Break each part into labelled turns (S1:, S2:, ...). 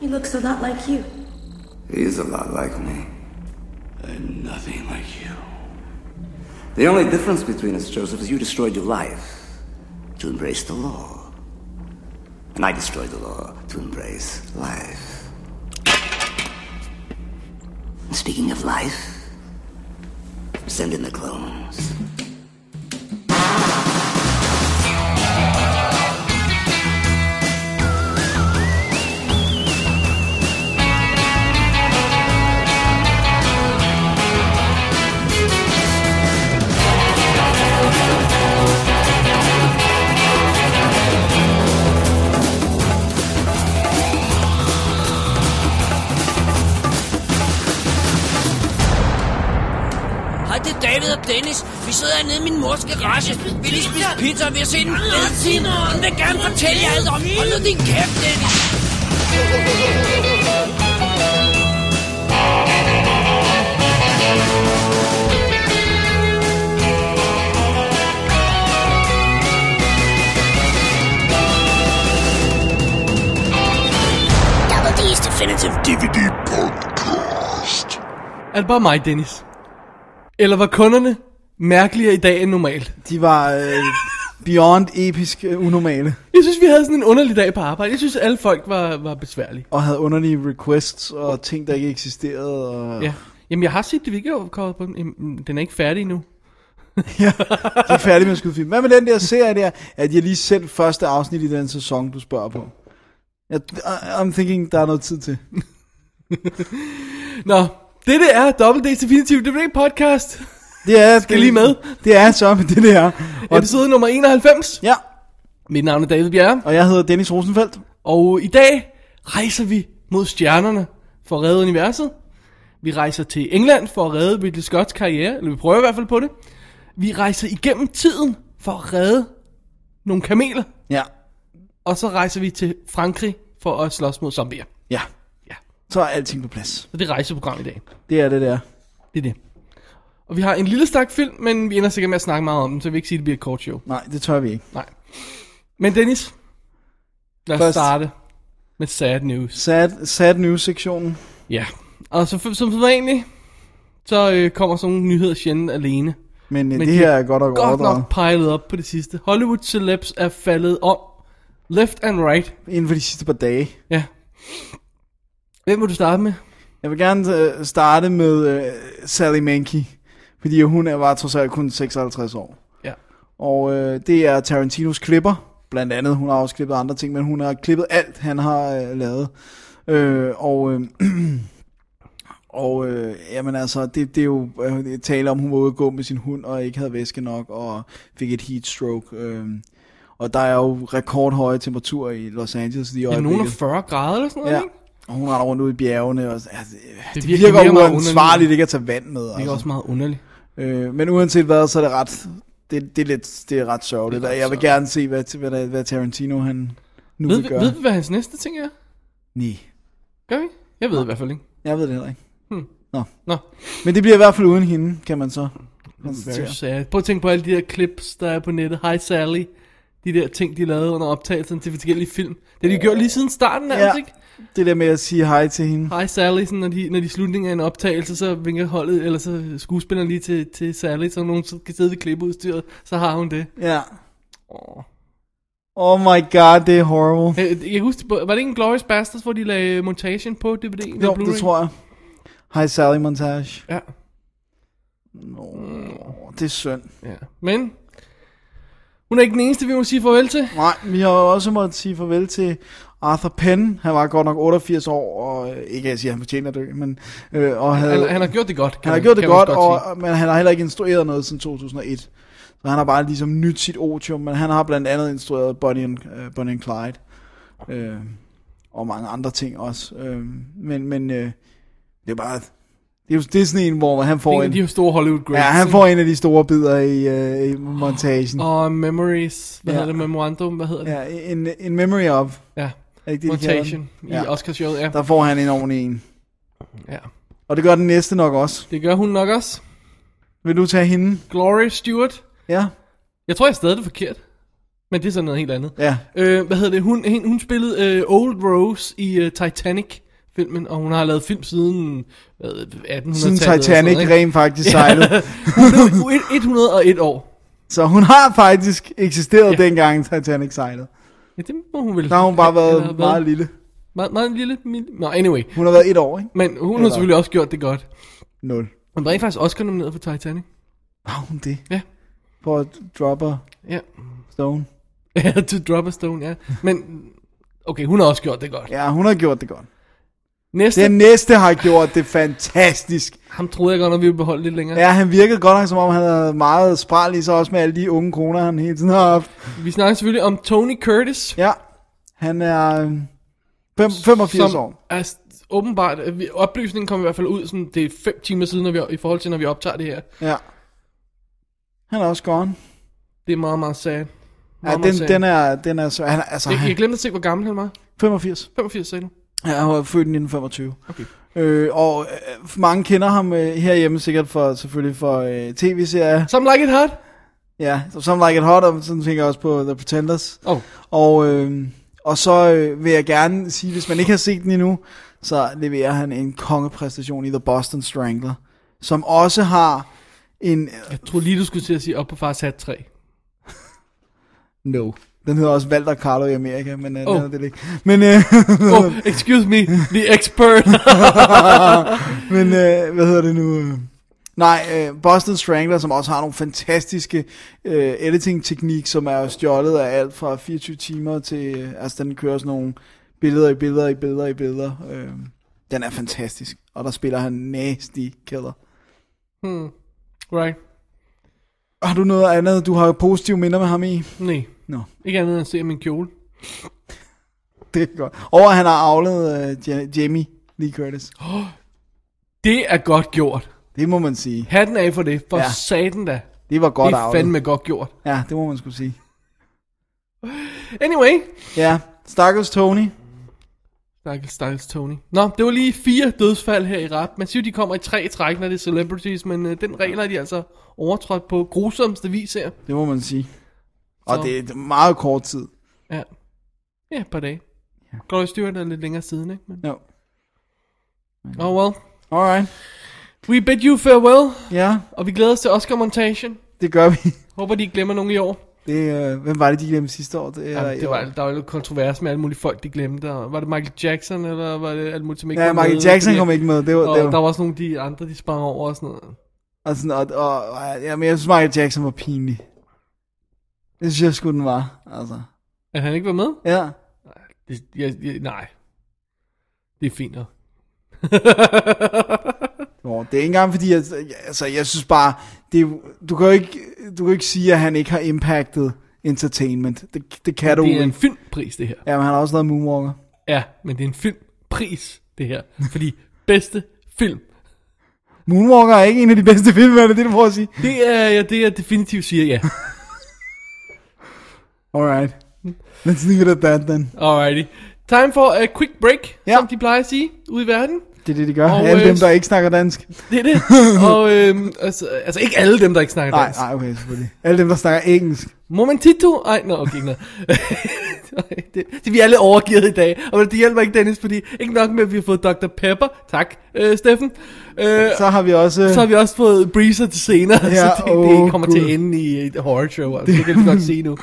S1: He looks a lot like you.
S2: He's a lot like me.
S3: And nothing like you.
S2: The only difference between us, Joseph, is you destroyed your life to embrace the law. And I destroyed the law to embrace life. And speaking of life, send in the clones.
S4: Hej, det er David og Dennis. Vi sidder hernede i min mors garage. Vi lige spise pizza, og vi har set en fed film. Hun vil gerne fortælle jer alt om. Hold nu din kæft, Dennis.
S5: Double D's Definitive DVD
S6: Er det bare mig, Dennis? Eller var kunderne mærkeligere i dag end normalt?
S7: De var øh, beyond episk øh, unormale,
S6: Jeg synes, vi havde sådan en underlig dag på arbejde. Jeg synes, alle folk var, var besværlige.
S7: og havde underlige requests og ting, der ikke eksisterede. Og...
S6: Ja. Jamen, jeg har set det, vi ikke har på den. Jamen, Den er ikke færdig endnu.
S7: ja. De er færdige med at skyde film. Hvad med den der serie der, at jeg lige sendt første afsnit i den sæson, du spørger på? Jeg, I'm thinking, der er noget tid til.
S6: Nå, dette er Double D's Definitive DVD Podcast.
S7: Det er,
S6: Skal lige med.
S7: Det er så med det der. Og,
S6: Episode nummer 91.
S7: ja,
S6: Mit navn er David Bjerre.
S7: og jeg hedder Dennis Rosenfeldt.
S6: Og i dag rejser vi mod stjernerne for at redde universet. Vi rejser til England for at redde Ridley Scotts karriere, eller vi prøver i hvert fald på det. Vi rejser igennem tiden for at redde nogle kameler,
S7: Ja,
S6: og så rejser vi til Frankrig for at slås mod zombier.
S7: ja.
S6: Ja.
S7: Så er alting på plads.
S6: Så det er rejseprogram i dag.
S7: Det er det der.
S6: Det er det. Og vi har en lille stak film, men vi ender sikkert med at snakke meget om den, så jeg vil ikke sige, at det bliver et kort show.
S7: Nej, det tør vi ikke.
S6: Nej. Men Dennis, lad os
S7: Først.
S6: starte med sad news.
S7: Sad, sad news-sektionen.
S6: Ja, og så, som sædvanligt, så øh, kommer sådan nogle nyheder sjældent alene.
S7: Men, Men det
S6: de
S7: her er godt nok
S6: Godt
S7: overdrevet.
S6: nok pilet op på det sidste. Hollywood celebs er faldet om. Left and right.
S7: Inden for de sidste par dage.
S6: Ja. Hvem vil du starte med?
S7: Jeg vil gerne øh, starte med øh, Sally Mankey, fordi hun er var trods alt kun 56 år.
S6: Ja.
S7: Og øh, det er Tarantinos klipper, blandt andet. Hun har også klippet andre ting, men hun har klippet alt, han har øh, lavet. Øh, og øh, og øh, jamen altså, det, det er jo øh, det tale om, hun var ude at gå med sin hund, og ikke havde væske nok, og fik et heat stroke. Øh, og der er jo rekordhøje temperaturer i Los Angeles lige i
S6: Ja, nogen er
S7: øjeblikket.
S6: 40 grader eller sådan noget,
S7: Ja.
S6: ikke?
S7: Og hun render rundt ude i bjergene. Og, altså, det, det
S6: virker-
S7: virker,
S6: det virker
S7: virker
S6: meget underligt.
S7: uansvarligt ikke at tage vand med.
S6: Det er
S7: Altså.
S6: også meget underligt.
S7: Øh, men uanset hvad, så er det ret, det, det er lidt, det er ret sørgeligt.
S6: Det er
S7: og
S6: ret
S7: jeg vil gerne se, hvad, hvad, der- hvad Tarantino han nu
S6: Ved,
S7: vil
S6: vi-
S7: gøre.
S6: ved vi, hvad hans næste ting er?
S7: Nej,
S6: Gør vi? Jeg ved i hvert fald ikke.
S7: jeg ved det heller ikke.
S6: Nå,
S7: Men det bliver i hvert fald uden hende, kan man så konstatere.
S6: very sad. Prøv at tænke på alle de der clips, der er på nettet. Hi Sally. De der ting, de lavede under optagelsen til forskellige film. Det har de gjort lige siden starten, nærmest,
S7: Ja.
S6: ikke?
S7: Det der med at sige hej til hende.
S6: Hej Sally, sådan, når, de, når de er i slutningen af en optagelse, så vinker holdet, eller så skuespilleren lige til, til Sally, så nogen så kan sidde ved klippeudstyret, så har hun det.
S7: Ja.
S6: Åh.
S7: Oh my god, det er horrible.
S6: Øh, Jeg husker, var det ikke en Glorious Bastards, hvor de lagde montagen på DVD'en? eller
S7: Jo,
S6: Blu-ray?
S7: det tror jeg. Hej Sally Montage.
S6: Ja,
S7: Nå,
S6: Mm.
S7: det er synd.
S6: ja. Men, hun er ikke den eneste, vi må sige farvel til.
S7: Nej, vi har jo også måttet sige farvel til Arthur Penn. Han var godt nok 88 år, og øh, ikke at jeg siger, at han fortjener at dø, men... Øh, og havde,
S6: Han, han har gjort det godt, kan
S7: han har
S6: man-
S7: gjort det
S6: kan man
S7: godt,
S6: sige.
S7: og, øh, men han har heller ikke instrueret noget siden 2001. Så han har bare ligesom nyt sit otium, men han har blandt andet instrueret Bonnie and, uh, Bonnie and Clyde. Øh, og mange andre ting også. Øh, men men øh, det er bare... Det er, jo, det er sådan en, hvor han
S6: Det er
S7: får
S6: en af
S7: en,
S6: de her store Hollywood
S7: ja,
S6: greats.
S7: han
S6: ikke?
S7: får en af de store bidder i, øh, i montagen.
S6: Og Memories, hvad
S7: Ja.
S6: hedder det, Memorandum, hvad hedder det?
S7: Ja, en, en memory of.
S6: Ja,
S7: Er ikke det, de kalder den?
S6: Montagen i
S7: Ja.
S6: Oscarshowet, ja.
S7: Der får han en ordentlig en.
S6: ja.
S7: Og det gør den næste nok også.
S6: Det gør hun nok også.
S7: Vil du tage hende?
S6: Gloria Stewart.
S7: Ja.
S6: Jeg tror, jeg stadig det forkert. Men det er sådan noget helt andet.
S7: Ja.
S6: Øh, hvad hedder det? Hun, hun, hun spillede øh, Old Rose i øh, Titanic-filmen, og hun har lavet film siden hvad, 1800-tallet.
S7: Siden
S6: og sådan
S7: Titanic
S6: noget, ikke?
S7: rent faktisk sejlede.
S6: Hun blev et- 101 år.
S7: Så hun har faktisk eksisteret
S6: Ja.
S7: dengang Titanic sejlede.
S6: Ja, det må hun vel.
S7: Der har hun bare
S6: Eller
S7: været
S6: hvad?
S7: meget lille.
S6: Meget, meget lille. mil- Nå, anyway.
S7: Hun har været et år, ikke?
S6: Men hun har
S7: Eller-
S6: selvfølgelig også gjort det godt.
S7: Nul.
S6: Hun var rent faktisk Oscar nomineret for Titanic.
S7: Har hun det?
S6: Ja.
S7: For at droppe
S6: Ja.
S7: Stone.
S6: Ja, to drop a stone, ja. Men, okay, hun har også gjort det godt.
S7: Ja, hun har gjort det godt.
S6: Næste,
S7: Den næste har gjort det fantastisk.
S6: ham troede jeg godt nok, vi ville beholde lidt længere. Ja.
S7: Ja, han virkede godt nok, som om han havde meget spral i sig, også med alle de unge kroner, han hele tiden har haft.
S6: Vi snakker selvfølgelig om Tony Curtis.
S7: Ja, han er øh, fem, 85
S6: som
S7: år.
S6: Er s- åbenbart, øh, vi- oplysningen kom i hvert fald ud, sådan, det er fem timer siden, når vi, i forhold til, når vi optager det her.
S7: Ja. Han er også gone.
S6: Det er meget, meget sad.
S7: Ja, den, den er, den er så, han, er- altså,
S6: Jeg, jeg
S7: han,
S6: glemte at se, hvor gammel han var.
S7: 85.
S6: 85 sagde du.
S7: Ja, han var født i 1925.
S6: Okay.
S7: Øh, og øh, mange kender ham øh, herhjemme sikkert for, selvfølgelig for øh, tv-serier.
S6: Some like it hot.
S7: Ja, så Some Like It Hot, og sådan tænker jeg også på The Pretenders.
S6: Åh, oh,
S7: Og, øh, og så øh, vil jeg gerne sige, hvis man ikke har set den endnu, så leverer han en kongepræstation i The Boston Strangler, som også har en... Øh,
S6: jeg tror lige, du skulle til at sige op på fars hat 3.
S7: no. Den hedder også Walter Carlo i Amerika, men øh,
S6: Oh.
S7: oh. det ikke. Men, øh,
S6: Oh, excuse me, the expert.
S7: men øh, hvad hedder det nu? øh? Nej, øh, Boston Strangler, som også har nogle fantastiske øh, editing-teknik, som er stjålet af alt fra 24 timer til... Øh, altså, den kører sådan nogle billeder i billeder i billeder i billeder. Øh, den er fantastisk, og der spiller han nasty killer.
S6: right.
S7: Har du noget andet, du har positive minder med ham i?
S6: Nej.
S7: Nå.
S6: Ikke andet end at se min kjole.
S7: Det er godt. Og at han har avlet øh, Ja- Jamie Lee Curtis.
S6: Det er godt gjort.
S7: Det må man sige.
S6: Hatten af for det. For ja.
S7: Ja.
S6: satan da.
S7: Det var godt
S6: det er
S7: avlet.
S6: fandme godt gjort.
S7: Ja, det må man skulle sige.
S6: Anyway.
S7: Ja, stakkels Tony.
S6: Stakkels, stakkels Tony. Nå, det var lige fire dødsfald her i rap. Man siger, de kommer i tre træk, når det er celebrities, men øh, den regel er de altså overtrådt på grusomste vis her.
S7: Det må man sige. Og
S6: Så.
S7: det er meget kort tid.
S6: Ja. Ja, et par dage. Ja. Gloria Stewart er lidt længere siden, ikke? Men,
S7: Jo.
S6: oh well.
S7: Alright.
S6: We bid you farewell,
S7: Ja,
S6: og vi glæder os til Oscar-montagen.
S7: det gør vi.
S6: Håber, de ikke glemmer nogen i år.
S7: Det, øh, hvem var det, de glemte sidste år? Det,
S6: Ja,
S7: er- øh,
S6: det var, der var lidt kontrovers med alle mulige folk, de glemte. Og var det Michael Jackson, eller var det alt muligt, som ikke
S7: Ja,
S6: var
S7: Michael
S6: med?
S7: Jackson
S6: Fordi-
S7: kom ikke med. Det var,
S6: Og
S7: det var,
S6: der var også nogle af de andre, de sprang over og sådan noget.
S7: og, sådan, og, og, og, ja, men jeg synes, Michael Jackson var pinlig. Det synes jeg sgu, den var. Altså.
S6: At han ikke var med?
S7: Ja.
S6: Det, jeg, jeg, nej. Det er fint nok.
S7: Nå, det er ikke engang fordi, jeg, altså, jeg synes bare, det, er jo- du, kan jo ikke, du kan jo ikke sige, at han ikke har impactet entertainment. Det, det kan du
S6: Det er en
S7: ikke.
S6: filmpris, det her.
S7: Ja, men han har også lavet Moonwalker.
S6: Ja, men det er en filmpris, det her. Fordi bedste film.
S7: Moonwalker er ikke en af de bedste film, er det det, du prøver at sige?
S6: Det er ja, det, jeg definitivt siger, ja.
S7: Alright. Let's leave it at that then.
S6: Alrighty. Time for a quick break,
S7: Ja.
S6: ja. som de plejer at sige ude i verden.
S7: Det er det, de gør.
S6: Og,
S7: Og Alle
S6: øh,
S7: dem, der ikke snakker dansk.
S6: Det er det. og øhm, altså, altså ikke alle dem, der ikke snakker
S7: Nej,
S6: dansk.
S7: nej, okay, selvfølgelig. Alle dem, der snakker engelsk.
S6: Momentito. Ej, nå, okay, ikke noget. Ej, det, det, vi er alle overgivet i dag, og det hjælper ikke, Dennis, fordi ikke nok med, at vi har fået Dr. Pepper. Tak, øh, Steffen. Øh,
S7: Så har vi også...
S6: så har vi også fået Breezer til senere, ja, så det, oh,
S7: åh,
S6: det kommer
S7: Gud.
S6: til at ende i et horror show. Altså, det kan vi godt se nu.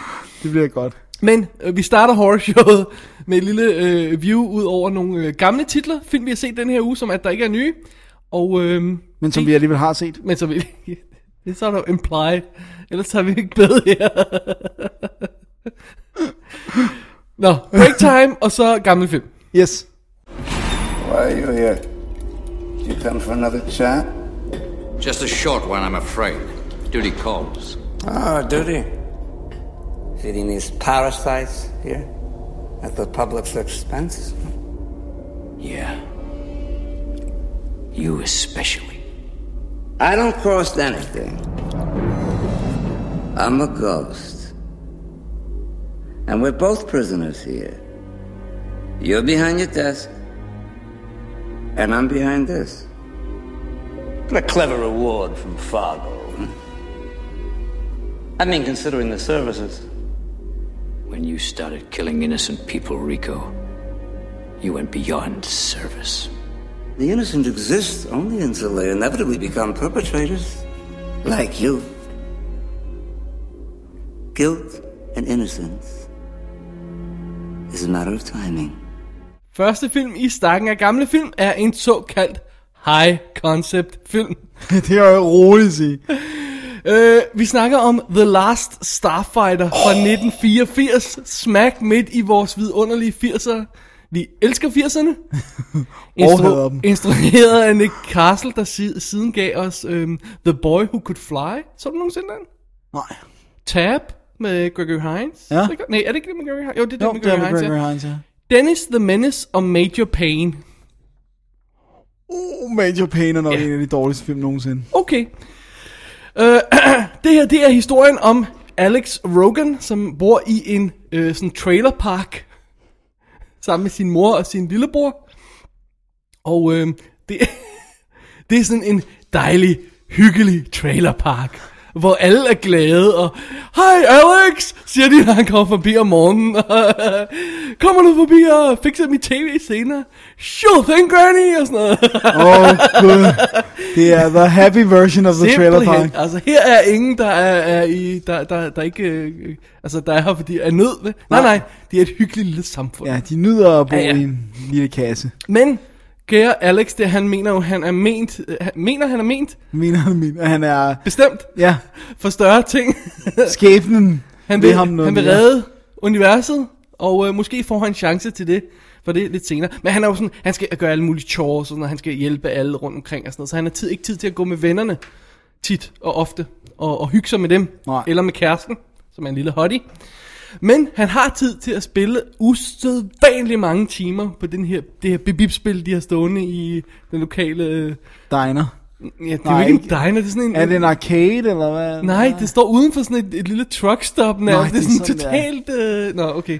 S7: Det bliver godt.
S6: Men øh, vi starter horrorshowet med et lille øh, view ud over nogle øh, gamle titler, film vi har set den her uge, som at der ikke er nye. Og, øh,
S7: Men som vi alligevel har set.
S6: men så vil det er sort of implied. Ellers har vi ikke bedre her. Nå, break time, og så gamle film.
S7: Yes.
S2: Why are you here? You come for another chat?
S1: Just a short one, I'm afraid. Duty calls.
S2: Ah, duty. Feeding these parasites here at the public's expense?
S1: Yeah. You especially.
S2: I don't cost anything. I'm a ghost. And we're both prisoners here. You're behind your desk, and I'm behind this.
S1: What a clever reward from Fargo. I mean, considering the services. When you started killing innocent people, Rico, you went beyond service.
S2: The innocent exist only until they inevitably become perpetrators, like you. Guilt and innocence is a matter of timing.
S6: Første film i stakken af gamle film er en såkaldt high concept film.
S7: det er jo roligt at sige.
S6: Øh, vi snakker om The Last Starfighter fra 1984, smack midt i vores vidunderlige 80'er. Vi elsker 80'erne.
S7: hader dem.
S6: instrueret af Nick Castle, der si- siden gav os øhm, The Boy Who Could Fly. Så du nogensinde den?
S7: Nej.
S6: Tab med Gregory Hines.
S7: Ja.
S6: Er det ikke- Nej, er det ikke det med Gregory Hines? Jo, det er det
S7: Jo,
S6: med
S7: det er
S6: Gregory
S7: med
S6: Hines.
S7: Gregory
S6: ja.
S7: Hines, ja.
S6: Dennis the Menace og Major Payne.
S7: Oh, Major Payne er nok
S6: Ja.
S7: en af de dårligste film nogensinde.
S6: Okay. Øh, det her, det er historien om Alex Rogan, som bor i en øh, sådan trailerpark sammen med sin mor og sin lillebror. Og øh, det, det er sådan en dejlig, hyggelig trailerpark, hvor alle er glade og, Hej Alex, siger de, når han kommer forbi om morgenen. kommer du forbi og fikser mit tv senere? Sure thing, granny, og sådan noget.
S7: Åh, oh, gud. Det er the happy version of the trailer park.
S6: Simpelthen. Altså her er ingen der er, er i der, der, der ikke øh, altså der er her fordi er nød ved. Nej nej, det er et hyggeligt lille samfund.
S7: Ja, de nyder at bo
S6: Ja,
S7: ja,
S6: ja.
S7: ja. i en lille kasse.
S6: Men kære Alex, det han mener jo han er ment øh, han, mener han er ment
S7: Mener han, min, han er...
S6: bestemt
S7: Ja,
S6: for større ting.
S7: skæbnen
S6: han
S7: ved
S6: vil
S7: ham noget
S6: han vil
S7: mere.
S6: redde universet og øh, måske får han en chance til det. For det er lidt senere. Men han er jo sådan, han skal gøre alle mulige chores og sådan noget. Han skal hjælpe alle rundt omkring og sådan noget. Så han har tid, ikke tid til at gå med vennerne tit og ofte. Og, og hygge sig med dem.
S7: Nej.
S6: Eller med kæresten, som er en lille hottie. Men han har tid til at spille usædvanlig mange timer på den her, det her bibibspil, de har stående i den lokale... øh,
S7: Diner.
S6: Ja, det er jo
S7: Nej,
S6: ikke en
S7: ikke-
S6: diner, det er sådan en...
S7: Er det en arcade, eller hvad?
S6: Nej, det står uden for sådan et, et lille truckstop nærmest. Nej, det, er sådan,
S7: sådan,
S6: totalt... Øh, nå, okay.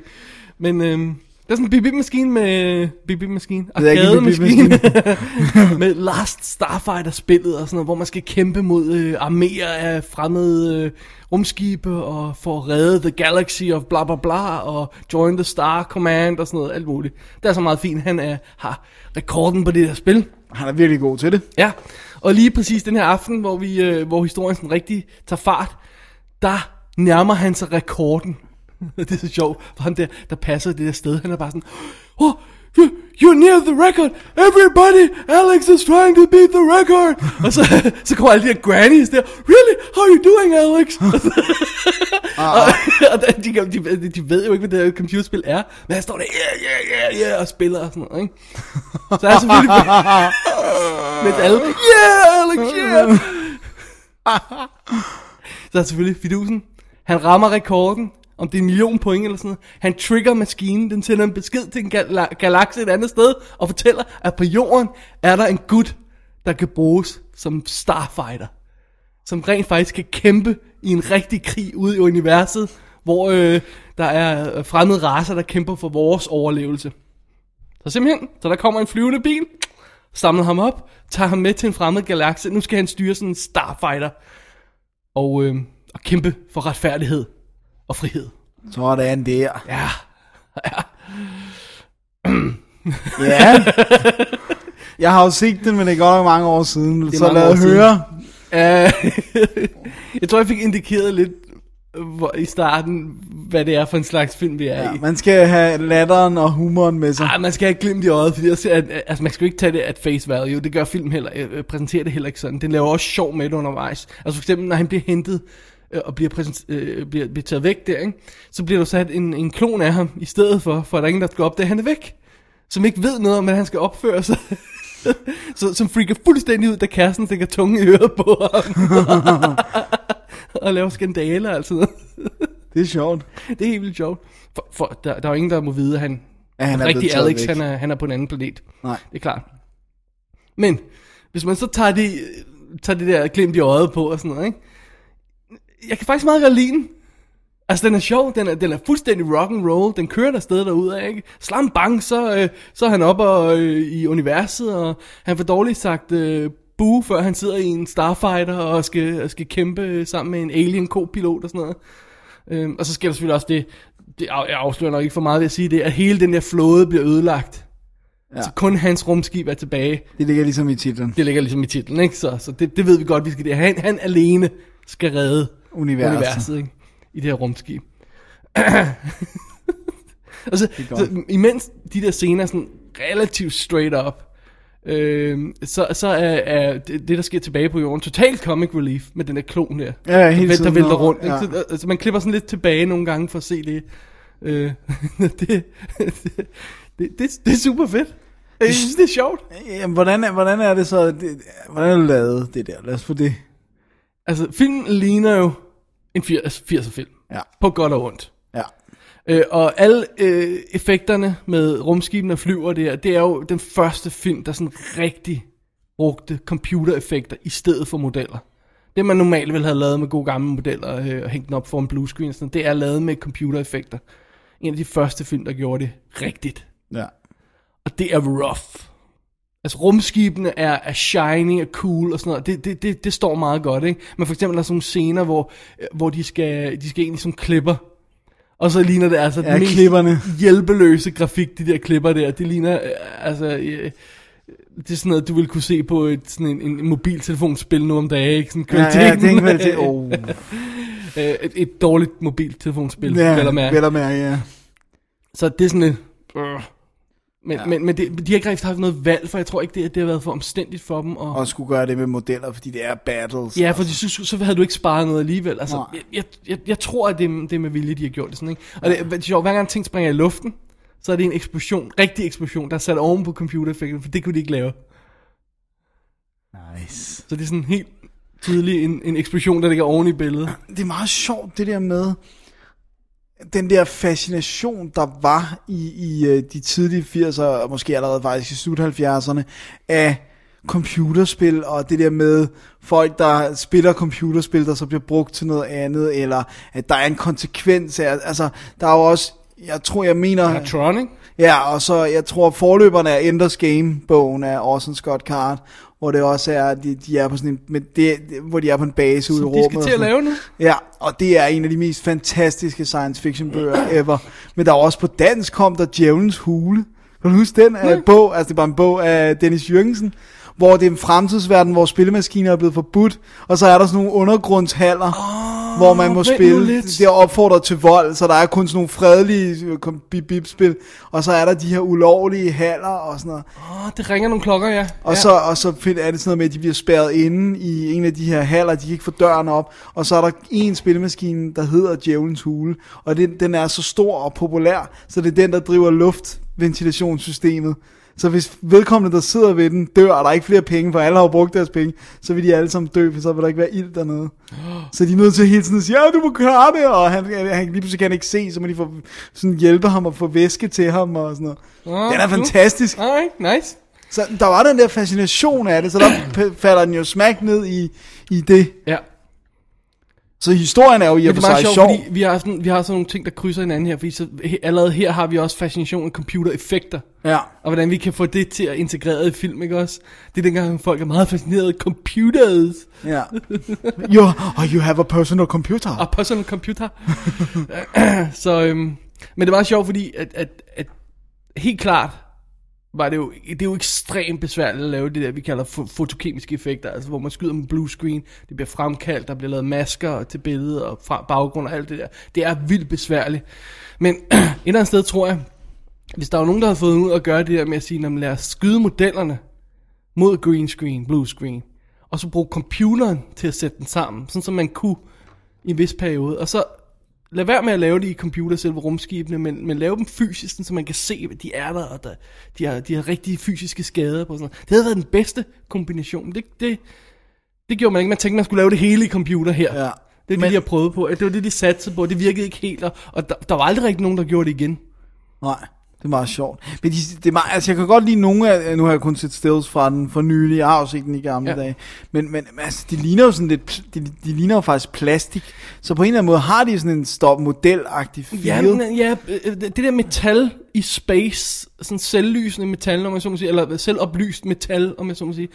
S6: Men øhm, der er sådan en bip-bip-maskine med... Bip-bip-maskine.
S7: Det er ikke en
S6: Arcade-maskine. med Last Starfighter-spillet og sådan noget, hvor man skal kæmpe mod øh, arméer af fremmede øh, rumskibe og for at redde The Galaxy of bla bla bla og Join the Star Command og sådan noget, alt muligt. Det er så meget fint, han er, har rekorden på det der spil.
S7: Han er virkelig god til det.
S6: Ja, og lige præcis den her aften, hvor, vi, øh, hvor historien sådan rigtig tager fart, der nærmer han sig rekorden. det er så sjovt, for ham der, der passer det der sted, han er bare sådan, oh, you- You're near the record! Everybody! Alex is trying to beat the record! og så, så kommer alle de her grannies der, Really? How are you doing, Alex? Og så- og, og der- de, kan- de, de ved jo ikke, hvad det her computerspil er, men han står der, yeah, yeah, yeah, yeah, og spiller og sådan noget, ikke? Så er jeg selvfølgelig... Mens alle, yeah, Alex, yeah. Så er selvfølgelig fidusen. Han rammer rekorden, om det er en million point eller sådan noget. Han trigger maskinen, den sender en besked til en gal- galakse et andet sted, og fortæller, at på jorden er der en gut, der kan bruges som starfighter. Som rent faktisk kan kæmpe i en rigtig krig ude i universet, hvor øh, der er øh, fremmede raser, der kæmper for vores overlevelse. Så simpelthen, så der kommer en flyvende bil, samler ham op, tager ham med til en fremmed galakse. Nu skal han styre sådan en starfighter og, øh, og kæmpe for retfærdighed og frihed.
S7: Sådan der.
S6: Ja,
S7: Ja. Jeg har jo set den, men det er godt nok mange år siden.
S6: er
S7: så
S6: mange
S7: lad
S6: år
S7: os
S6: siden.
S7: høre.
S6: øh, jeg tror, jeg fik indikeret lidt øh, hvor, i starten, hvad det er for en slags film, vi er ja,
S7: Ja,
S6: i.
S7: man skal have latteren og humoren med sig.
S6: Ej, Ah, man skal have et glimt i øjet, fordi jeg ser, at, altså, man skal jo ikke tage det at face value. Det gør film heller, øh, præsenterer det heller ikke sådan. Den laver også sjov med det undervejs. Altså for eksempel, når han bliver hentet øh, og bliver, præsent- øh, bliver, bliver taget væk der, ikke? så bliver der sat en, en klon af ham i stedet for, for at der er ingen, der skal opdage, at han er væk. Som ikke ved noget om, hvordan han skal opføre sig. så, som freaker fuldstændig ud, da kæresten stikker tunge i øret på ham. og laver skandaler og alt sådan noget.
S7: Det er sjovt.
S6: Det er helt vildt sjovt. For, for der, der er jo ingen, der må vide, at han,
S7: Ja, han er blevet
S6: rigtig
S7: taget
S6: Alex,
S7: væk.
S6: han er, han er på en anden planet.
S7: Nej.
S6: Det er klart. Men, hvis man så tager det, tager det der glimt i øjet på og sådan noget, ikke? Jeg kan faktisk meget godt lide den. Altså, den er sjov, den er, den er fuldstændig rock and roll, den kører der sted derude, ikke? Slam bang, så, øh, så er han oppe og, øh, i universet, og han får dårligt sagt øh, boo, før han sidder i en starfighter og skal, og skal kæmpe sammen med en alien co-pilot og sådan noget. Øhm, og så sker der selvfølgelig også det, det, af- jeg afslører nok ikke for meget ved at sige det, at hele den der flåde bliver ødelagt. Ja.
S7: Ja.
S6: Så kun hans rumskib er tilbage.
S7: Det ligger ligesom i titlen.
S6: Det ligger ligesom i titlen, ikke? Så, så det, det ved vi godt, vi skal det. Han, han alene skal redde
S7: Universet.
S6: universet ikke? i det her rumskib. og så, så, imens de der scener er sådan relativt straight up, øh, så, så er, er det, det, der sker tilbage på jorden, totalt comic relief med den der klon der.
S7: Ja, ja, hele
S6: der,
S7: tiden
S6: Der vælter
S7: over,
S6: rundt. Ja.
S7: ja.
S6: Ikke? Så, altså, man klipper sådan lidt tilbage nogle gange for at se det. Øh, det, det, det, det, det er super fedt. Jeg synes, det er sjovt.
S7: Jamen, hvordan, er- hvordan er det så, det, hvordan er det lavet, det der? Lad os få det.
S6: Altså, filmen ligner jo en 80'er 80'er film.
S7: Ja.
S6: På godt og ondt.
S7: Ja.
S6: Øh, og alle øh, effekterne med rumskibene og flyver der, det er jo den første film, der sådan rigtig brugte computereffekter i stedet for modeller. Det man normalt ville have lavet med gode gamle modeller øh, og hængt den op for en bluescreen, og sådan, det er lavet med computereffekter. En af de første film, der gjorde det rigtigt.
S7: Ja.
S6: Og det er rough. Altså rumskibene er, er shiny og cool og sådan noget. Det, det, det, det står meget godt, ikke? Men for eksempel der er sådan nogle scener, hvor, øh, hvor de, skal, de skal egentlig som klipper. Og så ligner det altså
S7: Ja, klipperne.
S6: hjælpeløse grafik, de der klipper der. Det ligner, øh, altså... Øh, det er sådan noget, du vil kunne se på et, sådan en, en mobiltelefonspil nu om dagen, ikke? Sådan
S7: Ja, ja, det er ikke vel til.
S6: af-
S7: Oh.
S6: øh, et, et dårligt mobiltelefonspil, ja, vel at mærke.
S7: vel at mærke, ja.
S6: Så det er sådan lidt... Øh. Men, ja. men, men det, de har ikke rigtig haft noget valg, for jeg tror ikke, det, det har været for omstændigt for dem. Og, og
S7: Og skulle gøre det med modeller, fordi det er battles.
S6: ja, for så, så så havde du ikke sparet noget alligevel. Altså,
S7: Nej.
S6: jeg, jeg, jeg, jeg tror, at det, er- det er med vilje, de har gjort det sådan. Ikke? Og det, det er sjovt, hver gang ting springer i luften, så er det en eksplosion, rigtig eksplosion, der er sat oven på computereffekten, for det kunne de ikke lave.
S7: Nice.
S6: Så det er sådan helt tydelig en, en eksplosion, der ligger oven i billedet.
S7: det er meget sjovt, det der med den der fascination, der var i, i øh, de tidlige 80'er, og måske allerede faktisk i slut 70'erne, af computerspil, og det der med folk, der spiller computerspil, der så bliver brugt til noget andet, eller at der er en konsekvens af, altså, der er jo også, jeg tror, jeg mener...
S6: Tron, ikke?
S7: Ja, og så jeg tror forløberne af Enders Game-bogen af Orson Scott Card, hvor det også er, at de, de er på sådan en, men det, hvor de er på en base ude i
S6: Som
S7: rummet.
S6: de skal
S7: og
S6: til at
S7: sådan.
S6: lave nu.
S7: Ja, og det er en af de mest fantastiske science fiction bøger ever. Men der er også på dansk kom der Djævelens Hule. Kan du huske den ja. bog? Altså det var en bog af Dennis Jørgensen, hvor det er en fremtidsverden, hvor spillemaskiner er blevet forbudt, og så er der sådan nogle undergrundshaller, oh, hvor man må
S6: vent nu
S7: spille.
S6: lidt.
S7: Det er opfordret til vold, så der er kun sådan nogle fredelige øh, kom- bip bip spil, og så er der de her ulovlige haller og sådan noget.
S6: Åh, det ringer nogle klokker, ja.
S7: Og,
S6: ja.
S7: så, og så find- er det sådan noget med, at de bliver spærret inde i en af de her haller, de kan ikke få døren op, og så er der en spilmaskine, der hedder Djævelens Hule, og den, den er så stor og populær, så det er den, der driver luftventilationssystemet. Så hvis vedkommende, der sidder ved den, dør, og der er ikke flere penge, for alle har jo brugt deres penge, så vil de alle sammen dø, for så vil der ikke være ild dernede. Så de er nødt til hele tiden at sige, ja, du må klare det, og han, han, lige pludselig kan han ikke se, så må de få, sådan hjælpe ham og få væske til ham og sådan noget.
S6: Åh,
S7: Den er
S6: nu.
S7: fantastisk.
S6: Alright, nice.
S7: Så der var den der fascination af det, så der p- falder den jo smack ned i, i det.
S6: Ja,
S7: Så historien er jo i og
S6: Men
S7: for
S6: det er meget
S7: sig
S6: sjovt,
S7: sjov.
S6: fordi vi har, sådan, vi har sådan nogle ting, der krydser hinanden her, fordi så, he, allerede her har vi også fascination af computereffekter,
S7: Ja.
S6: og hvordan vi kan få det til at integrere i film, ikke også? Det er dengang, folk er meget fascineret af computers
S7: ja. You, oh, you have a personal computer.
S6: og personal computer. så, øhm, men det er meget sjovt, fordi at, at, at helt klart var det jo, det er jo ekstremt besværligt at lave det der, vi kalder fo- fotokemiske effekter, altså hvor man skyder med blue screen, det bliver fremkaldt, der bliver lavet masker til billedet og fra baggrund og alt det der. Det er vildt besværligt. Men et eller andet sted tror jeg, hvis der var nogen, der havde fået ud at gøre det der med at sige, "Nå, men lad os skyde modellerne mod green screen, blue screen, og så bruge computeren til at sætte den sammen, sådan som man kunne i en vis periode, og så lad være med at lave det i computer, selve rumskibene, men, men lave dem fysisk, sådan, så man kan se, at de er der, og der, de, har, de har rigtige fysiske skader på sådan noget. Det havde været den bedste kombination, men det, det, det gjorde man ikke. Man tænkte, man skulle lave det hele i computer her.
S7: Ja.
S6: Det er det,
S7: Men-
S6: de har prøvet på. Det var det, de satte på. Det virkede ikke helt, og, og der, der var aldrig rigtig nogen, der gjorde det igen.
S7: Nej, det er meget sjovt. Men de, det er meget, altså jeg kan godt lide nogle af, nu har jeg kun set stills fra den for nylig, jeg har jo set den i gamle
S6: Ja.
S7: ja. dage. Men, men altså, de ligner jo sådan lidt, pl- de, de ligner jo faktisk plastik. Så på en eller anden måde har de sådan en stop modelagtig feel.
S6: Ja, men, ja, øh, det der metal i space, sådan selvlysende metal, om jeg så må sige, eller selvoplyst metal, om jeg så må sige,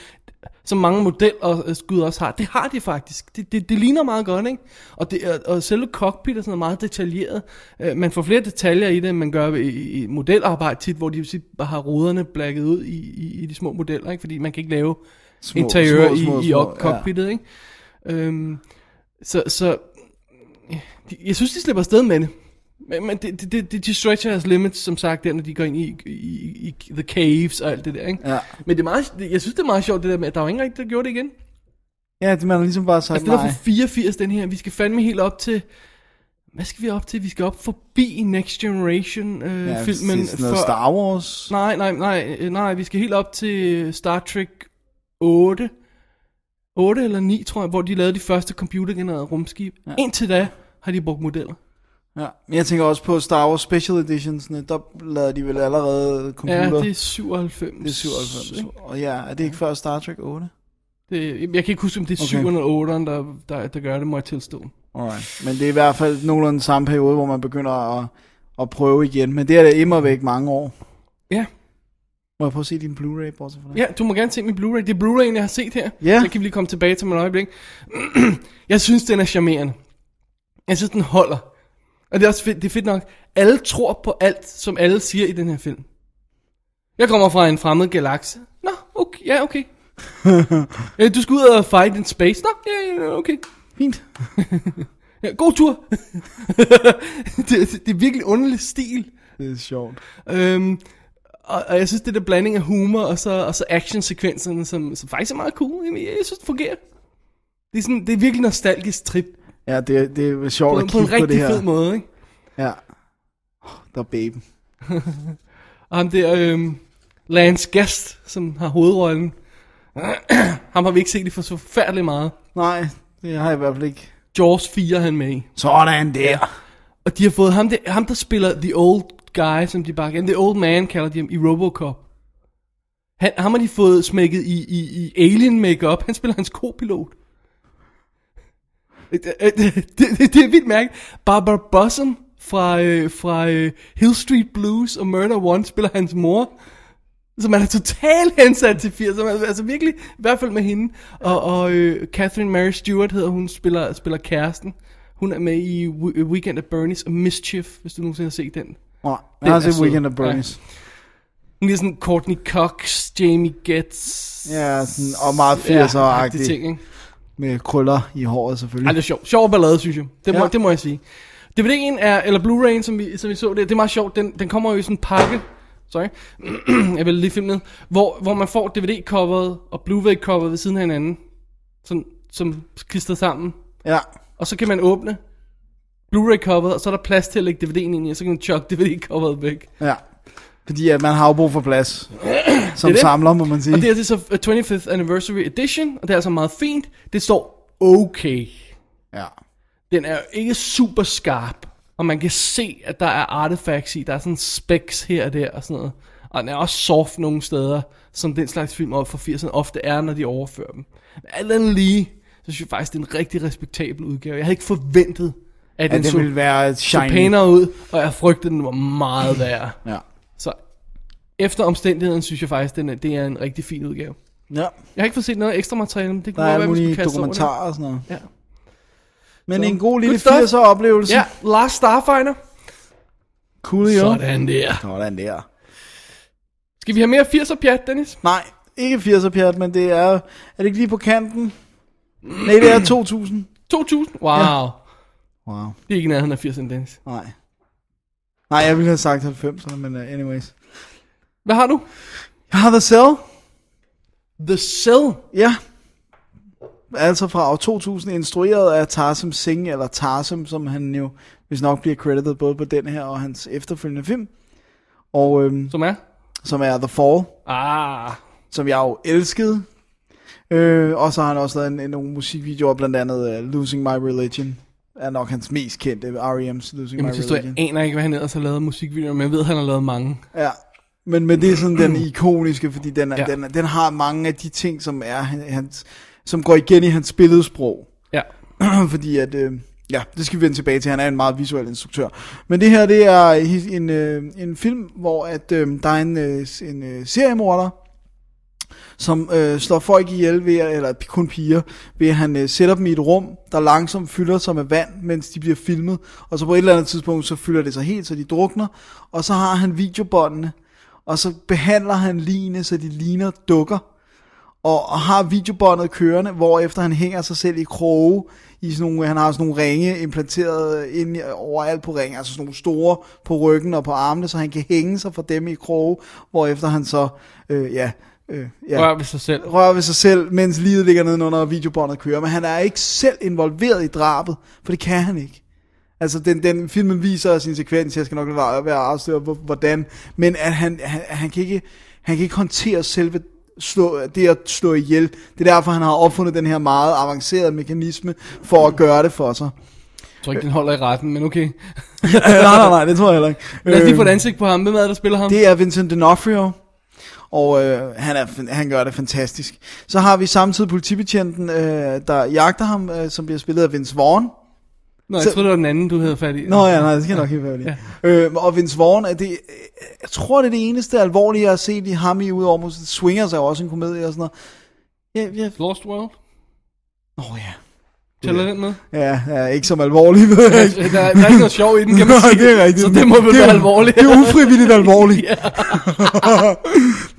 S6: som mange modeller øh, skud også har. Det har de faktisk. Det, det, det ligner meget godt, ikke? Og, det, og- og selve cockpit er sådan meget detaljeret. Øh, Man får flere detaljer i det, end man gør i, i i modelarbejde tit, hvor de tit bare har ruderne blækket ud i, i, i de små modeller, ikke? Fordi man kan ikke lave
S7: Små-
S6: interiør
S7: små, små,
S6: i, i
S7: små,
S6: op- cockpittet, ikke? Øhm, så, så de- jeg synes, de slipper afsted med det. Men, men det, det, det, de stretcher deres limits, som sagt, der når de går ind i, i, i, i the caves og alt det der, ikke?
S7: Ja.
S6: Men det er meget, det- jeg synes, det er meget sjovt, det der med, at der var ingen rigtig, der gjorde det igen.
S7: Ja, det man har ligesom bare sagt
S6: Altså, den er
S7: nej.
S6: fra 84, den her. Vi skal fandme helt op til... Hvad skal vi op til? Vi skal op forbi Next Generation-filmen. Øh,
S7: Ja,
S6: filmen
S7: filmen sådan noget Star Wars.
S6: Nej, nej, nej, øh, nej, vi skal helt op til øh, Star Trek 8. 8 eller 9, tror jeg, hvor de lavede de første computergenererede rumskib. Ja. Indtil da har de brugt modeller.
S7: Ja. Men jeg tænker også på Star Wars Special Editions, der lavede de vel allerede
S6: Ja,
S7: computer.
S6: det er 97.
S7: det er 97. Og ja, er det ikke før Star Trek 8?
S6: Det, jeg kan ikke huske, om det er
S7: Okay.
S6: 7 eller 8, der, der, der gør det, må jeg tilstå.
S7: Alright. Men det er i hvert fald nogenlunde samme periode, hvor man begynder at, at prøve igen. Men det er da immer væk mange år.
S6: Ja.
S7: Må jeg prøve at se din Blu-ray, bortset fra det?
S6: Ja, du må gerne se min Blu-ray. Det er Blu-ray'en, jeg har set her.
S7: Ja.
S6: Den kan vi lige komme tilbage til om et øjeblik. jeg synes, den er charmerende. Jeg synes, den holder. Og det er også fedt, det er fedt nok. Alle tror på alt, som alle siger i den her film. Jeg kommer fra en fremmed galakse. Nå, okay, ja, okay. Øh, du skal ud og fight in space. Nå, ja, ja, okay.
S7: Fint.
S6: Ja, god tur. det, det er virkelig underlig stil.
S7: Det er sjovt.
S6: Øhm, og, og jeg synes, det der blanding af humor og så, og så actionsekvenserne, som, som faktisk er meget cool, jamen, jeg, jeg synes, det fungerer. Det er, sådan, det er virkelig nostalgisk trip
S7: Ja, det, er- det er sjovt
S6: på,
S7: at
S6: på
S7: kigge
S6: en
S7: på, det
S6: rigtig
S7: her.
S6: fed måde. Ikke?
S7: Ja. Åh, Der er baby.
S6: Og ham der, øhm, Lance Guest, som har hovedrollen, ham har vi ikke set i for så forfærdeligt meget.
S7: Nej, det har jeg i hvert fald ikke.
S6: Jaws 4 er han med i.
S7: Sådan der.
S6: Og de har fået ham der, ham der spiller The Old Guy, som de bare The Old Man kalder de ham, i Robocop. Han, ham har de fået smækket i, i, i alien makeup. Han spiller hans kopilot. Det, det, det, det er vildt mærke. Barbara Bossum fra, øh, fra øh, Hill Street Blues og Murder One spiller hans mor. Så man er totalt hensat til 80'erne, altså, altså virkelig, i hvert fald med hende. Og, og øh, Catherine Mary Stewart hedder hun, spiller, spiller kæresten. Hun er med i We- Weekend at Bernie's og Mischief, hvis du nogensinde har set den.
S7: Nej,
S6: Den
S7: jeg har
S6: er
S7: set
S6: sød.
S7: Weekend at Bernie's.
S6: Hun er sådan Courtney Cox, Jamie Getz.
S7: Ja, sådan, og meget
S6: agtige
S7: 80'er-agtig.
S6: ting, ikke?
S7: med krøller i håret
S6: Ej,
S7: selvfølgelig.
S6: det er sjovt. Sjov ballade, synes jeg. Det må,
S7: Ja.
S6: det må jeg sige. DVD'en er, eller Blu-ray'en, som vi, som vi så der, det er meget sjovt. Den, den kommer jo i sådan en pakke. Sorry. jeg vil lige filmen ned. Hvor, hvor man får DVD-coveret og Blu-ray-coveret ved siden af hinanden. Sådan, som klistret sammen.
S7: Ja,
S6: Og så kan man åbne Blu-ray-coveret, og så er der plads til at lægge DVD'en ind i, og så kan man chuck DVD-coveret væk.
S7: ja. Fordi at man har jo brug for plads. Som
S6: Det er det.
S7: samler, må man sige.
S6: Og det er det så øh, 25th Anniversary Edition, og det er altså meget fint. Det står okay.
S7: Ja.
S6: den er jo ikke super skarp, og man kan se, at der er artifacts i, der er sådan specs her og der og sådan noget. Og den er også soft nogle steder, som den slags film op fra 80'erne ofte er, når de overfører dem. Men alt andet lige, så synes jeg faktisk, det er en rigtig respektabel udgave. Jeg havde ikke forventet, at
S7: At
S6: den,
S7: det
S6: så,
S7: ville være
S6: så
S7: shiny.
S6: pænere ud, og jeg frygtede, den var meget værre.
S7: Ja.
S6: Så efter omstændigheden synes jeg faktisk, den er, det er en rigtig fin udgave.
S7: ja.
S6: Jeg har ikke fået set noget ekstra materiale, men det
S7: Der
S6: kunne
S7: er
S6: godt
S7: alle
S6: være, vi skulle
S7: mulige
S6: kaste over det.
S7: dokumentarer og sådan noget.
S6: Ja.
S7: Men
S6: Så.
S7: en god lille
S6: Good stuff.
S7: 80'er oplevelse.
S6: Ja, Last Starfighter.
S7: Cool, jo.
S6: Sådan der.
S7: Sådan der.
S6: Skal vi have mere 80'er pjat, Dennis?
S7: Nej, ikke 80'er pjat, men det er... Er det ikke lige på kanten? Nej, det er 2000.
S6: 2000? Wow. Ja.
S7: Ja. Wow.
S6: Det er ikke i nærheden af 80'erne, Dennis.
S7: Nej. Nej, jeg ville have sagt 90'erne, men uh, anyways.
S6: Hvad har du?
S7: Jeg har The Cell.
S6: The Cell.
S7: Ja. Altså fra år 2000, instrueret af Tarsim Singh, eller Tarsim, som han jo hvis nok bliver credited både på den her og hans efterfølgende film. Og øhm,
S6: Som er?
S7: som er The Fall,
S6: Ah.
S7: som jeg jo elskede. Øh, og så har han også lavet en, en, nogle musikvideoer, blandt andet uh, Losing My Religion, er nok hans mest kendte, R.E.M.'s Losing
S6: Jamen,
S7: My
S6: jeg, jeg
S7: Religion.
S6: aner ikke, hvad han ellers har lavet musikvideoer, men jeg ved, at han har lavet mange.
S7: Ja, men, men det er sådan den ikoniske, fordi den, er,
S6: Ja.
S7: ja. den, er- den har mange af de ting, som er han- hans, som går igen i hans billedsprog.
S6: Ja.
S7: fordi at, øh, Ja, det skal vi vende tilbage til. Han er en meget visuel instruktør. Men det her, det er hi- en, øh, en film, hvor at, øh, der er en, øh, s- en øh, seriemorder, som øh, slår folk ihjel ved, at- eller kun piger, ved at han øh, sætter dem i et rum, der langsomt fylder sig med vand, mens de bliver filmet. Og så på et eller andet tidspunkt, så fylder det sig helt, så de drukner. Og så har han videobåndene, og så behandler han ligene, så de ligner dukker og, og har videobåndet kørende, hvor efter han hænger sig selv i kroge, i sådan nogle, han har sådan nogle ringe implanteret ind overalt på ringen, altså sådan nogle store på ryggen og på armene, så han kan hænge sig fra dem i kroge, hvor efter han så, øh, ja, øh, ja,
S6: Rør ved sig selv.
S7: rører ved sig selv, mens livet ligger nedenunder, og videobåndet kører. Men han er ikke selv involveret i drabet, for det kan han ikke. Altså, den, den filmen viser sin sekvens, jeg skal nok lade være at være afsløre, hvor- hvordan, men at han, han, han, kan ikke, han kan ikke håndtere selve slå, det at slå ihjel. Det er derfor, han har opfundet den her meget avancerede mekanisme for at gøre det for sig.
S6: Jeg tror ikke, den holder i retten, men okay.
S7: nej, nej, nej, det tror jeg heller ikke.
S6: Lad os lige få et ansigt på ham. Hvem er det, der spiller ham?
S7: Øhm, Det er Vincent D'Onofrio, og øh, han, er, han gør det fantastisk. Så har vi samtidig politibetjenten, øh, der jagter ham, øh, som bliver spillet af Vince Vaughn.
S6: Nå, jeg
S7: så-
S6: troede, det var den anden, du havde fat i.
S7: Nå ja, nej, det skal jeg nok ikke være lige. Øh, og Vince Vaughn, er det, øh, jeg tror, det er det eneste alvorlige, jeg har set i ham i, udover måske Swingers er jo også en komedie og sådan noget. Ja, ja.
S6: Lost World.
S7: Nå ja.
S6: Tæller den med?
S7: Ja, ja, ikke som alvorlig, ved jeg ikke.
S6: Der, er- der er ikke noget sjov i den, kan man
S7: Nej,
S6: sige.
S7: det er rigtigt.
S6: Så det må vel
S7: Det er-
S6: være alvorligt.
S7: Det er ufrivilligt alvorligt.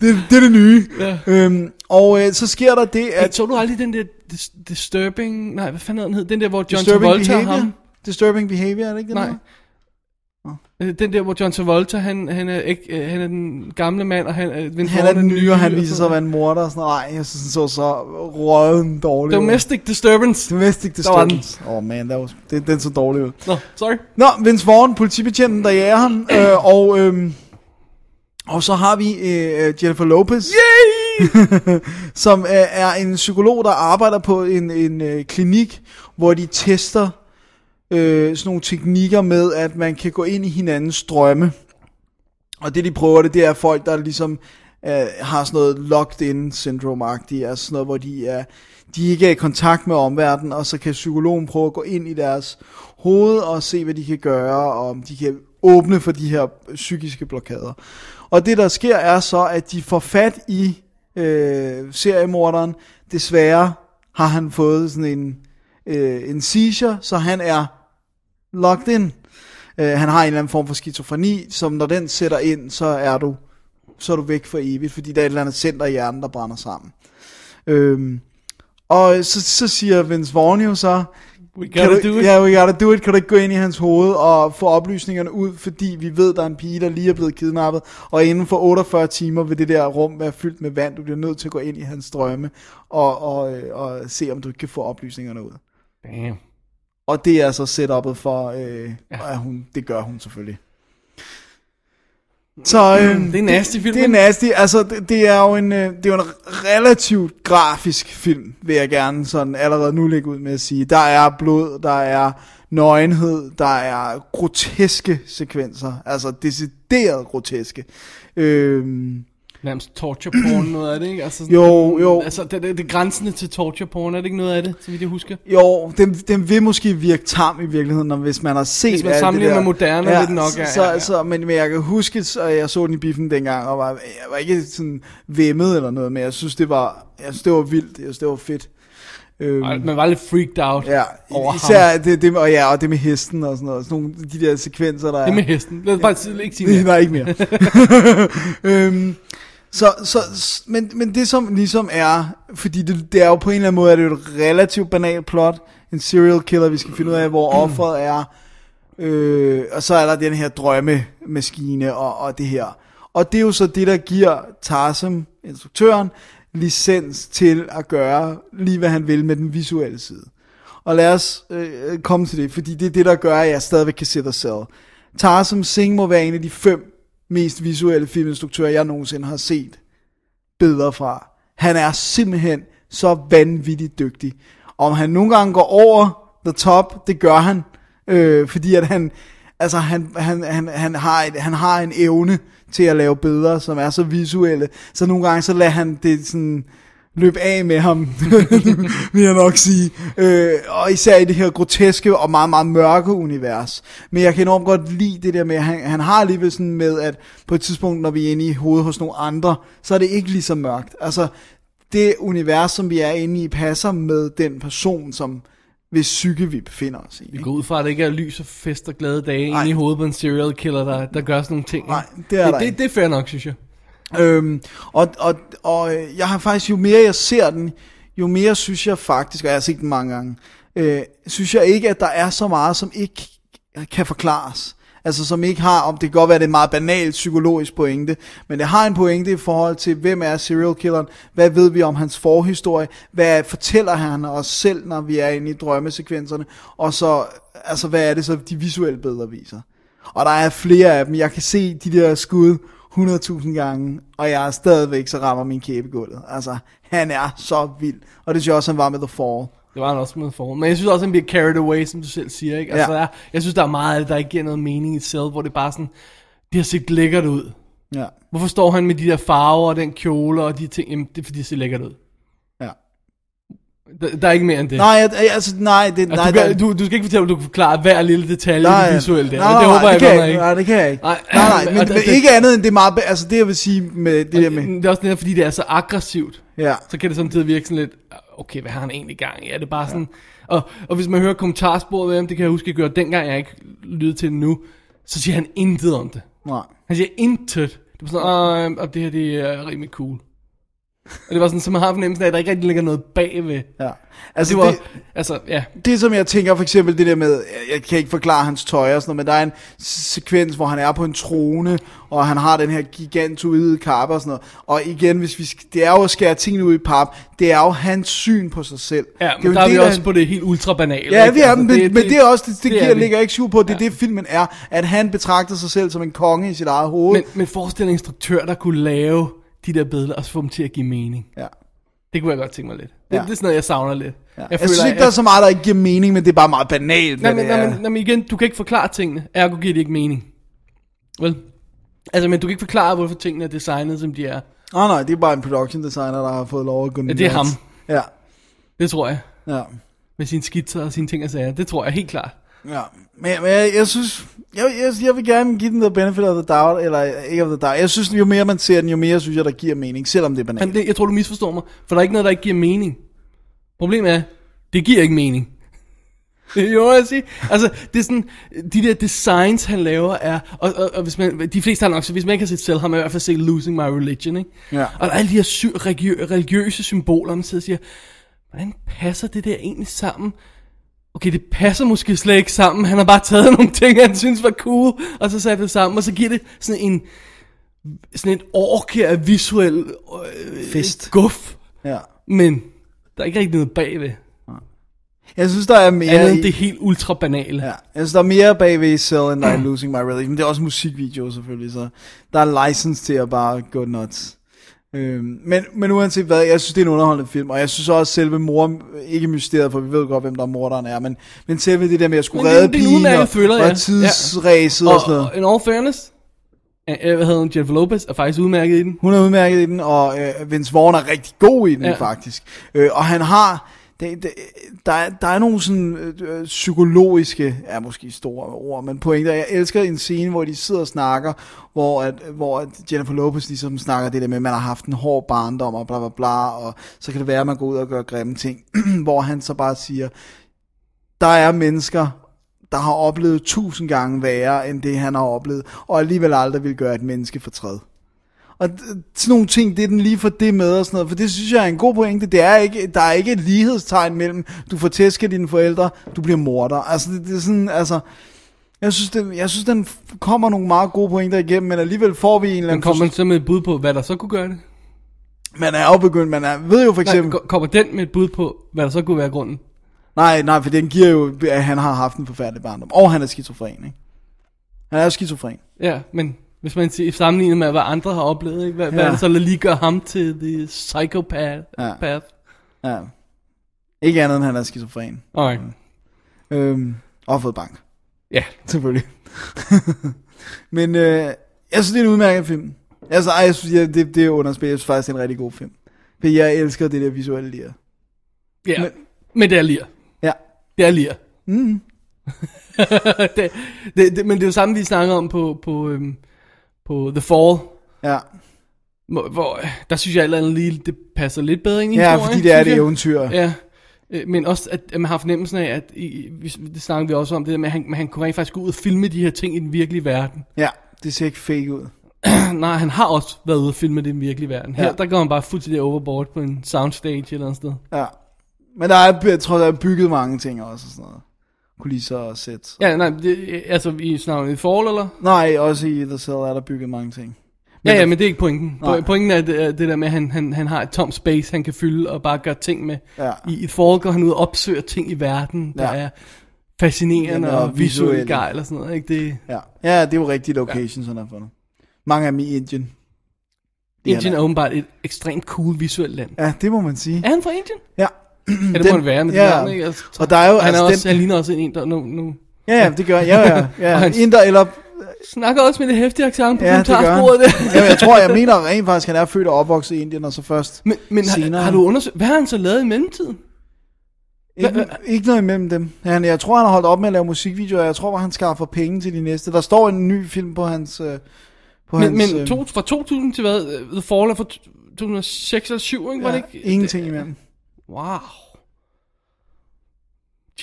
S7: det, det er det nye.
S6: Ja.
S7: Øhm, og øh, så sker der det,
S6: Jeg
S7: at...
S6: så du aldrig den der dis- Disturbing... Nej, hvad fanden hed den hed? Den der, hvor John
S7: disturbing
S6: Travolta
S7: behavior?
S6: behavior? ham...
S7: Disturbing behavior, er det ikke det?
S6: Nej.
S7: der?
S6: Øh, Den der, hvor John Travolta, han, han, er, ikke, øh, han er den gamle mand, og han, øh, Vince
S7: Han er
S6: Vaughn
S7: den nye, og han viser sig at
S6: sådan
S7: være en morder og sådan noget. Nej, jeg synes, den så så røden dårlig
S6: noget. Domestic Disturbance.
S7: Domestic
S6: Der var den.
S7: disturbance. Åh oh man, that was, det, den så dårlig ud.
S6: Nå, sorry.
S7: Nå, Vince Vaughn, politibetjenten, der jager ham,
S6: Mm.
S7: øh, og, øh, og så har vi øh, Jennifer Lopez, Yay! som øh, er en psykolog, der arbejder på en, en øh, klinik, hvor de tester øh, sådan nogle teknikker med, at man kan gå ind i hinandens drømme. Og det de prøver det, det er folk, der ligesom øh, har sådan noget locked in syndrome altså sådan noget, hvor de er, de ikke er i kontakt med omverdenen, og så kan psykologen prøve at gå ind i deres hoved og se, hvad de kan gøre, og om de kan åbne for de her psykiske blokader. Og det der sker er så, at de får fat i øh, seriemorderen. Desværre har han fået sådan en, øh, en seizure, så han er locked in. Øh, han har en eller anden form for skizofreni, som når den sætter ind, så er du så er du væk for evigt, fordi der er et eller andet center i hjernen, der brænder sammen. Øhm, og så, så siger Vince Vaughn jo så,
S6: We
S7: kan
S6: gotta
S7: du,
S6: do it.
S7: Ja, we gotta do it. Kan du ikke gå ind i hans hoved og få oplysningerne ud, fordi vi ved, der er en pige, der lige er blevet kidnappet, og inden for 48 timer vil det der rum være fyldt med vand. Du bliver nødt til at gå ind i hans drømme og, og, øh, og se, om du ikke kan få oplysningerne ud.
S6: Damn.
S7: Og det er så setup'et for, øh, ja. at hun, det gør hun selvfølgelig. Så øh,
S6: Mm, Det er nasty film.
S7: det er nasty. Altså, det, det er jo en, øh, det er jo en relativt grafisk film, vil jeg gerne sådan allerede nu lægge ud med at sige. Der er blod, der er nøgenhed, der er groteske sekvenser. Altså, decideret groteske. Øhm,
S6: Nærmest torture porn, noget af det, ikke? Altså, sådan-
S7: Jo, jo.
S6: Altså, det, det, det er grænsende til torture porn, er det ikke noget af det, så vidt jeg husker?
S7: jo, den, den vil måske virke tam i virkeligheden, når, hvis man har set
S6: Hvis man
S7: alt det
S6: sammenligner
S7: der.
S6: med moderne, vil den nok, ja,
S7: så,
S6: ja, ja.
S7: Så, men, men jeg kan huske, at jeg så den i biffen dengang, og var, jeg var ikke sådan vemmet eller noget, men jeg synes, det var, jeg synes, det var vildt, jeg synes, det var fedt. Øhm,
S6: Ej, Man var lidt freaked out
S7: Ja,
S6: over ham.
S7: især det, det, og, ja, og det med hesten og sådan noget. Sådan nogle, de der sekvenser, der
S6: Det med hesten. Lad os bare sige- ikke sige mere.
S7: er. Nej, ikke mere. øhm, så, så, s- men, men det som ligesom er, fordi det, det er jo på en eller anden måde er det jo et relativt banalt plot, en serial killer, vi skal finde ud af, hvor offeret er, øh, og så er der den her drømmemaskine og, og det her. Og det er jo så det, der giver Tarsem, instruktøren, licens til at gøre lige hvad han vil med den visuelle side. Og lad os øh, komme til det, fordi det er det, der gør, at jeg stadigvæk kan sætte og sælge. Tarsem Singh må være en af de fem mest visuelle filminstruktører, jeg nogensinde har set billeder fra. Han er simpelthen så vanvittigt dygtig. Om han nogle gange går over the top, det gør han, øh, fordi at han, altså han, han, han, han, har et, han har en evne til at lave billeder, som er så visuelle, så nogle gange så lader han det sådan løb af med ham, vil jeg nok sige. Øh, og især i det her groteske og meget, meget mørke univers. Men jeg kan enormt godt lide det der med, at han, han har alligevel sådan med, at på et tidspunkt, når vi er inde i hovedet hos nogle andre, så er det ikke lige så mørkt. Altså, det univers, som vi er inde i, passer med den person, som hvis psyke vi befinder os i.
S6: Vi
S7: ikke?
S6: går ud fra, at det ikke er lys og fest og glade dage
S7: Nej.
S6: inde i hovedet på en serial killer, der, der gør sådan nogle ting.
S7: Nej, det er der
S6: det, det,
S7: ikke.
S6: det er fair nok, synes jeg.
S7: Øhm, og, og, og øh, jeg har faktisk, jo mere jeg ser den, jo mere synes jeg faktisk, og jeg har set den mange gange, øh, synes jeg ikke, at der er så meget, som ikke kan forklares. Altså som ikke har, om det kan godt være, det er en meget banal psykologisk pointe, men det har en pointe i forhold til, hvem er serial killeren, hvad ved vi om hans forhistorie, hvad fortæller han os selv, når vi er inde i drømmesekvenserne, og så, altså hvad er det så, de visuelle billeder viser. Og der er flere af dem. Jeg kan se de der skud 100.000 gange, og jeg er stadigvæk, så rammer min kæbe i gulvet. Altså, han er så vild. Og det synes jeg også, han var med The Fall.
S6: Det var han også med forhold. Men jeg synes også, han bliver carried away, som du selv siger. Ikke? Altså,
S7: Ja.
S6: ja. jeg, jeg synes, der er meget af det, der ikke giver noget mening i et selv, hvor det bare sådan, det har set lækkert ud.
S7: Ja,
S6: Hvorfor står han med de der farver og den kjole og de ting? Jamen, det er fordi, det ser lækkert ud.
S7: ja.
S6: Der, der er ikke mere end det.
S7: Nej, jeg, jeg- altså, nej, det,
S6: altså,
S7: nej,
S6: du,
S7: der-
S6: kan, du, du skal ikke fortælle, at du kan forklare hver lille detalje i det visuelle der.
S7: Nej,
S6: men
S7: nej,
S6: det håber
S7: nej,
S6: jeg,
S7: det kan
S6: godt
S7: jeg
S6: nok
S7: ikke.
S6: ikke.
S7: Nej, det kan jeg ikke. Nej,
S6: Nej,
S7: nej, men
S6: og der-
S7: det,
S6: det-
S7: ikke andet end det er meget... be- Altså, det jeg vil sige med det der med...
S6: Det er også netop, fordi det er så aggressivt.
S7: Ja.
S6: så kan det samtidig virke sådan lidt, okay, hvad har han egentlig gang i? Er det bare sådan, og, og hvis man hører kommentarsporet med ham, det kan jeg huske, jeg gjorde dengang, jeg ikke lyttede til det nu, så siger han intet om det.
S7: Nej.
S6: Han siger intet. Det var sådan, "Åh, og det her, det er rimelig cool. Og det var sådan, så man har fornemmelsen af, at der ikke rigtig ligger noget bagved.
S7: Ja. Altså,
S6: Det var, altså, ja,
S7: det som jeg tænker for eksempel det der med, jeg- jeg kan ikke forklare hans tøj og sådan noget, men der er en s- sekvens, hvor han er på en trone, og han har den her gigantoide kappe og sådan noget. Og igen, hvis vi, sk- det er jo at skære tingene ud i pap, det er jo hans syn på sig selv.
S6: ja
S7: det
S6: men
S7: jo
S6: der er vi
S7: der-
S6: også på det helt ultra banale. Altså,
S7: Ja, vi er, men, det, men det er også, det, det, det
S6: er
S7: giver,
S6: vi.
S7: ligger ikke syv på, det er det filmen er, at han betragter sig selv som en konge i sit eget hoved.
S6: Men, men forestil dig en instruktør, der kunne lave de der billeder, og så få dem til at give mening.
S7: ja.
S6: Det kunne jeg godt tænke mig lidt. Det,
S7: Ja.
S6: ja. det er sådan noget, jeg savner lidt.
S7: Ja. Jeg, jeg synes ikke, der er så meget, der ikke giver mening, men det er bare meget banalt.
S6: Nej,
S7: hvad
S6: men,
S7: det
S6: nej,
S7: er.
S6: men, nej, men igen, du kan ikke forklare tingene. Ergo giver det ikke mening. Vel? Altså, men du kan ikke forklare, hvorfor tingene er designet, som de er.
S7: Nå, nej, det er bare en production designer, der har fået lov at gå
S6: Ja, det er ham.
S7: Ja,
S6: Det tror jeg.
S7: ja.
S6: Med sine skitser og sine ting og sager. Det tror jeg helt klart.
S7: Ja, men, men jeg, jeg synes, jeg, jeg, jeg vil gerne give den the benefit of the doubt, eller ikke of the doubt. Jeg synes, jo mere man ser den, jo mere synes jeg, der giver mening, selvom det er banalt.
S6: Men det, jeg tror, du misforstår mig. For der er ikke noget, der ikke giver mening. Problemet er, det giver ikke mening. jo, jeg siger. Altså, det er sådan, de der designs, han laver, er, og, og, og hvis man, de fleste har nok, så hvis man ikke har set selv, har man i hvert fald set Losing My Religion, ikke?
S7: Ja.
S6: Og der er alle de her sy- religiø- religiøse symboler, man sidder og siger, hvordan passer det der egentlig sammen? Okay, det passer måske slet ikke sammen. Han har bare taget nogle ting, han synes var cool, og så sat det sammen, og så giver det sådan en, sådan et orke af visuel øh,
S7: Fest.
S6: guf,
S7: Ja.
S6: men der er ikke rigtig noget bagved.
S7: Jeg synes, der er mere...
S6: Andet end
S7: i-
S6: det helt ultra banale.
S7: Ja, jeg synes, der er mere bagved i Cell, end der er i Losing My Religion. Men det er også musikvideo selvfølgelig, så der er license til at bare gå nuts. Øhm, men, men uanset hvad, jeg synes, det er en underholdende film, og jeg synes også, at selve mor, ikke mysteriet, for vi ved godt, hvem der er morderen er, men, men selve det der med at skulle
S6: Men det er-
S7: redde
S6: det er en
S7: pigen,
S6: udmærket
S7: og,
S6: thriller, ja.
S7: og tidsræset og, og sådan
S6: Og,
S7: noget.
S6: og in all fairness, øh, hvad hedder hun, Jennifer Lopez, er faktisk udmærket i den.
S7: Hun er udmærket i den, og øh, Vince Vaughn er rigtig god i den ja.
S6: Ja.
S7: faktisk. Øh, og han har... Det, det, der, er, der er nogle sådan øh, øh, psykologiske, er måske store ord, men pointer. Jeg elsker en scene, hvor de sidder og snakker, hvor, at, hvor at Jennifer Lopez ligesom snakker det der med, at man har haft en hård barndom og bla bla bla, og så kan det være, at man går ud og gør grimme ting. hvor han så bare siger, der er mennesker, der har oplevet tusind gange værre, end det han har oplevet, og alligevel aldrig vil gøre et menneske fortræd. Og d- sådan nogle ting, det er den lige for det med og sådan noget, for det synes jeg er en god pointe. Det er ikke, der er ikke et lighedstegn mellem, du får tæsket dine forældre, du bliver morder. Altså, det, det er sådan, altså... Jeg synes, det, jeg synes, den f- kommer nogle meget gode pointer igennem, men alligevel får vi en eller
S6: Men
S7: anden...
S6: kommer man så med et bud på, hvad der så kunne gøre det?
S7: forst- man er jo begyndt, man er, ved jo for
S6: Nej,
S7: eksempel...
S6: ko- kommer den med et bud på, hvad der så kunne være grunden?
S7: Nej, nej, for den giver jo, at han har haft en forfærdelig barndom. Og han er skizofren, ikke? Han er jo skizofren.
S6: Ja, men hvis man siger, sammenligner med, hvad andre har oplevet, ikke? Hvad, ja. hvad
S7: Ja.
S6: er det så, der lige gør ham til the psychopath?
S7: Ja.
S6: Ja.
S7: Ja. Ikke andet, end han er skizofren.
S6: Alright.
S7: Øhm, og har fået bank,
S6: Ja,
S7: selvfølgelig. Men øh, jeg synes, det er en udmærket film. Altså, ej, jeg synes, ja, det, det er underspillet. Jeg synes faktisk, det er en rigtig god film. For jeg elsker det der visuelle lir.
S6: Ja, men, men det er lir.
S7: Ja.
S6: Det er lir. Mm. det, det, det, men det er jo samme, vi snakker om på, på, øhm, på The Fall,
S7: Ja,
S6: hvor, hvor øh, der synes jeg alt andet lige, det passer lidt bedre ind i
S7: ja
S6: historien,
S7: fordi det er
S6: synes
S7: det
S6: jeg.
S7: eventyr.
S6: Ja, Øh, men også, at at man har fornemmelsen af, at i, hvis- det snakker vi også om, det der med, at han, men han kunne rent faktisk gå ud og filme de her ting i den virkelige verden.
S7: Ja, det ser ikke fake ud.
S6: Nej, han har også været ude og filme det i den virkelige verden. Her,
S7: Ja.
S6: ja. der går han bare fuldstændig overboard på en soundstage et eller andet sted.
S7: Ja. Men der er, jeg tror, der er bygget mange ting også og sådan noget. Kulisser og sæt.
S6: Ja, nej, det, altså i snakker i Fall, eller?
S7: Nej, også i The Cell er der bygget mange ting.
S6: Ja, ja, men det er ikke pointen. Po-
S7: Nej.
S6: Pointen er det, er det der med, at han, han, han har et tomt space, han kan fylde og bare gøre ting med.
S7: Ja.
S6: I et forhold går han ud og opsøger ting i verden, der
S7: Ja.
S6: ja. er fascinerende
S7: Ja, og
S6: og, og visuelle
S7: visuelle.
S6: gejl og sådan noget. Ikke? Det,
S7: Ja, ja det er jo rigtige locations, han har fundet. Mange af dem i Indien. Det er
S6: Indien
S7: der.
S6: er åbenbart et ekstremt cool visuelt land.
S7: Ja, det må man sige.
S6: Er han fra Indien?
S7: Ja.
S6: Ja, det må han være med ja. de navne, ikke? Altså,
S7: Og der er jo
S6: han, er
S7: altså
S6: også,
S7: den...
S6: han ligner også en, der nu, nu
S7: Ja, ja, det gør jeg. Ja, ja, ja.
S6: Og hans-
S7: Inder eller...
S6: snakker også med det hæftige accent på
S7: Ja, det gør han.
S6: kommentarsporet der.
S7: ja, jeg tror, jeg mener rent faktisk, han er født og opvokset i Indien, og så først...
S6: Men, men har,
S7: Senere.
S6: har, du undersøgt, hvad har han så lavet i mellemtiden?
S7: Ikke, ikke noget imellem dem. Han, jeg tror, han har holdt op med at lave musikvideoer, og jeg tror, at han skaffer penge til de næste. Der står en ny film på hans... øh, På
S6: Men,
S7: hans,
S6: men
S7: øh,
S6: to, fra 2000 til hvad? Øh, The Fall er fra t- 2006 eller 7, ikke? Var
S7: ja,
S6: det ikke?
S7: Ingenting imellem.
S6: Wow.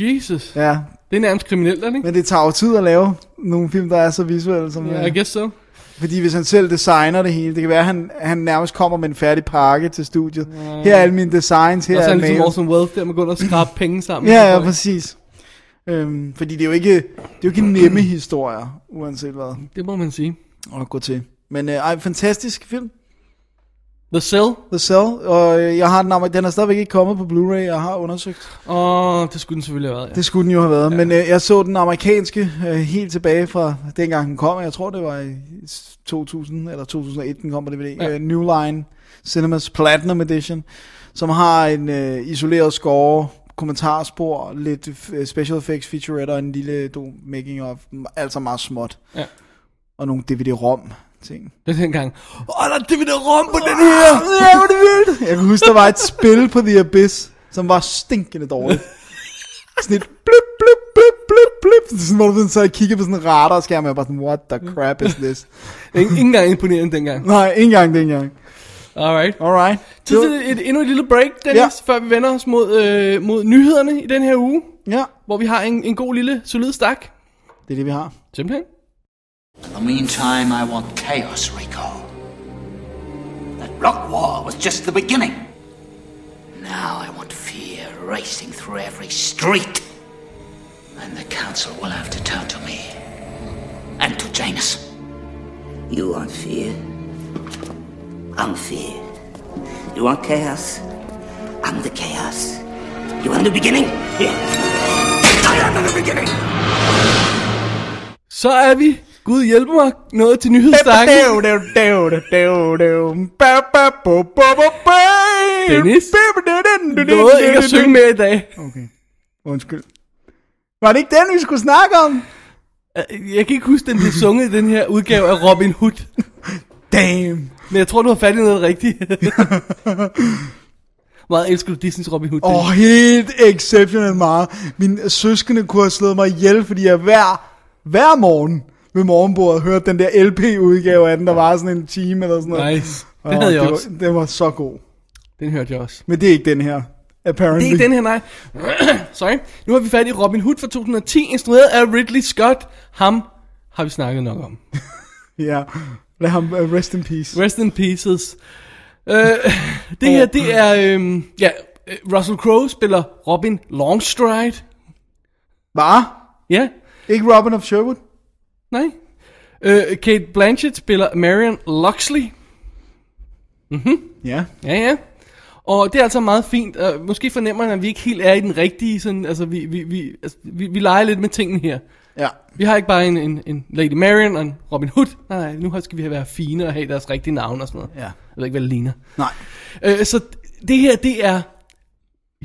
S6: Jesus. Ja.
S7: Ja,
S6: Det er nærmest kriminelt, er det ikke?
S7: men det tager jo tid at lave nogle film, der er så visuelle som...
S6: Ja, I guess so.
S7: Fordi hvis han selv designer det hele, det kan være, at han, han nærmest kommer med en færdig pakke til studiet. Her er alle mine designs, her
S6: Og så er
S7: er
S6: han ligesom
S7: mails.
S6: Orson Welles der, man går ud og skrabe penge sammen.
S7: Ja, ja, præcis. Øhm, fordi det er, jo ikke, det er jo ikke nemme historier, uanset hvad
S6: Det må man sige.
S7: at gå til. Men øh, ej, fantastisk film,
S6: The Cell.
S7: The Cell. Og øh, jeg har den, amer- den er stadigvæk ikke kommet på Blu-ray, jeg har undersøgt.
S6: Åh, det skulle den selvfølgelig have været, ja.
S7: Det skulle den jo have været. Ja. Men øh, jeg så den amerikanske øh, helt tilbage fra dengang den kom. Jeg tror, det var i 2000 eller 2001, den kom på DVD. Ja.
S6: Ja.
S7: Øh, New Line Cinemas Platinum Edition, som har en øh, isoleret score, kommentarspor, lidt øh, special effects featurette og en lille do- making of, altså meget småt.
S6: Ja.
S7: Og nogle DVD-rom ting.
S6: Det er dengang. Åh, der er DVD-rom på den her!
S7: Ja, hvor er det vildt! Jeg kan huske, der var et spil på The Abyss, som var stinkende dårligt. Sådan et blip, blip, blip, blip, blip. Sådan, hvor du så kigger på sådan en radarskærm, og jeg bare sådan, what the crap is this?
S6: Ingen, ingen gang imponerende dengang.
S7: Nej, ikke engang dengang.
S6: Alright.
S7: Alright.
S6: Tid til et, et, endnu et lille break, Dennis, ja. før vi vender os mod, øh, mod nyhederne i den her uge,
S7: Ja,
S6: hvor vi har en, en god lille, solid stak.
S7: det er det, vi har.
S6: Simpelthen.
S5: the meantime, I want chaos, Rico. That rock war was just the beginning. Now I want fear racing through every street. And the council will have to turn to me. And to Janus.
S2: You want fear? I'm fear. You want chaos? I'm the chaos. You want the beginning? Here. I am the beginning.
S6: Så er vi, Gud hjælpe mig, nået til nyhedsstakken. Dennis. Nåede ikke at synge mere i dag.
S7: Okay, undskyld. Var det ikke den, vi skulle snakke om?
S6: Jeg kan ikke huske, den blev sunget i den her udgave af Robin Hood.
S7: Damn.
S6: Men jeg tror, du har fat i noget rigtigt. Meget elsker du Disney's Robin Hood.
S7: Åh, oh, helt exceptionelt meget. Mine søskende kunne have slået mig ihjel, fordi jeg hver, hver morgen ved morgenbordet hørte den der LP-udgave af den, der var sådan en time eller sådan noget.
S6: Nice.
S7: Åh,
S6: Den havde jeg
S7: det
S6: også.
S7: Var, den var så god.
S6: Den hørte jeg også.
S7: Men det er ikke den her, apparently.
S6: Det er ikke den her, nej. Sorry. Nu har vi fat i Robin Hood fra 2010, instrueret af Ridley Scott. Ham har vi snakket nok om.
S7: Ja, lad ham uh, rest in peace.
S6: Rest in pieces. Øh, det her, det er... Øh, ja, øh, Russell Crowe spiller Robin Longstride.
S7: Hvad?
S6: Ja,
S7: Ikke Robin of Sherwood?
S6: nej. Øh, Kate Blanchett spiller Marion Luxley.
S7: Ja.
S6: Ja, ja. Og det er altså meget fint. og Måske fornemmer man, at vi ikke helt er i den rigtige... Sådan, altså, vi, vi, vi, altså, vi, vi leger lidt med tingene her.
S7: Ja.
S6: Vi har ikke bare en, en, en Lady Marion og en Robin Hood. Nej, nu skal vi have været fine og have deres rigtige navne og sådan noget.
S7: Ja.
S6: Jeg ved ikke, hvad det ligner.
S7: Nej.
S6: Øh, så det her, det er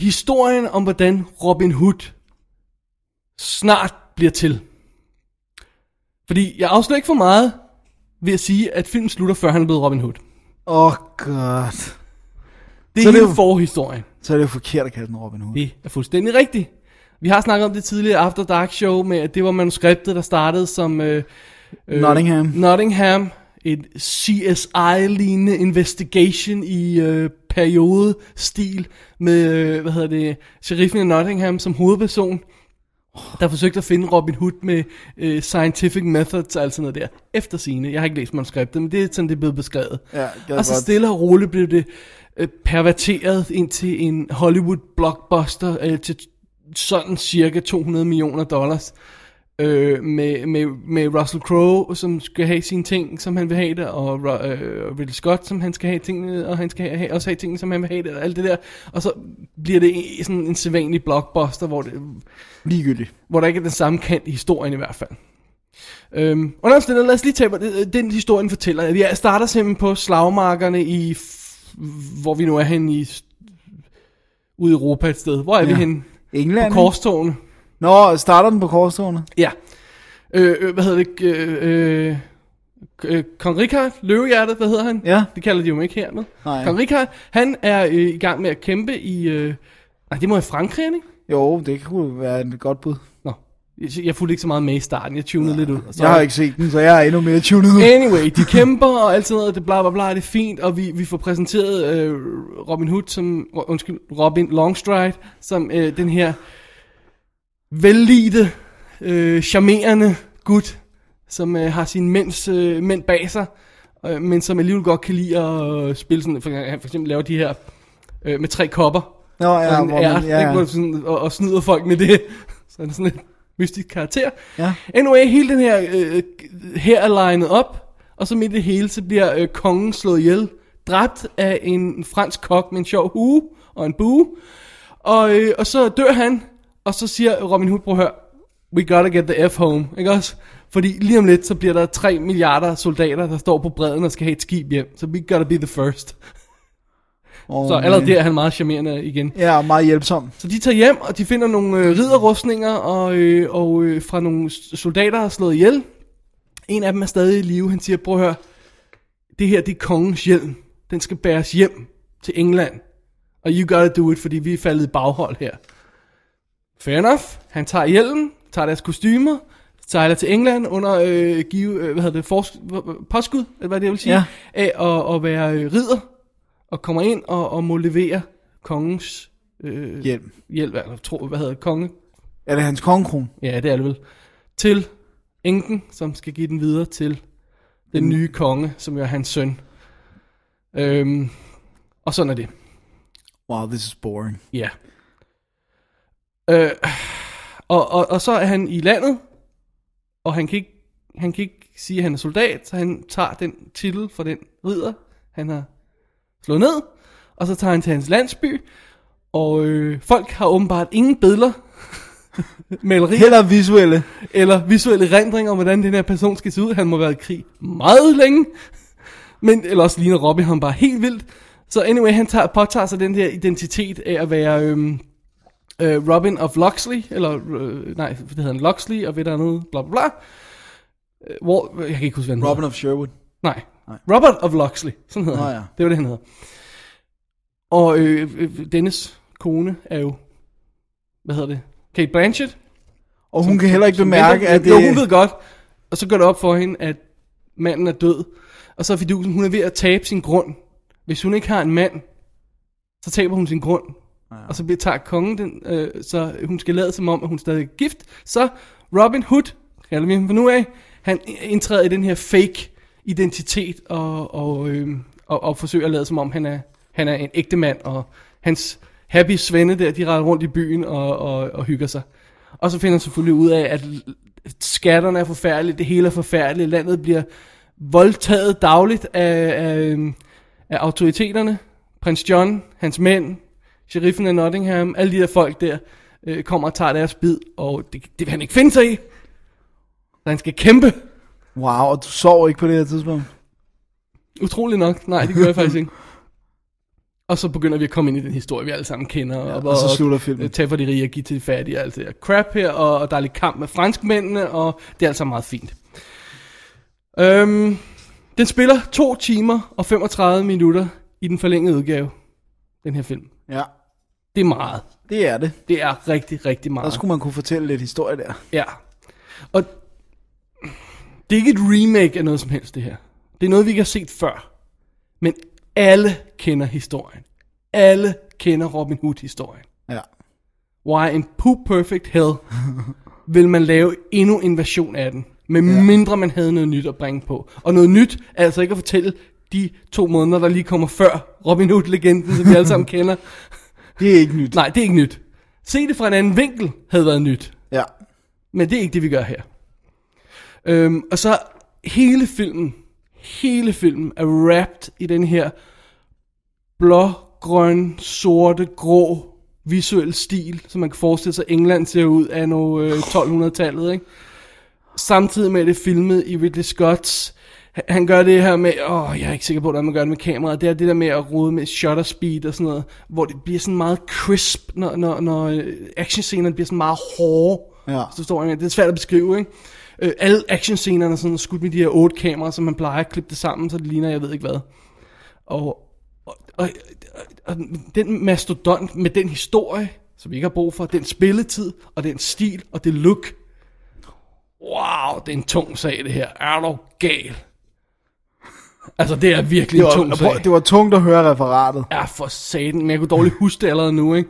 S6: historien om, hvordan Robin Hood snart bliver til. Fordi jeg afslører ikke for meget ved at sige, at filmen slutter, før han er blevet Robin Hood.
S7: Åh, oh, god.
S6: Det er
S7: Så er det
S6: hele
S7: jo-
S6: forhistorien.
S7: Så er det jo forkert at kalde den Robin Hood.
S6: Det er fuldstændig rigtigt. Vi har snakket om det tidligere After Dark Show, med at det var manuskriptet, der startede som... Øh, øh,
S7: Nottingham.
S6: Nottingham. Et CSI-lignende investigation i øh, periodestil med, øh, hvad hedder det, sheriffen i Nottingham som hovedperson, der forsøgte at finde Robin Hood med øh, scientific methods og alt sådan noget der. Efter sine. Jeg har ikke læst manuskriptet, men det er sådan, det er blevet beskrevet.
S7: Ja, jeg
S6: Og så
S7: godt.
S6: stille og roligt blev det øh, perverteret ind til en Hollywood blockbuster øh, til sådan cirka 200 millioner dollars. Øh, med, med, med Russell Crowe, som skal have sine ting, som han vil have det, og Ro- øh, Ridley Scott, som han skal have tingene, og han skal have, have- også have tingene, som han vil have det, og alt det der. Og så bliver det en- sådan en sædvanlig blockbuster, hvor, det,
S7: Ligegyldigt.
S6: hvor der ikke er den samme kant i historien i hvert fald. Øhm, under omstændigheder, lad os lige tage, hvad det- den historien fortæller. Vi er- starter simpelthen på slagmarkerne i, f- hvor vi nu er henne i, s- ude i Europa et sted. Hvor er ja. vi
S7: Ja.
S6: henne?
S7: England.
S6: På korstogene.
S7: ikke? Nå, starter den på korstogene?
S6: Ja. Øh, øh, hvad hedder det? Øh, øh, øh, Kong Richard, løvehjertet, hvad hedder han?
S7: Ja.
S6: Det kalder de jo ikke hernede.
S7: Nej.
S6: Kong Richard, han er øh, i gang med at kæmpe i, øh, nej, det må være Frankrig, er det ikke?
S7: Jo, det kunne være et godt bud.
S6: Nå, jeg, jeg fulgte ikke så meget med i starten, jeg tunede lidt ud. og så- Øh,
S7: Jeg har ikke set den, så jeg er endnu mere tunet ud.
S6: Anyway, de kæmper og alt sådan noget, det bla bla bla, det er fint, og vi, vi får præsenteret øh, Robin Hood som, undskyld, Robin Longstride, som øh, den her vellidte, øh, charmerende gut, som øh, har sine mænds, øh, mænd bag sig, øh, men som alligevel godt kan lide at øh, spille sådan, for, han for eksempel laver de her øh, med tre kopper,
S7: Nå, ja,
S6: ja, og,
S7: hvor
S6: sådan,
S7: man,
S6: ært,
S7: ja,
S6: ikke, hvor
S7: ja.
S6: du sådan, og, og snyder folk med det. Så han er sådan en mystisk karakter.
S7: Ja.
S6: Anyway, hele den her øh, her er linet op, og så midt i det hele, så bliver øh, kongen slået ihjel, dræbt af en fransk kok med en sjov hue og en bue. Og, øh, og så dør han, og så siger Robin Hood, prøv at høre, we gotta get the F home, ikke også? Fordi lige om lidt, så bliver der 3 milliarder soldater, der står på bredden og skal have et skib hjem. Så we gotta be the first.
S7: Og,
S6: Så allerede der er han meget charmerende igen.
S7: Ja, og meget hjælpsom.
S6: Så de tager hjem, og de finder nogle øh, ridderrustninger og, øh, og øh, fra nogle s- soldater, der er slået ihjel. En af dem er stadig i live. Han siger, prøv at høre, det her det er kongens hjelm. Den skal bæres hjem til England. Og you gotta do it, fordi vi er faldet i baghold her. Fair enough. Han tager hjelmen, tager deres kostymer, sejler til England under øh, give, øh, hvad hedder det, forsk- hva- påskud, eller hvad det jeg vil sige,
S7: Ja.
S6: af at, at være øh, ridder, og kommer ind og, og må levere kongens øh,
S7: Hjelm.
S6: hjælp, eller tro, hvad hedder det, konge?
S7: Er det hans kongekron?
S6: Ja, det er det vel. Til enken, som skal give den videre til den nye konge, som jo er hans søn. Øhm, og sådan er det.
S7: Wow, this is boring.
S6: Ja. Øh, og, og, og så er han i landet, og han kan, ikke, han kan ikke sige, at han er soldat, så han tager den titel fra den ridder, han har slået ned, og så tager han til hans landsby, og øh, folk har åbenbart ingen billeder, malerier
S7: Heller visuelle.
S6: eller visuelle rendringer om, hvordan den her person skal se ud. Han må have været i krig meget længe. Men ellers ligner Robin ham bare helt vildt. Så anyway, han tager, påtager sig den her identitet af at være øhm, øh, Robin of Loxley, eller øh, nej, det hedder han Loxley, og ved der er noget, bla bla bla. Øh, Hvor, jeg kan ikke huske, hvad han
S7: Robin of Sherwood.
S6: Nej. Nej. Robert of Loxley, sådan hedder
S7: Nå
S6: han.
S7: ja.
S6: Det var det, han hedder. Og øh, øh, Dennis kone er jo, hvad hedder det, Kate Blanchett.
S7: Og hun kan heller ikke
S6: Som
S7: bemærke,
S6: venter-
S7: at det...
S6: Jo, hun ved godt. Og så går det op for hende, at manden er død. Og så er Fidusen, hun er ved at tabe sin grund. Hvis hun ikke har en mand, så taber hun sin grund. Ja. Og så bliver tager kongen den, øh, så hun skal lade som om, at hun stadig er gift. Så Robin Hood, kalder vi ham for nu af, han indtræder i den her fake identitet og, og, øh, og, og forsøger at lade som om, han er, han er en ægte mand. Og hans happy svende der, de rejder rundt i byen og, og, og hygger sig. Og så finder han selvfølgelig ud af, at skatterne er forfærdelige, det hele er forfærdeligt, landet bliver voldtaget dagligt af, af, af autoriteterne. Prins John, hans mænd, sheriffen af Nottingham, alle de der folk der, øh, kommer og tager deres bid, og det, det vil han ikke finde sig i. Så han skal kæmpe.
S7: Wow, og du sov ikke på det her tidspunkt.
S6: Utroligt nok. Nej, det gør jeg faktisk ikke. Og så begynder vi at komme ind i den historie, vi alle sammen kender. Ja,
S7: og så slutter filmen.
S6: Tag for de rige og give til de fattige og alt det der crap her, og, og der er lidt kamp med franskmændene, og det er altså meget fint. Øhm, den spiller 2 timer og 35 minutter i den forlængede udgave. den her film.
S7: Ja,
S6: Det er meget.
S7: det er det.
S6: Det er rigtig, rigtig
S7: Der
S6: meget.
S7: skulle man kunne fortælle lidt historie der.
S6: Ja. Og det er ikke et remake af noget som helst, det her. Det er noget, vi ikke har set før. Men alle kender historien. Alle kender Robin Hood-historien.
S7: Ja.
S6: Why in poop perfect hell vil man lave endnu en version af den, med ja. mindre man havde noget nyt at bringe på. Og noget nyt er altså ikke at fortælle de to måneder, der lige kommer før Robin Hood-legenden, som vi alle sammen kender.
S7: Det er ikke nyt.
S6: Nej, det er ikke nyt. Se det fra en anden vinkel havde været nyt.
S7: Ja.
S6: Men det er ikke det, vi gør her. Øhm, og så hele filmen, hele filmen er wrapped i den her blå, grøn, sorte, grå visuel stil, som man kan forestille sig, England ser ud af nu øh, 1200-tallet, ikke? Samtidig med at det er filmet i Ridley Scotts han- han gør det her med, åh, jeg er ikke sikker på, hvordan man gør det med kameraet, det er det der med at rode med shutter speed og sådan noget, hvor det bliver sådan meget crisp, når, når, når øh, actionscenerne bliver sådan meget hårde.
S7: Ja.
S6: Så står jeg med. Det er svært at beskrive, ikke? Øh, alle actionscenerne er sådan skudt med de her otte kameraer, som man plejer at klippe det sammen, så det ligner jeg ved ikke hvad. Og, og, og, og den mastodont med den historie, som vi ikke har brug for, den spilletid, og den stil, og det look. Wow, det er en tung sag det her. Er du gal? Altså, det er virkelig
S7: Det
S6: en tung
S7: var,
S6: sag.
S7: prøv- det var tungt at høre referatet.
S6: Ja, for satan, men jeg kunne dårligt huske det allerede nu, ikke?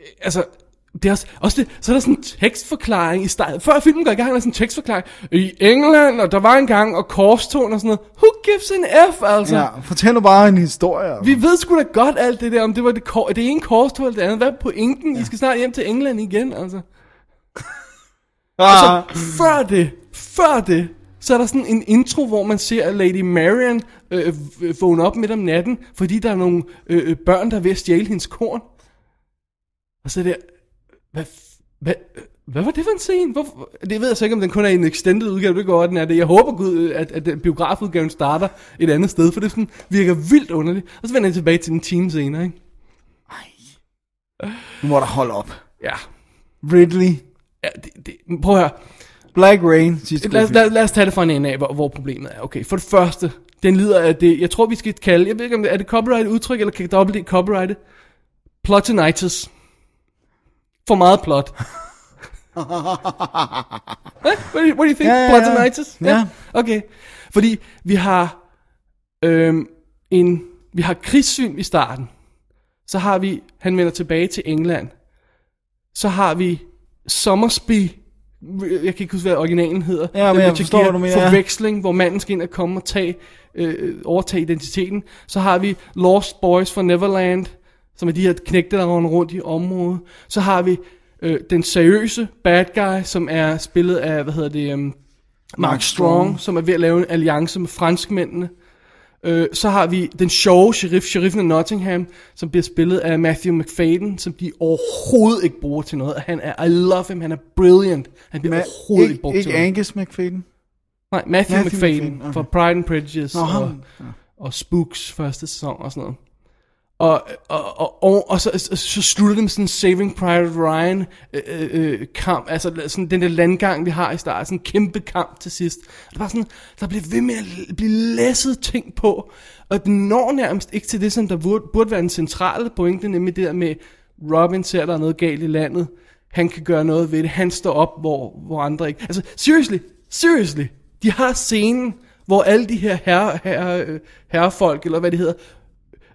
S6: Øh, Altså, det er også, også det, så er der sådan en tekstforklaring i starten. Før filmen går i gang, er der sådan en tekstforklaring. I England, og der var engang, og korstogen og sådan noget. Who gives an F, altså?
S7: Ja, fortæl nu bare en historie. altså.
S6: Vi ved sgu da godt alt det der, om det var det, kor- det ene korstog eller det andet. Hvad er pointen? Ja. I skal snart hjem til England igen, altså.
S7: ah,
S6: Før det, før det, så er der sådan en intro, hvor man ser at Lady Marian øh, v- vågne op midt om natten, fordi der er nogle øh, øh, børn, der er ved at stjæle hendes korn. Og så er det, hvad, f- hvad, øh, hvad var det for en scene? Hvorfor? Det ved jeg så ikke, om den kun er i en extended udgave, det går den er det. Jeg håber gud, øh, at, at den biografudgaven starter et andet sted, for det sådan, virker vildt underligt. Og så vender jeg tilbage til en time senere, ikke?
S7: nu må der holde op.
S6: Ja,
S7: Ridley,
S6: ja det, det, men prøv at høre.
S7: Black Rain, sidste
S6: lad,
S7: film.
S6: lad, lad os tage det fra en ende af, hvor, hvor problemet er. Okay, for det første, den lider af det, jeg tror vi skal kalde, jeg ved ikke om det er det copyright udtryk, eller kan dobbelt det copyright Plotinitis. For meget plot. Eh, what, do you, what do you think?
S7: Ja, ja, ja.
S6: Plotinitis?
S7: Ja.
S6: Okay. Fordi vi har øhm, en, vi har krigssyn i starten. Så har vi, han vender tilbage til England. Så har vi Sommersby, jeg kan ikke huske, hvad originalen hedder.
S7: Ja,
S6: Den
S7: men jeg
S6: Richard
S7: forstår, hvad du mener, ja.
S6: Forveksling, hvor manden skal ind og komme og tage, øh, overtage identiteten. Så har vi Lost Boys fra Neverland, som er de her knægte, der runder rundt i området. Så har vi øh, den seriøse bad guy, som er spillet af, hvad hedder det, øhm, Mark Strong, som er ved at lave en alliance med franskmændene. Øh, så har vi den sjove sheriff, sheriffen af Nottingham, som bliver spillet af Matthew McFadden, som de overhovedet ikke bruger til noget. Han er, I love him, han er brilliant. Han bliver
S7: Ma-
S6: overhovedet ikke,
S7: ikke,
S6: brugt til
S7: ikke
S6: noget.
S7: Angus McFadden.
S6: Nej, Matthew, Matthew
S7: Matthew
S6: McFadden,
S7: McFadden, okay.
S6: fra Pride and Prejudice
S7: Nå, ham.
S6: og, og Spooks første sæson og sådan noget. Og, og, og, og, og så, så, så slutter det med sådan en Saving Private Ryan øh, øh, øh, kamp, altså sådan den der landgang, vi har i starten, sådan en kæmpe kamp til sidst. Og det var sådan, der bliver ved med at l- blive læsset ting på, og den når nærmest ikke til det, som der burde, burde være en centrale pointe, nemlig det der med, Robin ser, der er noget galt i landet, han kan gøre noget ved det, han står op, hvor, hvor andre ikke... Altså, seriously, seriously, de har scenen, hvor alle de her herre, herre, øh, herrefolk, eller hvad det hedder,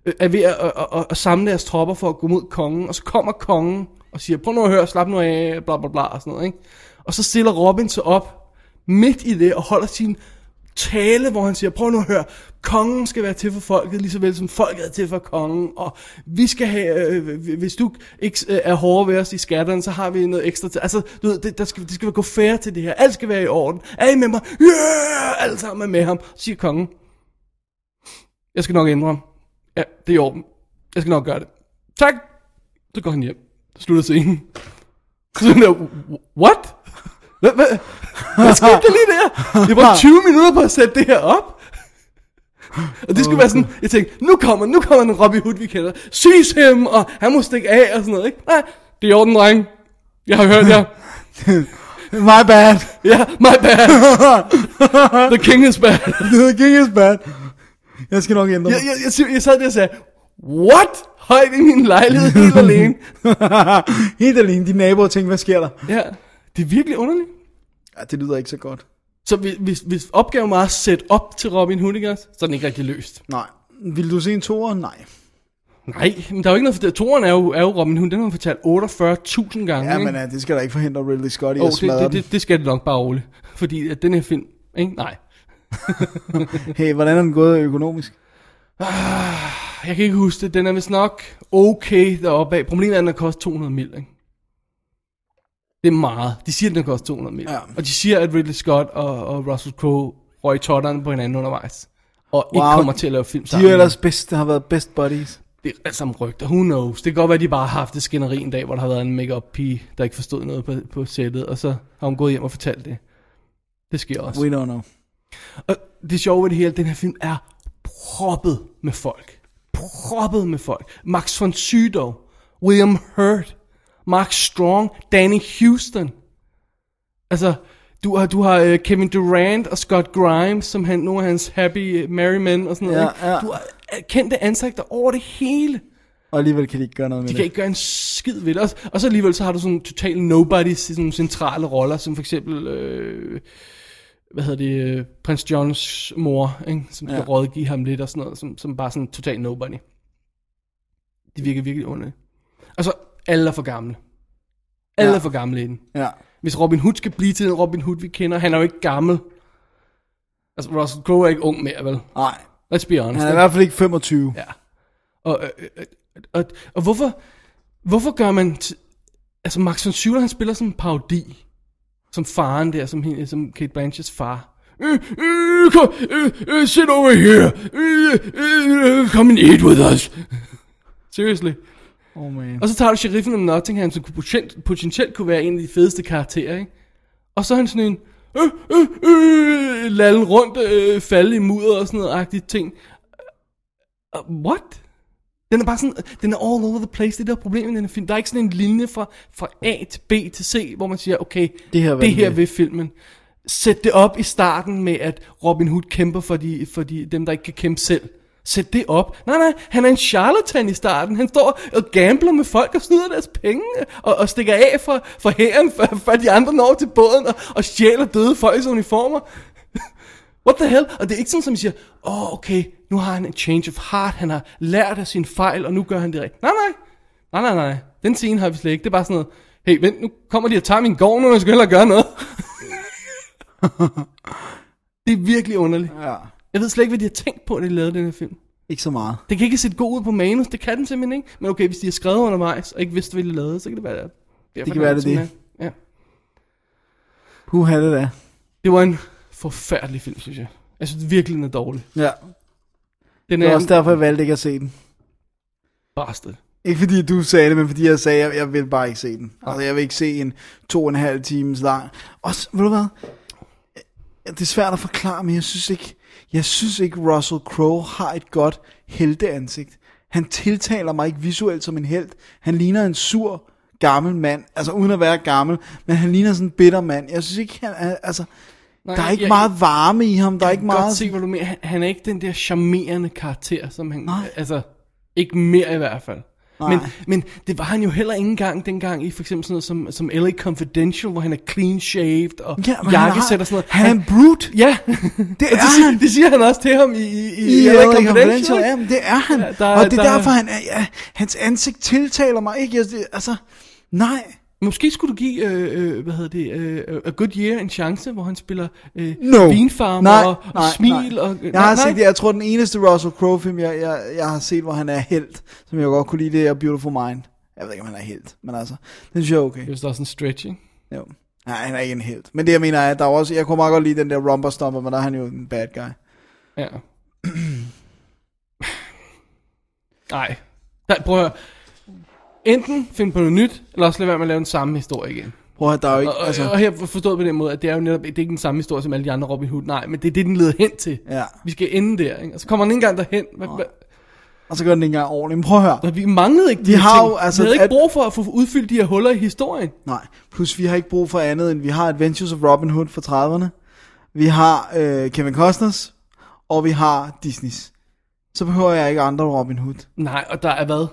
S6: øh, er ved at, at, at, at samle deres tropper for at gå mod kongen, og så kommer kongen og siger, prøv nu at høre, slap nu af, bla bla bla, og sådan noget, ikke? Og så stiller Robin sig op midt i det og holder sin tale, hvor han siger, prøv nu at høre, kongen skal være til for folket, lige så vel som folket er til for kongen, og vi skal have, øh, hvis du ikke øh, er hård ved os i skatterne, så har vi noget ekstra til, altså, du ved, det, der skal, det skal gå fair til det her, alt skal være i orden, er I med mig? Yeah! Alle sammen er med ham, siger kongen. Jeg skal nok ændre ham. Ja, det er i orden. Jeg skal nok gøre det. Tak! Så går han hjem. Så slutter scenen. Så er han der, what? Hvad, hvad, hvad skete der lige der? Jeg var 20 minutter på at sætte det her op. Og det skulle være sådan, jeg tænkte, nu kommer, nu kommer den Robin Hood, vi kender. Seize him, og han må stikke af, og sådan noget, ikke? Nej, det er i orden, dreng. Jeg har hørt jer.
S7: My bad.
S6: Ja, my bad. The king is bad.
S7: The king is bad. Jeg skal nok ændre
S6: Jeg, jeg, jeg, jeg sad der og sagde, what? højt i min lejlighed helt alene.
S7: Helt alene, de naboer tænkte, hvad sker der?
S6: Ja, det er virkelig underligt.
S7: Ja, det lyder ikke så godt.
S6: Så hvis, hvis, hvis opgaven var at sætte op til Robin Hood, ikke også, så er den ikke rigtig løst.
S7: Nej. Vil du se en toer? Nej.
S6: Nej, men der er jo ikke noget for det. Toren er jo, er jo Robin Hood, den har hun fortalt 48.000 gange.
S7: Ja,
S6: ikke?
S7: men øh, ja, det skal da ikke forhindre Ridley Scott i
S6: Åh,
S7: at
S6: det,
S7: smadre
S6: det, det, det skal det nok bare roligt. Fordi at den her film, ikke? Nej.
S7: dem. Hey, hvordan er den gået økonomisk?
S6: Jeg kan ikke huske det. Den er vist nok okay deroppe af. Problemet er, at den har kostet 200 mil, ikke? Det er meget. De siger, at den har kostet 200 mil.
S7: Ja.
S6: Og de siger, at Ridley Scott og, og Russell Crowe røg totterne på hinanden undervejs. Og wow. ikke
S7: Wow.
S6: kommer til at lave film
S7: De
S6: sammen.
S7: er ellers bedst, har været best buddies.
S6: Det er alt sammen rygter. Who knows? Det kan godt være, at de bare har haft et skænderi en dag, hvor der har været en make pige, der ikke forstod noget på, på sættet. Og så har hun gået hjem og fortalt det. Det sker også.
S7: We don't know.
S6: Og det sjove ved det hele, den her film er proppet med folk. Proppet med folk. Max von Sydow, William Hurt, Mark Strong, Danny Houston. Altså, du har, du har øh, Kevin Durant og Scott Grimes, som han, nogle af hans happy øh, merry men og sådan noget.
S7: Ja,
S6: ikke?
S7: ja.
S6: Du har øh, kendte ansigter over det hele.
S7: Og alligevel kan de ikke gøre noget med
S6: De kan
S7: det.
S6: ikke gøre en skid ved det. Og, og så alligevel så har du sådan total nobodies i sådan centrale roller, som for eksempel, øh, hvad hedder det, øh, prins Johns mor, ikke? som skal
S7: Ja.
S6: rådgive ham lidt og sådan noget, som, som bare sådan total nobody. Det virker virkelig underligt. Og så alle er for gamle. Alle
S7: Ja.
S6: ja. er for gamle i den.
S7: Ja.
S6: Hvis Robin Hood skal blive til den Robin Hood, vi kender, han er jo ikke gammel. Altså, Russell Crowe er ikke ung mere, vel?
S7: Nej.
S6: Let's be honest.
S7: Han er
S6: ikke?
S7: i hvert fald ikke 25.
S6: Ja. Og, øh, øh, øh, og, og hvorfor, hvorfor gør man... T- altså, Max von Sydow, han spiller som en parodi. Som faren der, som, hende, som Kate Blanchets far. Øh, øh, kom, øh, øh, sit over here. Øh, øh, come and eat with us. Seriously.
S7: Oh man.
S6: Og så tager du sheriffen om Nottingham, som kunne potent, potentielt kunne være en af de fedeste karakterer, ikke? Og så er han sådan en, øh, øh, øh, lallen rundt, øh, falde i mudder og sådan noget agtigt ting. Uh, what? Den er bare sådan, den er all over the place, det der problem med den her film. Der er ikke sådan en linje fra, fra A til B til C, hvor man siger, okay,
S7: Det her vil
S6: det her
S7: vi.
S6: vil filmen. Sæt det op i starten med, at Robin Hood kæmper for, de, for de, dem, der ikke kan kæmpe selv. Sæt det op. Nej, nej, han er en charlatan i starten. Han står og gambler med folk og snyder deres penge, og, og stikker af fra, fra hæren, før, før de andre når til båden, og, og stjæler døde folks uniformer. What the hell? Og det er ikke sådan, som man siger, åh, oh, okay, nu har han en change of heart, han har lært af sin fejl, og nu gør han det rigtigt. Nej, nej. Nej, nej, nej. Den scene har vi slet ikke. Det er bare sådan noget, hey, vent, nu kommer de og tager min gård nu, og jeg skal hellere gøre noget. det er virkelig underligt.
S7: Ja.
S6: Jeg ved slet ikke, hvad de har tænkt på, da de lavede den her film.
S7: Ikke så meget.
S6: Det kan ikke se god ud på manus, det kan den simpelthen ikke. Men okay, hvis de har skrevet undervejs, og ikke vidste, hvad de lavede, så kan det være, det
S7: Det kan være, det er det.
S6: Ja.
S7: Puh, det da.
S6: Det var en forfærdelig film, synes jeg. Jeg synes virkelig, den er dårlig.
S7: Ja.
S6: Den
S7: Det
S6: er
S7: var
S6: en
S7: også derfor, jeg valgte ikke at se den.
S6: bastard.
S7: Ikke fordi du sagde det, men fordi jeg sagde, at jeg vil bare ikke se den. Altså, jeg vil ikke se en to og en halv times lang. Også, ved du hvad? Ja, Det er svært at forklare, men jeg synes ikke, jeg synes ikke Russell Crowe har et godt helteansigt. Han tiltaler mig ikke visuelt som en held. Han ligner en sur gammel mand, altså uden at være gammel, men han ligner sådan en bitter mand. Jeg synes ikke, han er, altså,
S6: Nej,
S7: der er ikke
S6: jeg-
S7: meget varme i ham, der er
S6: Jeg
S7: ikke
S6: kan
S7: meget...
S6: godt se, hvad du mener. Han, han er ikke den der charmerende karakter, som han...
S7: Nej.
S6: Altså, ikke mere i hvert fald.
S7: Nej.
S6: Men, men det var han jo heller ikke engang dengang i for eksempel sådan noget som, som LA Confidential, hvor han er clean shaved og
S7: Ja, men han,
S6: jakkesæt
S7: har,
S6: og sådan noget.
S7: han er en brute.
S6: Ja,
S7: Det
S6: Og det,
S7: er
S6: siger,
S7: han.
S6: det siger han også til ham i, i, i,
S7: Ja,
S6: LA
S7: eller
S6: Confidential.
S7: Confidential, ja, men det er han.
S6: Ja,
S7: Ja,
S6: der-
S7: der, og det er
S6: der-
S7: der, derfor, han er, ja, hans ansigt tiltaler mig ikke. Jeg, det- altså, nej.
S6: Måske skulle du give, øh, øh, hvad hedder det, øh, A Good Year en chance, hvor han spiller øh,
S7: No.
S6: vinfarmer
S7: nej,
S6: og, og
S7: nej,
S6: smil.
S7: Nej.
S6: Og,
S7: jeg har set det. Jeg tror, den eneste Russell Crowe film, jeg, jeg, jeg har set, hvor han er held, som jeg godt kunne lide, det er Beautiful Mind. Jeg ved ikke, om han er held, men altså, den synes jeg er okay.
S6: Det er vist også en stretching.
S7: Jo. Nej, han er ikke en held. Men det, jeg mener, er, at der er også, jeg kunne meget godt lide den der rumper stomper, men der er han jo en bad guy.
S6: Ja. Nej. Der, prøv at høre. Enten finde på noget nyt, eller også lade være med at lave den samme historie igen.
S7: Prøv at høre, der er jo ikke,
S6: Og, altså.
S7: altså,
S6: og her forstået på den måde, at det er jo netop det er ikke den samme historie som alle de andre Robin Hood. Nej, men det er det, den leder hen til.
S7: Ja.
S6: Vi skal ende der, ikke? Og så kommer den ikke engang derhen. Hvad, hvad,
S7: og så gør den ikke engang ordentligt. Men prøv at høre.
S6: og vi manglede ikke de,
S7: har
S6: ting.
S7: jo, altså,
S6: Vi havde ikke
S7: at-
S6: brug for at få udfyldt de her huller i historien.
S7: Nej, plus vi har ikke brug for andet end, vi har Adventures of Robin Hood fra 30'erne, vi har øh, Kevin Costners, og vi har Disney's. Så behøver jeg ikke andre Robin Hood.
S6: Nej, og der er hvad?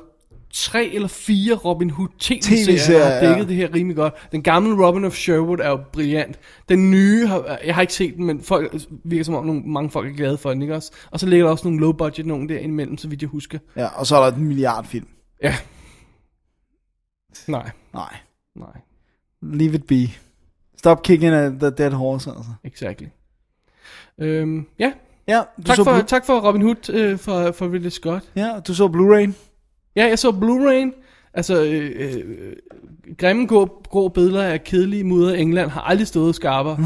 S6: tre eller fire Robin Hood tv-serier,
S7: TV-serier,
S6: der har dækket
S7: ja.
S6: det her rimelig godt. Den gamle Robin of Sherwood er jo brillant. Den nye, har, jeg har ikke set den, men folk virker som om, nogle, mange folk er glade for den, ikke også? Og så ligger der også nogle low-budget nogen der imellem, så vidt jeg husker.
S7: Ja, og så er der en milliardfilm.
S6: Ja. Nej,
S7: Nej.
S6: nej,
S7: Leave it be. Stop kicking at the dead horse, altså.
S6: exactly. Øhm, ja,
S7: Ja, du
S6: tak
S7: så
S6: for,
S7: Blu-
S6: tak for Robin Hood øh, for, for Ridley Scott.
S7: ja, du så Blu-ray.
S6: Ja, jeg så Blu-ray. Altså, øh, øh, grimme grå, grå billeder af kedelige mudder i England har aldrig stået skarpere.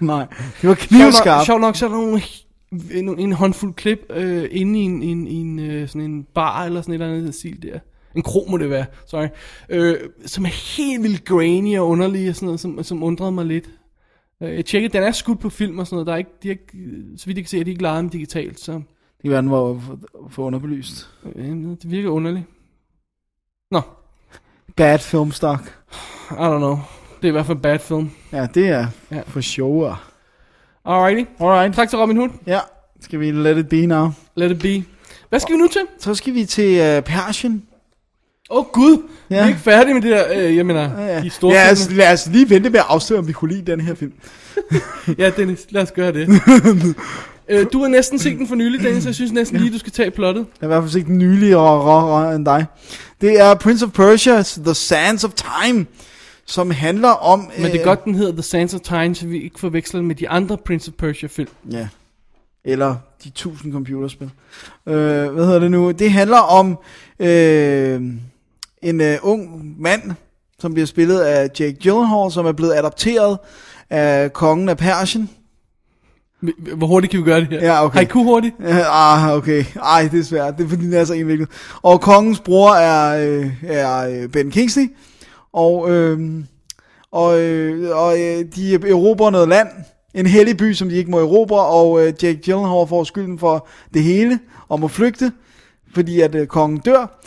S7: Nej, det var
S6: Sjovt nok,
S7: knivskarpt.
S6: sjovt nok, så er der nogle, en, en håndfuld klip øh, inde i en, en, en, øh, sådan en bar eller sådan et eller andet stil der. En kro må det være, sorry. Øh, som er helt vildt grainy og underlig og sådan noget, som, som undrede mig lidt. Øh, jeg tjekkede, den er skudt på film og sådan noget. Der er ikke, de er ikke, så vidt jeg kan se, er de ikke lejet den digitalt, så
S7: Det kan være, den var for, for underbelyst.
S6: øh, det virker underligt. Nå,
S7: Bad filmstock.
S6: I don't know. Det er i hvert fald en bad film.
S7: Ja, det er
S6: Ja.
S7: ja. for sure.
S6: Alrighty.
S7: Alright.
S6: Tak til Robin Hood.
S7: Ja, skal vi let it be now.
S6: Let it be. Hvad skal vi nu til?
S7: Så skal vi til uh, Persien.
S6: Åh oh, gud, ja. vi er
S7: Ja.
S6: ikke færdige med det der, øh, jeg mener, ja.
S7: Ja, altså,
S6: de store
S7: lad,
S6: ja,
S7: os, lad os lige vente med at afsløre, om vi kunne lide den her film.
S6: ja, Dennis, lad os gøre det. øh, du har næsten set den for nylig, Dennis, så jeg synes næsten lige, du skal tage plottet.
S7: Jeg har i hvert fald set den nylige og råere end dig. Det er Prince of Persia's The Sands of Time, som handler om...
S6: Men det er godt, den hedder The Sands of Time, så vi ikke forveksler den med de andre Prince of Persia-film.
S7: øh, Ja. Eller de 1000 computerspil. Øh, hvad hedder det nu? Det handler om øh, en øh, ung mand, som bliver spillet af Jake Gyllenhaal, som er blevet adopteret af kongen af Persien.
S6: Men, Hvor hurtigt kan vi gøre det her?
S7: Ja, okay.
S6: Haiku hurtigt?
S7: Øh, Ah, okay. Ej, det er svært. Det er fordi, den er så indviklet. Og kongens bror er, øh, er øh, Ben Kingsley. Og, øh, og, øh, og øh, de erobrer noget land. En hellig by, som de ikke må erobre. Og øh, Jake Gyllenhaal får skylden for det hele. Og må flygte. Fordi at øh, kongen dør.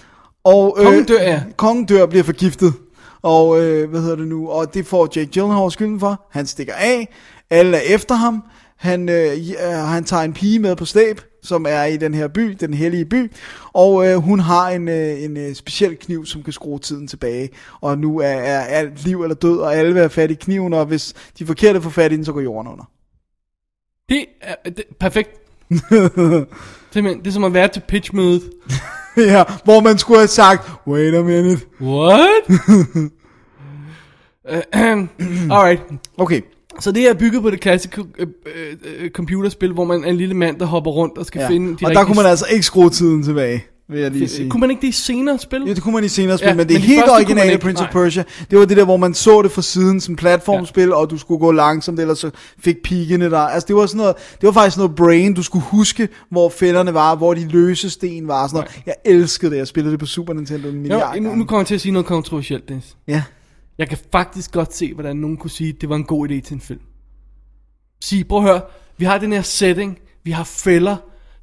S7: Og, øh,
S6: Kongen dør, ja.
S7: Kongen dør og bliver forgiftet. Og øh, hvad hedder det nu? Og det får Jake Gyllenhaal skylden for. Han stikker af. Alle er efter ham. Han, øh, j- øh, han tager en pige med på slæb, som er i den her by, den hellige by. Og øh, hun har en, øh, en øh, speciel kniv, som kan skrue tiden tilbage. Og nu er, er alt liv eller død, og alle vil have fat i kniven. Og hvis de forkerte får fat i den, så går jorden under.
S6: Det er det, perfekt. Simpelthen, det er som at være til pitchmødet.
S7: ja, hvor man skulle have sagt, wait a minute.
S6: What? Ahem. Øh, Alright.
S7: Okay,
S6: Så det er bygget på det klassiske øh, øh, øh, computerspil, hvor man er en lille mand, der hopper rundt og skal
S7: ja.
S6: finde de
S7: og der
S6: rigtige
S7: kunne man altså ikke skrue tiden tilbage, vil jeg lige sige.
S6: Kunne man ikke det i senere spil?
S7: Ja, det kunne man i senere spil,
S6: Ja,
S7: ja, men det
S6: men de
S7: helt
S6: første kunne man
S7: originale
S6: ikke.
S7: Prince of
S6: Nej.
S7: Persia, det var det der, hvor man så det fra siden som platformspil, ja. og du skulle gå langsomt, ellers så fik pigene der. Altså det var sådan noget, det var faktisk noget brain, du skulle huske, hvor fælderne var, hvor de løse sten var, og sådan noget. Jeg elskede det, jeg spillede det på Super Nintendo en milliard
S6: jo, nu, nu
S7: gange.
S6: kommer jeg til at sige noget kontroversielt, Dennis.
S7: Ja,
S6: Jeg kan faktisk godt se, hvordan nogen kunne sige, at det var en god idé til en film. Sige, prøv at høre, vi har den her setting, vi har fælder,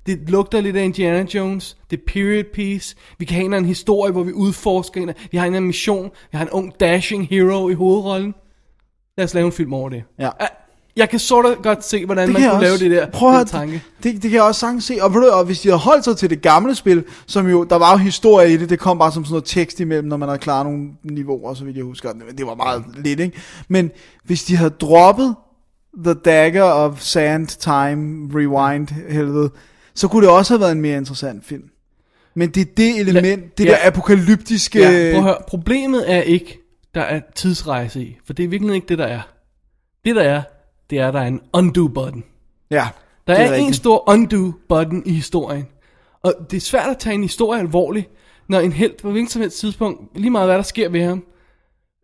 S6: det lugter lidt af Indiana Jones, det er period piece, vi kan have en eller anden historie, hvor vi udforsker en, vi har en eller anden mission, vi har en ung dashing hero i hovedrollen. Lad os lave en film over det.
S7: ja.
S6: Jeg kan sort of godt se, hvordan man
S7: kan
S6: kunne
S7: jeg
S6: lave
S7: også.
S6: det der
S7: Prøv at
S6: den
S7: høre,
S6: tanke.
S7: Det, det kan jeg også sagtens se. Og, ved du, og hvis de havde holdt sig til det gamle spil, som jo, der var jo historie i det, det kom bare som sådan noget tekst imellem, når man havde klaret nogle niveauer, så vidt jeg husker. Men Det var meget lidt, ikke? Men hvis de havde droppet The Dagger of Sand, Time, Rewind, helvede, så kunne det også have været en mere interessant film. Men det er det element, det
S6: ja.
S7: der apokalyptiske...
S6: Ja, prøv at høre. Problemet er ikke, der er tidsrejse i, for det er virkelig ikke det, der er. Det, der er, det er, der er en undo-button.
S7: ja
S6: Der
S7: det
S6: er, er en
S7: rigtigt.
S6: stor undo-button i historien. Og det er svært at tage en historie alvorligt, når en helt på hvilket som helst tidspunkt, lige meget hvad der sker ved ham,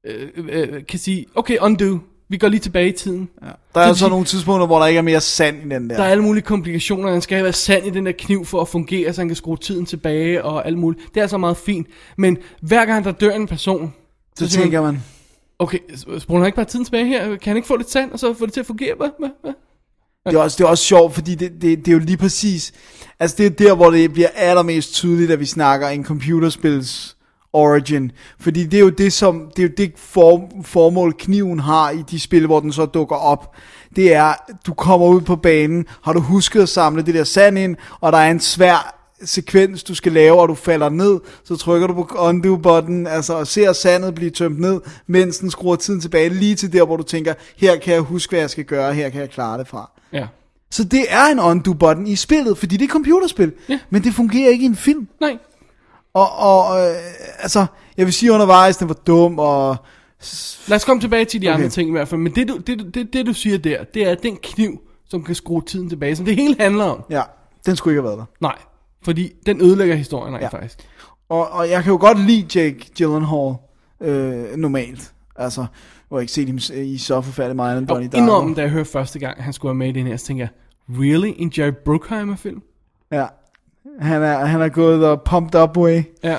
S6: øh, øh, kan sige, okay, undo, vi går lige tilbage i tiden. Ja.
S7: Der er jo så nogle tidspunkter, hvor der ikke er mere sand i den der.
S6: Der er alle mulige komplikationer, han skal have været sand i den der kniv for at fungere, så han kan skrue tiden tilbage og alt muligt. Det er altså meget fint, men hver gang der dør en person,
S7: så
S6: siger man,
S7: tænker man...
S6: Okay, sp- spruger han ikke bare tiden tilbage her? Kan han ikke få lidt sand, og så få det til at fungere? Hva? Hva? Hva?
S7: Det er også, det er også sjovt, fordi det, det, det er jo lige præcis... Altså, det er der, hvor det bliver allermest tydeligt, at vi snakker en computerspils origin. Fordi det er jo det, som, det, er jo det form, formål, kniven har i de spil, hvor den så dukker op. Det er, du kommer ud på banen, har du husket at samle det der sand ind, og der er en svær sekvens, du skal lave, og du falder ned, så trykker du på undo-button, altså og ser sandet blive tømt ned, mens den skruer tiden tilbage lige til der, hvor du tænker, her kan jeg huske, hvad jeg skal gøre, her kan jeg klare det fra.
S6: Ja.
S7: Så det er en undo-button i spillet, fordi det er computerspil,
S6: Ja.
S7: men det fungerer ikke i en film.
S6: Nej.
S7: Og, og øh, altså, jeg vil sige undervejs, den var dum, og
S6: Lad os komme tilbage til de okay. andre
S7: Okay.
S6: ting i hvert fald. Men det du, det, du- det, det, du siger der, det er den kniv, som kan skrue tiden tilbage, som det hele handler om.
S7: ja, den skulle ikke have været der.
S6: Nej, fordi den ødelægger historien rent ja.
S7: Ja.
S6: faktisk.
S7: Og, og jeg kan jo godt lide Jake Gyllenhaal øh, normalt. Altså, hvor jeg ikke set ham i så forfærdelig meget andet
S6: Og
S7: Donnie Darko.
S6: indrømme, da jeg hørte første gang, han skulle være med i den her, så tænkte jeg, really? En Jerry Bruckheimer-film?
S7: Ja. Han er, han er gået the pumped up way.
S6: Ja.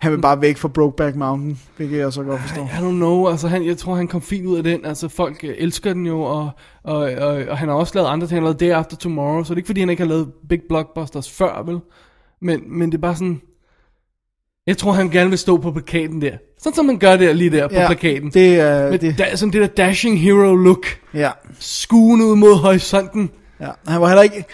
S7: Han vil bare væk fra Brokeback Mountain, hvilket jeg så godt forstår.
S6: I don't know, altså han, jeg tror han kom fint ud af den, altså folk øh, elsker den jo, og, og, og, og han har også lavet andre ting, han har lavet Day After Tomorrow, så det er ikke fordi han ikke har lavet big blockbusters før, vel? Men, men det er bare sådan, jeg tror han gerne vil stå på plakaten der, sådan som man gør der lige der på
S7: Ja,
S6: plakaten.
S7: Det er...
S6: Med
S7: det,
S6: da, sådan det der dashing hero look,
S7: ja,
S6: skuen ud mod horisonten.
S7: ja. Han var heller ikke...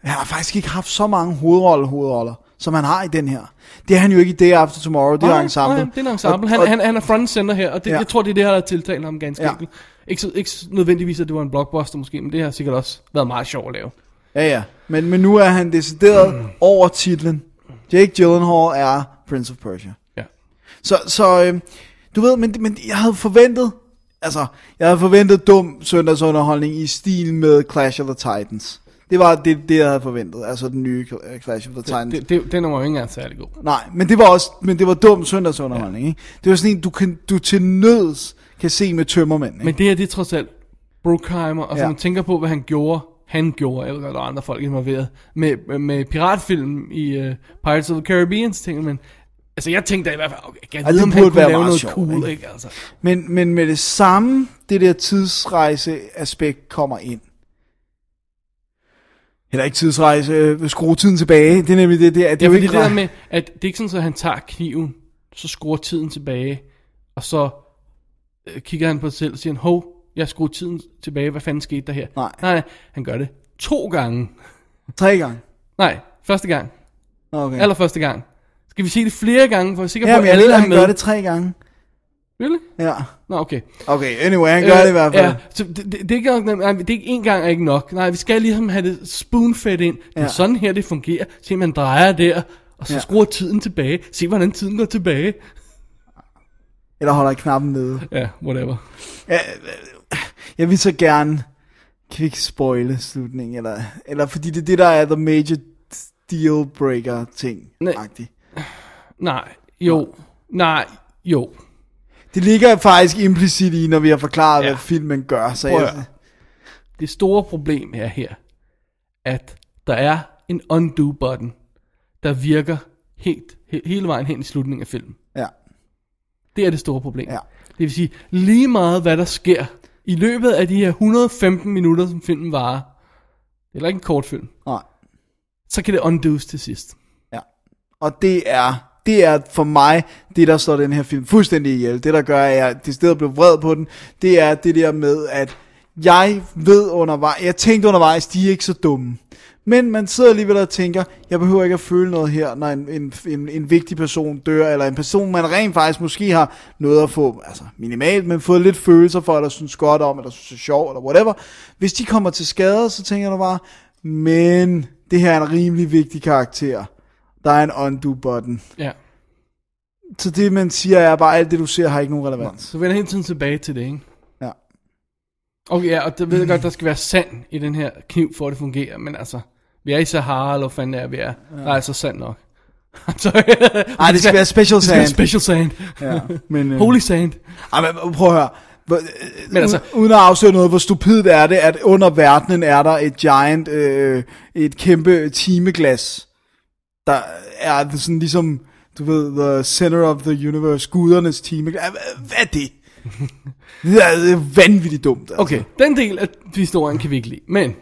S7: Han har faktisk ikke haft så mange hovedroller, hovedroller, som han har i den her. Det er han jo ikke i Day After Tomorrow, det er
S6: Nej,
S7: ensemble.
S6: nej, det er en ensemble. Han,
S7: Og- og-
S6: han, han er front and center her, og det, ja.
S7: Ja.
S6: jeg tror, det er det, her, der tiltaler ham ganske ja.
S7: Ja.
S6: enkelt. Ikke, så- ikke nødvendigvis, at det var en blockbuster måske, men det har sikkert også været meget sjovt at lave.
S7: Ja, ja. Men, men nu er han decideret mm. over titlen. Jake Gyllenhaal er Prince of Persia.
S6: Ja.
S7: Så, så øh, du ved, men, men jeg havde forventet, altså, jeg havde forventet dum søndagsunderholdning i stil med Clash of the Titans. Det var det, det jeg havde forventet, altså den nye øh, Clash of the Titans.
S6: Det, det, den var jo ikke engang særlig god.
S7: Nej, men det var også, men det var dum søndagsunderholdning, ja. ikke? Det var sådan en, du, kan, du til nøds kan se med tømmermænd, ikke?
S6: Men det her, det er trods alt Bruckheimer, og så
S7: Ja.
S6: man tænker på, hvad han gjorde, han gjorde, jeg ved godt, der er andre folk involveret, med, med piratfilm i uh, Pirates of the Caribbean, så tænker man, altså jeg tænkte da i hvert fald, okay, jeg
S7: Ja,
S6: ved,
S7: det
S6: om han
S7: burde
S6: kunne
S7: være
S6: lave
S7: meget
S6: noget
S7: sjovt,
S6: cool, ikke?
S7: ikke?
S6: ikke? Altså,
S7: Men, men med det samme, det der tidsrejse-aspekt kommer ind. Eller ikke tidsrejse, øh, skrue tiden tilbage. Det er nemlig det der. Det
S6: det
S7: er
S6: er
S7: jo
S6: fordi
S7: ikke
S6: det der
S7: rej-
S6: med, at det er ikke sådan, at han tager kniven, så skruer tiden tilbage, og så øh, kigger han på sig selv og siger, hov, jeg skruer tiden tilbage, hvad fanden skete der her?
S7: Nej.
S6: Nej, han gør det to gange.
S7: Tre gange.
S6: Nej, første gang,
S7: Nå, Okay.
S6: Ja. Allerførste gang. Skal vi se det flere gange, for at sikre
S7: ja,
S6: på,
S7: men
S6: at
S7: jeg
S6: alle
S7: ved, at
S6: er
S7: han
S6: med?
S7: gør det tre gange.
S6: Really?
S7: Ja.
S6: Nå, okay.
S7: Okay, anyway, han gør øh, det i hvert fald.
S6: Ja, så det, det, det, er ikke nok, nej, det er ikke en gang er ikke nok. Nej, vi skal ligesom have det spoonfed ind. Det er
S7: Ja.
S6: sådan her, det fungerer. Se, man drejer der, og så ja.
S7: Ja.
S6: skruer tiden tilbage. Se, hvordan tiden går tilbage.
S7: Eller holder knappen nede.
S6: Ja, whatever.
S7: Jeg vil så gerne quick spoile slutningen, eller, eller fordi det er det, der er the major deal breaker ting.
S6: Nej. Nej, jo. Nej, jo.
S7: Det ligger faktisk implicit i, når vi har forklaret,
S6: Ja.
S7: ja. hvad filmen gør. Så
S6: Prøv at
S7: jeg,
S6: høre. Det store problem er her, at der er en undo button, der virker helt, he, hele vejen hen i slutningen af filmen.
S7: ja.
S6: Det er det store problem.
S7: Ja.
S6: Det vil sige, lige meget hvad der sker i løbet af de her 115 minutter, som filmen varer, eller ikke en kort film,
S7: Nej.
S6: så kan det undoes til sidst.
S7: Ja. Og det er, det er for mig, det der slår den her film fuldstændig ihjel. Det der gør, at jeg decideret blev vred på den, det er det der med, at jeg ved undervejs, jeg tænkte undervejs, de er ikke så dumme. Men man sidder alligevel og tænker, jeg behøver ikke at føle noget her, når en, en, en, en vigtig person dør, eller en person, man rent faktisk måske har noget at få, altså minimalt, men fået lidt følelser for, eller synes godt om, eller synes er sjov, eller whatever. Hvis de kommer til skade, så tænker du bare, men det her er en rimelig vigtig karakter. Der er en undo button.
S6: Ja.
S7: Så det, man siger, er bare, alt det, du ser, har ikke nogen relevans.
S6: Så vender jeg hele tiden tilbage til det, ikke?
S7: Ja.
S6: Okay, ja, og det ved jeg godt, der skal være sand i den her kniv, for at det fungerer, men altså, vi er i Sahara, eller hvad fanden det er, vi er. Ja. Der er altså sand nok. I'm sorry.
S7: Nej, det skal være special
S6: det skal være
S7: sand.
S6: special sand.
S7: ja, men, øh,
S6: Holy sand.
S7: Ej, men prøv at høre. Hvor-
S6: Men altså-
S7: Uden- Uden at afsløre noget, hvor stupidt er det, at under verdenen er der et giant, øh, et kæmpe timeglas, der er sådan ligesom, du ved, the center of the universe, gudernes timeglas. Ej, Hvad hvad er det? Det er det er vanvittigt dumt. Altså.
S6: Okay, den del af historien kan vi ikke lide, men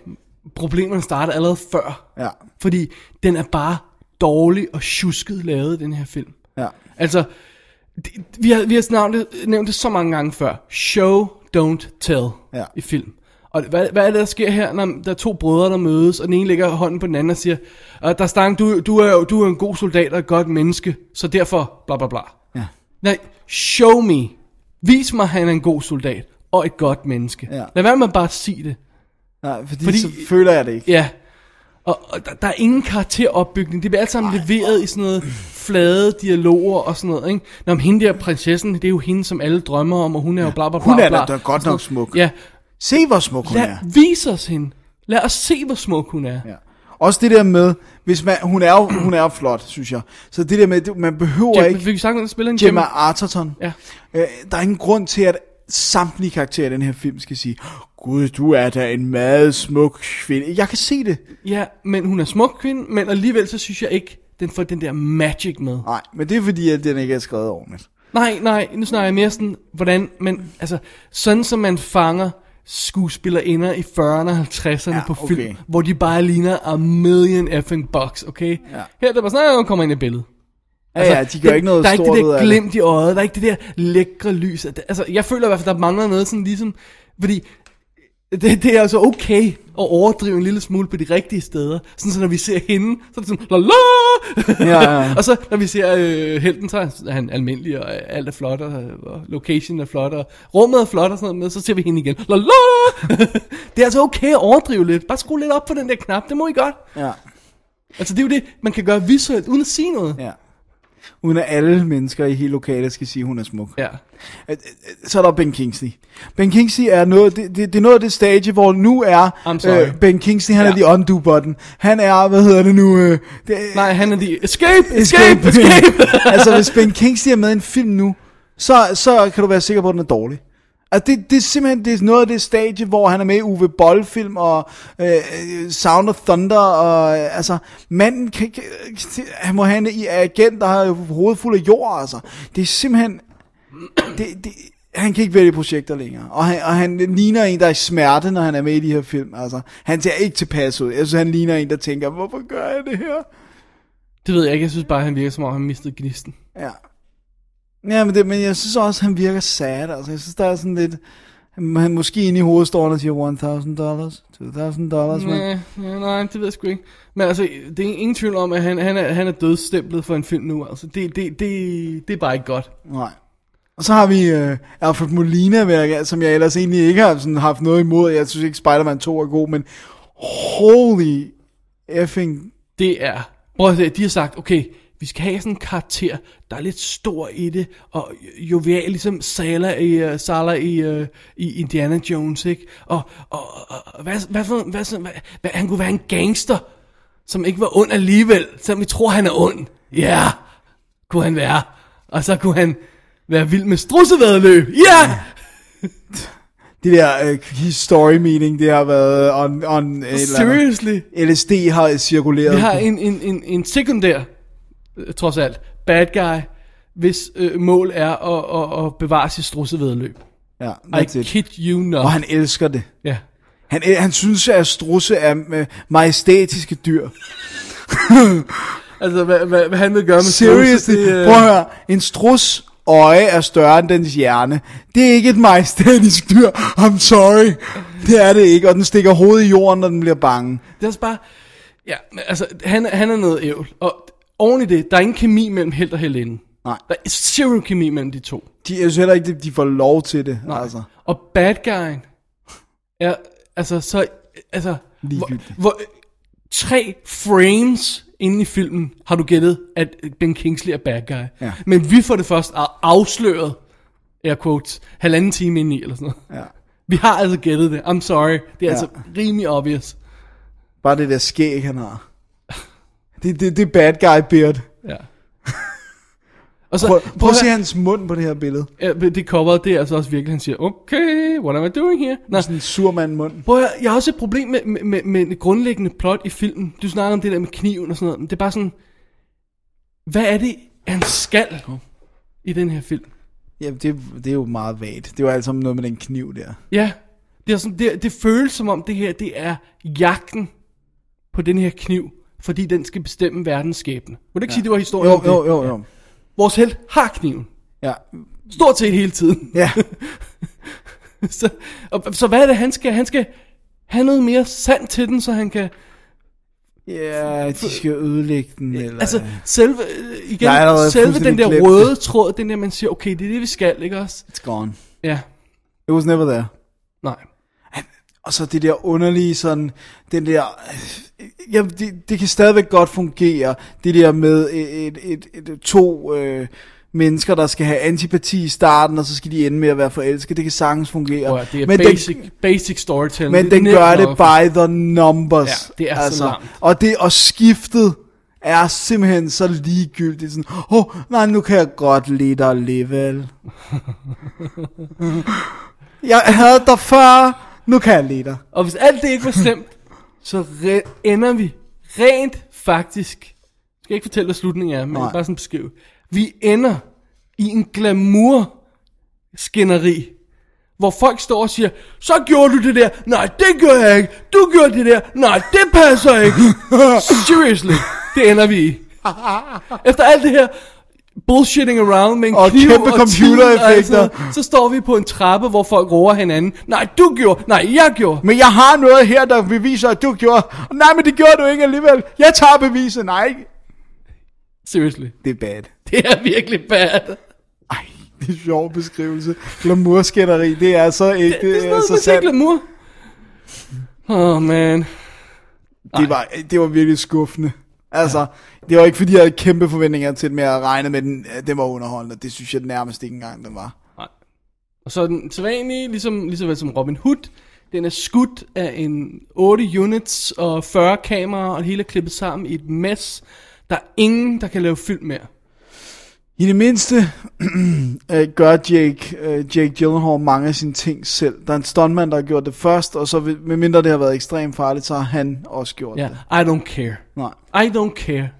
S6: problemerne starter allerede før.
S7: Ja.
S6: Fordi den er bare dårlig og tjusket lavet, den her film.
S7: Ja.
S6: Altså, det- vi har, vi har snart nævnt det så mange gange før. Show, don't tell
S7: Ja.
S6: i film. Og hvad, hvad er det, der sker her, når der er to brødre, der mødes, og den ene lægger hånden på den anden og siger, "Øh, der stang, du, du, er jo, du er jo en god soldat og et godt menneske, så derfor bla bla bla.
S7: Ja.
S6: Nej, show me. Vis mig, at han er en god soldat og et godt menneske.
S7: Ja.
S6: Lad være med bare at sige det.
S7: Nej, fordi,
S6: Fordi-
S7: fordi så føler jeg det ikke.
S6: Ja. Og, og der, der er ingen karakteropbygning. Det bliver alt sammen leveret i sådan noget flade dialoger og sådan noget, ikke? Nå, men hende der prinsessen, det er jo hende, som alle drømmer om, og hun er jo bla bla bla
S7: Hun er
S6: bla,
S7: da- da godt
S6: og sådan
S7: nok
S6: noget.
S7: smuk.
S6: Ja.
S7: Se, hvor smuk hun
S6: Lad,
S7: er.
S6: vis os hende. Lad os se, hvor smuk hun er. Ja.
S7: Ja. Også det der med, hvis man, hun, er jo, hun er jo flot, synes jeg. Så det der med, det- man behøver
S6: Jim,
S7: ikke
S6: fik vi sagt, at spiller en
S7: Gemma Arterton.
S6: Ja.
S7: Øh, der er ingen grund til, at samtlige karakterer i den her film skal sige, Gud, du er da en meget smuk kvinde. Jeg kan se det.
S6: Ja, men hun er smuk kvinde, men alligevel så synes jeg ikke, den får den der magic med.
S7: Nej, men det er fordi, at den ikke er skrevet ordentligt.
S6: Nej, nej, nu snakker jeg mere sådan, hvordan, men altså, sådan som man fanger skuespillerinder i 40'erne og 50'erne ja,
S7: Ja,
S6: på
S7: okay.
S6: film, hvor de bare ligner a million effing bucks, okay? Ja. Her er der bare sådan, at hun kommer ind i billedet.
S7: Ja, altså, ja, de gør
S6: det-
S7: ikke noget
S6: Der er ikke
S7: stort
S6: det
S7: ud
S6: der
S7: af det.
S6: glimt i øjet, der er ikke det der lækre lys. At- Altså, jeg føler i hvert fald, der mangler noget sådan ligesom, fordi det, det er altså okay at overdrive en lille smule på de rigtige steder. Sådan så når vi ser hende, så er det sådan, la la!
S7: Ja, ja, ja.
S6: og så når vi ser øh, helten, så er han almindelig, og alt er flot, og, og location er flot, og rummet er flot, og sådan noget, med, så ser vi hende igen, la la! det er altså okay at overdrive lidt. Bare skru lidt op på den der knap, det må I godt.
S7: Ja,
S6: Altså det er jo det, man kan gøre visuelt, uden at sige noget.
S7: ja. Uden at alle mennesker i hele lokalet skal sige, at hun er smuk.
S6: Ja.
S7: så er der Ben Kingsley. Ben Kingsley er noget, det, det, det er noget af det stage, hvor nu er øh,
S6: I'm sorry.
S7: Ben Kingsley, han ja.
S6: Ja.
S7: er the undo button. Han er, hvad hedder det nu? Øh, det,
S6: Nej, han er de... Escape! Escape! Escape!
S7: altså, hvis Ben Kingsley er med i en film nu, så, så kan du være sikker på, at den er dårlig. Altså, det, det er simpelthen det er noget af det stage, hvor han er med i Uwe Boll-film og øh, øh, Sound of Thunder. Og, øh, altså, manden kan, ikke- han må have en agent, der har hovedet fuld af jord. Altså. Det er simpelthen... Det, det, han kan ikke vælge projekter længere. Og han, og han ligner en, der er i smerte, når han er med i de her film. Altså, han ser ikke tilpas ud. Jeg synes, han ligner en, der tænker, hvorfor gør jeg det her?
S6: Det ved jeg ikke, jeg synes bare, han virker som om, han mistede gnisten.
S7: Ja. Ja, men, det, men jeg synes også, han virker sad. Altså, jeg synes, der er sådan lidt... Han han måske inde i hovedet står han og siger 1.000 dollars, 2.000 dollars, men...
S6: Nej, ja, nej, det ved jeg sgu ikke. Men altså, det er ingen tvivl om, at han, han, er, han er dødstemplet for en film nu. Altså, det, det, det, det er bare ikke godt.
S7: Nej. Og så har vi øh, Alfred Molina, vil jeg- som jeg ellers egentlig ikke har sådan, haft noget imod. Jeg synes ikke, Spider-Man 2 er god, men holy effing...
S6: Det er... Prøv at se, de har sagt, okay, vi skal have sådan en karakter, der er lidt stor i det, og jovial, ligesom Sala i, uh, Sala i, uh, i Indiana Jones, ikke? Og, og, og og hvad, hvad, for, hvad, så- hvad, hvad, han kunne være en gangster, som ikke var ond alligevel, selvom vi tror, han er ond. Ja, yeah, kunne han være. Og så kunne han være vild med strussevedløb. Ja! Yeah!
S7: Det der øh, story meeting, det har været on, on et eller andet.
S6: Seriously?
S7: LSD har cirkuleret.
S6: Vi har en, en, en, en sekundær, øh, trods alt, bad guy, hvis øh, mål er at, at, at bevare sit strussevedløb.
S7: Ja,
S6: I
S7: that's it.
S6: kid you not.
S7: Og han elsker det.
S6: Ja.
S7: Han, øh, han synes, at strusse er øh, majestætiske dyr.
S6: Altså, hvad, hvad, hvad han vil gøre med
S7: Seriously,
S6: strudse, det, øh,
S7: prøv at høre. En strus øje er større end dens hjerne. Det er ikke et majestætisk dyr. I'm sorry. Det er det ikke. Og den stikker hovedet i jorden, når den bliver bange.
S6: Det er også bare... Ja, men altså, han, han er noget ævl. Og oven i det, der er ingen kemi mellem held og helinde.
S7: Nej.
S6: Der er zero kemi mellem de to.
S7: De, jeg synes heller ikke, at de får lov til det. Nej. Altså.
S6: Og bad guyen er altså så... Altså, hvor,
S7: Ligegyldig.
S6: hvor, tre frames inde i filmen har du gættet, at Ben Kingsley er bad guy.
S7: Ja.
S6: Men vi får det først a- afsløret, air quotes, halvanden time ind i, eller sådan noget.
S7: Ja.
S6: Vi har altså gættet det. I'm sorry. Det er ja.
S7: Ja.
S6: altså rimelig obvious.
S7: Bare det der skæg, han har. Det, det, det er bad guy beard.
S6: Ja. Og så,
S7: Prøv, prøv at se
S6: høre,
S7: hans mund på det her billede.
S6: ja, men det cover, det er altså også virkelig, han siger, okay, what am I doing here? Nå,
S7: Sådan en surmand mund.
S6: Prøv at, høre, jeg har også et problem med, med, med, med det grundlæggende plot i filmen. Du snakker om det der med kniven og sådan noget, men det er bare sådan, hvad er det, han skal i den her film?
S7: Ja, det, det er jo meget vagt. Det var altså noget med den kniv der.
S6: Ja, det, er sådan, det, det føles som om det her, det er jagten på den her kniv, fordi den skal bestemme verdens skæbne. Må du ikke ja. sige, det var historien
S7: Jo,
S6: om det?
S7: jo, jo, jo.
S6: Vores held har kniven.
S7: Ja,
S6: Stort set hele tiden.
S7: ja.
S6: så, og, så hvad er det, han skal? Han skal have noget mere sand til den, så han kan...
S7: Ja, de skal ødelægge den, eller...
S6: Altså, selve, øh, igen,
S7: Jeg er allerede
S6: selve den
S7: fuldstændig
S6: der
S7: glemt det.
S6: røde tråd, den der, man siger, okay, det er det, vi skal, ikke også?
S7: It's gone.
S6: Ja,
S7: It was never there.
S6: nej.
S7: Og så det der underlige sådan, den der, øh, jamen det, det kan stadigvæk godt fungere, det der med øh, et, et, et, et to øh, mennesker, der skal have antipati i starten, og så skal de ende med at være forelskede, det kan sagtens fungere.
S6: Prøv, at, det er
S7: men
S6: basic,
S7: den,
S6: basic storytelling.
S7: men
S6: Det er
S7: den
S6: nemt
S7: gør
S6: nok
S7: det
S6: at-
S7: by the numbers. altså.
S6: Ja, det er så langt.
S7: Og, det, og skiftet er simpelthen så ligegyldigt, sådan, åh, oh, nej, nu kan jeg godt lide dig alligevel. jeg havde dig før, nu kan jeg lide dig.
S6: Og hvis alt det ikke var stemt, så re- ender vi rent faktisk, jeg skal ikke fortælle, hvad slutningen er, men
S7: Nej.
S6: bare sådan beskrive, vi ender i en glamour skænderi, hvor folk står og siger, så gjorde du det der, nej det gjorde jeg ikke, du gjorde det der, nej det passer ikke, seriously, det ender vi i. Efter alt det her bullshitting around med en
S7: Og
S6: kniv
S7: kæmpe
S6: og
S7: computereffekter.
S6: tid og alt sådan noget, så står vi på en trappe, hvor folk roer hinanden, nej du gjorde, nej jeg gjorde,
S7: Men jeg har noget her, der beviser, at du gjorde. Nej, men det gjorde du ikke alligevel. Jeg tager beviset. Nej,
S6: seriously.
S7: det er bad.
S6: Det er virkelig bad.
S7: Ej, det er en sjov beskrivelse. Glamourskænderi, det er så ikke
S6: Det, det er sådan
S7: så
S6: noget, man
S7: sandt.
S6: ikke mur. Oh man.
S7: Det var, det var virkelig skuffende. Altså, det var ikke fordi, jeg havde kæmpe forventninger til det, men jeg regnede med, at den, at den var underholdende. Det synes jeg nærmest ikke engang, den var.
S6: Og så er den sædvanlige, ligesom, ligesom som Robin Hood, den er skudt af en 8 units og 40 kameraer, og det hele er klippet sammen i et mess. Der er ingen, der kan lave film mere.
S7: I det mindste øh, gør Jake, øh, Jake Gyllenhaal mange af sine ting selv. Der er en stuntmand, der har gjort det først, og så ved- medmindre det har været ekstremt farligt, så har han også gjort
S6: Ja,
S7: det.
S6: I don't care.
S7: Nej.
S6: I don't care.
S7: Fordi,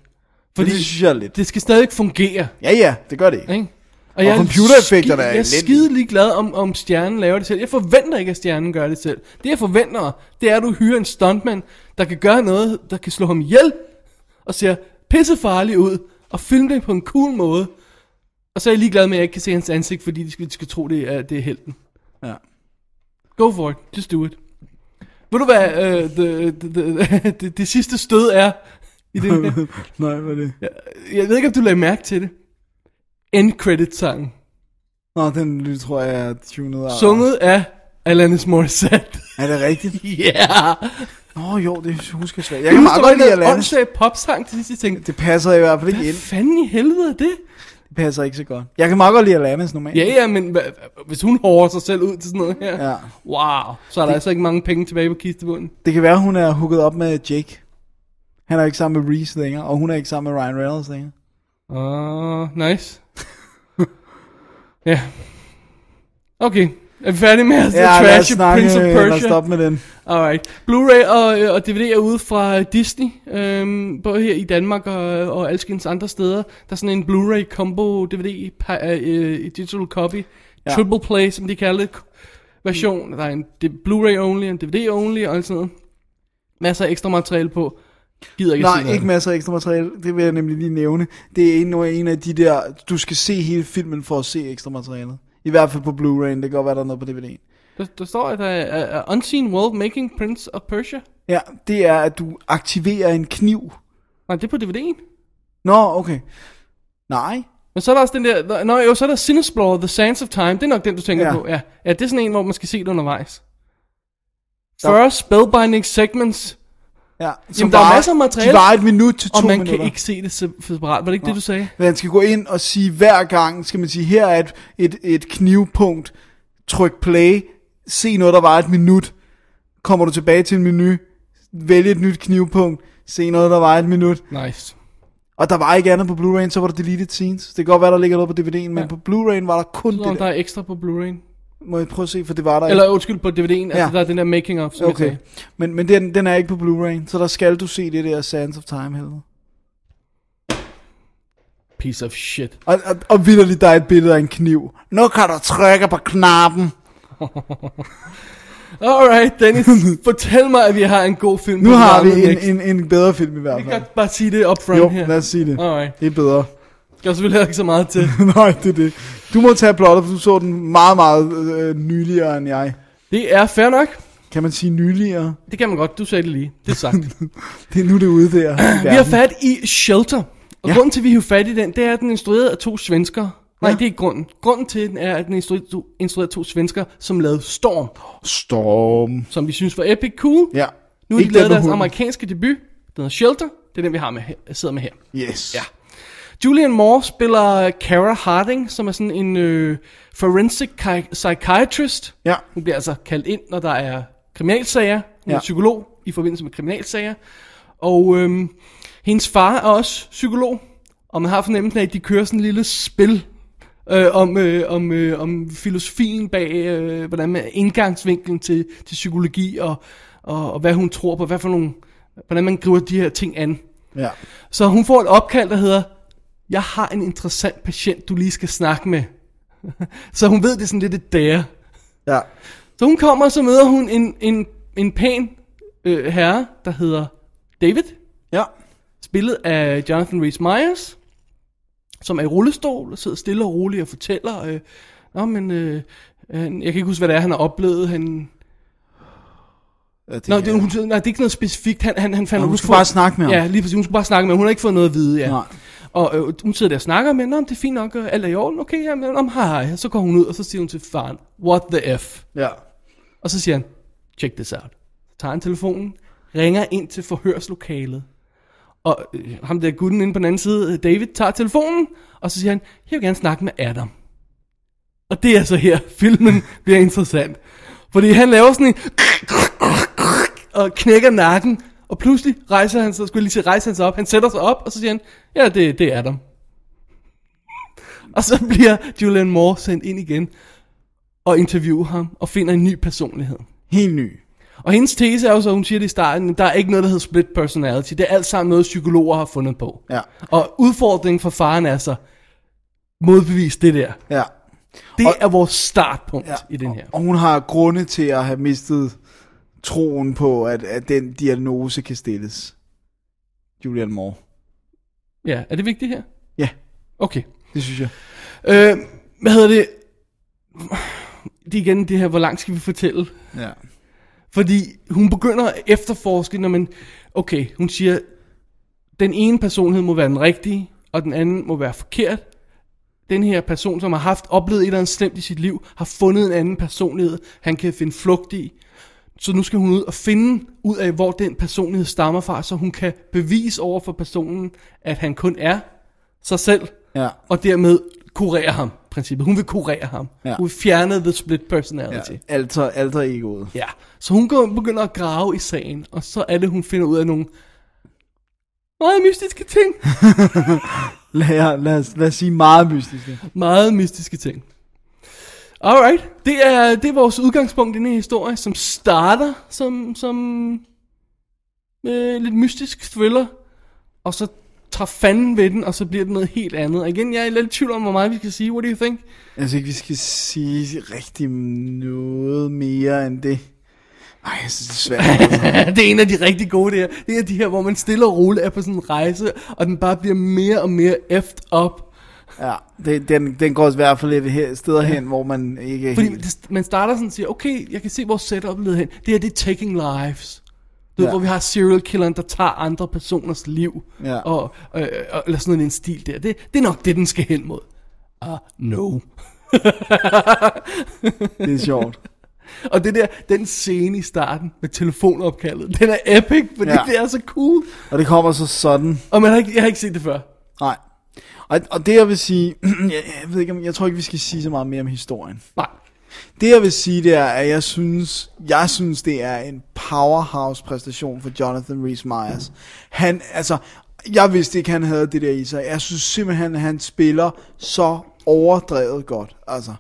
S6: Fordi
S7: det synes jeg er lidt.
S6: det skal stadig fungere,
S7: Ja, ja, det gør det ikke.
S6: ikke?
S7: Og
S6: er
S7: computereffekterne
S6: skide-
S7: er
S6: Jeg er
S7: elendige.
S6: skide ligeglad om, om stjernen laver det selv. Jeg forventer ikke, at stjernen gør det selv. Det jeg forventer, det er, at du hyrer en stuntman, der kan gøre noget, der kan slå ham ihjel, og ser pissefarlig ud, og filme det på en cool måde. Og så er jeg ligeglad med, at jeg ikke kan se hans ansigt, fordi de skal, de skal tro, det er, det er helten.
S7: Ja.
S6: Go for it. Just do it. Ved du hvad øh, det, det, det, det, det sidste stød er i det her?
S7: Nej, hvad er det? Ja.
S6: Jeg ved ikke, om du lagde mærke til det. End credit sangen.
S7: Nå, den lyd tror jeg er tunet af.
S6: Sunget af Alanis Morissette.
S7: Er det rigtigt?
S6: yeah!
S7: Nå jo, det husker jeg svært. Jeg kan meget godt lide Alanis.
S6: åndssvagt popsang til sidst, jeg tænkte,
S7: Det passer i hvert fald ikke
S6: hvad
S7: ind.
S6: fanden i helvede er det?
S7: Det passer ikke så godt. Jeg kan meget godt lide Alanis normalt.
S6: Ja, ja, men hva, hvis hun hårder sig selv ud til sådan noget her,
S7: Ja.
S6: wow, så er der altså ikke mange penge tilbage på kistebunden.
S7: Det kan være, hun er hooket op med Jake. Han er ikke sammen med Reese længere, og hun er ikke sammen med Ryan Reynolds længere.
S6: Åh, uh, nice. ja. Okay, er vi færdige med at ja,
S7: lad os
S6: trash
S7: snakke-
S6: Prince of
S7: Lad os
S6: Persia?
S7: stoppe med den.
S6: Alright. Blu-ray og, øh, og DVD er ude fra øh, Disney, øhm, både her i Danmark og, og alskens andre steder. Der er sådan en Blu-ray combo DVD pa- øh, øh, digital copy, ja.
S7: Ja. Mm.
S6: triple play, som de kalder det, version. Der er en di- Blu-ray only, en DVD only og alt sådan noget. Masser af ekstra materiale på. Gider ikke at sige
S7: Nej,
S6: noget.
S7: ikke masser af ekstra materiale. Det vil jeg nemlig lige nævne. Det er en, en af de der, du skal se hele filmen for at se ekstra materialet. I hvert fald på Blu-ray, det kan godt være, der er noget på DVD'en.
S6: Der, der står, at der er, er er Unseen World Making Prince of Persia.
S7: Ja, det er, at du aktiverer en kniv.
S6: Nej, det er på DVD'en.
S7: Nå, okay. Nej.
S6: Men så er der også den der, der- nå jo, så er der Sinesplorer, The Sands of Time, det er nok den, du tænker
S7: Ja.
S6: på, ja. Ja, det er sådan en, hvor man skal se det undervejs. 40 spellbinding segments,
S7: Ja,
S6: Jamen, der er masser af materiale.
S7: De var et minut til
S6: og
S7: to
S6: man
S7: minutter.
S6: kan ikke se det se- separat, var det ikke det, du sagde?
S7: Man skal gå ind og sige hver gang, skal man sige, her er et, et, et knivpunkt, tryk play, se noget, der var et minut, kommer du tilbage til en menu, vælg et nyt knivpunkt, se noget, der var et minut,
S6: Nice.
S7: og der var ikke andet på Blu-ray, så var der deleted scenes. Det kan godt være, der ligger noget på DVD'en, men
S6: Ja.
S7: på Blu-ray var der kun
S6: Så om
S7: det
S6: der
S7: der.
S6: er ekstra på Blu-ray'en.
S7: Må jeg prøve at se, for det var der ikke.
S6: Eller undskyld, på DVD'en, altså
S7: Ja.
S6: der er den der making of, som okay. jeg
S7: Okay,
S6: sagde.
S7: men, men den, den er ikke på Blu-ray, så der skal du se det der Sands of Time helvede.
S6: Piece of shit.
S7: Og, og, og vildt, der er et billede af en kniv. Nu kan du trykke på knappen.
S6: Alright, Dennis, fortæl mig, at vi har en god film.
S7: Nu
S6: på
S7: har vi
S6: programmet
S7: en,
S6: next.
S7: en, en bedre film i hvert
S6: Vi
S7: fald.
S6: kan godt bare sige det upfront
S7: Jo,
S6: her.
S7: lad os sige det.
S6: Alright.
S7: Det er bedre.
S6: Skal selvfølgelig heller ikke så meget til.
S7: Nej, det er det. Du må tage plottet, for du så den meget, meget øh, nyligere end jeg.
S6: Det er fair nok.
S7: Kan man sige nyligere?
S6: Det kan man godt. Du sagde det lige. Det er sagt.
S7: Det er nu det er ude der. i
S6: Vi har
S7: verden.
S6: fat i Shelter. Og ja.
S7: Ja.
S6: grunden til, at vi har fat i den, det er, at den er instrueret af to svensker. Nej, det er ikke grunden. Grunden til den er, at den er instru- to- instrueret af to svensker, som lavede Storm,
S7: Storm.
S6: som vi synes var epic cool.
S7: Ja.
S6: Nu har de
S7: Ikke
S6: lavet
S7: den med
S6: deres
S7: hunden.
S6: amerikanske debut. Den hedder Shelter. Det er den, vi har med her, sidder med her.
S7: Yes. Ja.
S6: Julian Moore spiller Cara Harding, som er sådan en øh, forensic chi- psychiatrist.
S7: Ja.
S6: Hun bliver altså kaldt ind, når der er kriminalsager. Hun ja. er
S7: Ja.
S6: psykolog i forbindelse med kriminalsager. Og øhm, hendes far er også psykolog. Og man har fornemmelsen af, at de kører sådan en lille spil øh, om, øh, om, øh, om filosofien bag, øh, hvordan man, indgangsvinkelen til, til psykologi, og, og, og hvad hun tror på, hvad for nogle, hvordan man griber de her ting an.
S7: Ja.
S6: Så hun får et opkald, der hedder, jeg har en interessant patient, du lige skal snakke med. så hun ved, det er sådan lidt et dare.
S7: Ja.
S6: Så hun kommer, og så møder hun en, en, en pæn øh, herre, der hedder David,
S7: Ja.
S6: spillet af Jonathan Rhys Meyers, som er i rullestol og sidder stille og roligt og fortæller, øh, Nå, men øh, han- jeg kan ikke huske, hvad det er, han har oplevet. Han...
S7: ja det
S6: Nå,
S7: er-
S6: det, hun, nej, det er ikke noget specifikt. Han, han, han fandt
S7: Nå, hun
S6: ud
S7: skulle
S6: for-
S7: bare snakke med ham.
S6: Ja, lige præcis. Hun skulle bare snakke med ham. Hun har ikke fået noget at vide, ja.
S7: Nej.
S6: Og øh, hun sidder der og snakker med, Nå, men det er fint nok, øh, alt er i orden, okay, jamen, om hej, hej. Så går hun ud, og så siger hun til faren, what the F?
S7: Ja.
S6: Og så siger han, check this out. Så tager han telefonen, ringer ind til forhørslokalet. Og øh, ham der gutten inde på den anden side, øh, David, tager telefonen, og så siger han, jeg vil gerne snakke med Adam. Og det er så her, filmen bliver interessant. Fordi han laver sådan en... Og knækker nakken, og pludselig rejser han sig, skulle jeg lige sige, rejser han sig op. Han sætter sig op, og så siger han, ja, det, det er Adam. Og så bliver Julian Moore sendt ind igen og interviewer ham, og finder en ny personlighed.
S7: Helt ny.
S6: Og hendes tese er jo så, hun siger det i starten, der er ikke noget, der hedder split personality. Det er alt sammen noget, psykologer har fundet på.
S7: Ja.
S6: Og udfordringen for faren er så, modbevis det der.
S7: Ja.
S6: Det og,
S7: Og-
S6: er vores startpunkt ja,
S7: ja.
S6: i den her.
S7: Og hun har grunde til at have mistet troen på, at, at den diagnose kan stilles. Julian Moore.
S6: Ja, er det vigtigt her?
S7: Ja,
S6: Okay.
S7: det synes jeg.
S6: Øh, hvad hedder det? Det er igen det her, hvor langt skal vi fortælle?
S7: Ja.
S6: Fordi hun begynder at efterforske, når man... Okay, hun siger, den ene personhed må være den rigtige, og den anden må være forkert. Den her person, som har haft oplevet et eller andet slemt i sit liv, har fundet en anden personlighed, han kan finde flugt i. Så nu skal hun ud og finde ud af, hvor den personlighed stammer fra, så hun kan bevise over for personen, at han kun er sig selv,
S7: Ja.
S6: og dermed kurere ham, i princippet. Hun vil kurere ham.
S7: Ja.
S6: Hun vil fjerne the split personality.
S7: ja. Alter, alter egoet.
S6: Ja, så hun går, begynder at grave i sagen, og så er det, hun finder ud af nogle meget mystiske ting.
S7: Lad, lad, os, lad os sige meget mystisk.
S6: meget mystiske ting. Alright, det er, det er vores udgangspunkt i den her historie, som starter som, som øh, lidt mystisk thriller, og så tager fanden ved den, og så bliver det noget helt andet. Og igen, jeg er lidt i tvivl om, hvor meget vi skal sige. What do you think?
S7: Jeg synes ikke, vi skal sige rigtig noget mere end det. Nej, jeg synes, det er svært.
S6: Ja, det er en af de rigtig gode der. Det er de her, hvor man stille og roligt er på sådan en rejse, og den bare bliver mere og mere effed op.
S7: Ja, det, den, den går i hvert fald lidt her, steder hen, hvor man ikke er
S6: Fordi
S7: helt...
S6: det, man starter sådan og siger, okay, jeg kan se, hvor setupet leder hen. Det her, det er Taking Lives. Du ved,
S7: Ja.
S6: hvor vi har serial killeren, der tager andre personers liv.
S7: Ja.
S6: Og, øh, og, eller sådan en stil der. Det, det er nok det, den skal hen mod. Ah, no.
S7: Det er sjovt.
S6: Og det der, den scene i starten med telefonopkaldet, den er epic, fordi ja.
S7: Ja.
S6: det er så cool.
S7: Og det kommer så sådan.
S6: Og man har ikke, jeg har ikke set det før.
S7: Nej. Og, og det jeg vil sige... jeg, jeg, ved ikke, om, jeg tror ikke, vi skal sige så meget mere om historien.
S6: Nej.
S7: Det jeg vil sige, det er, at jeg synes, jeg synes det er en powerhouse præstation for Jonathan Rhys Meyers. Han, altså, jeg vidste ikke, han havde det der i sig. Jeg synes simpelthen, at han spiller så overdrevet godt. Altså,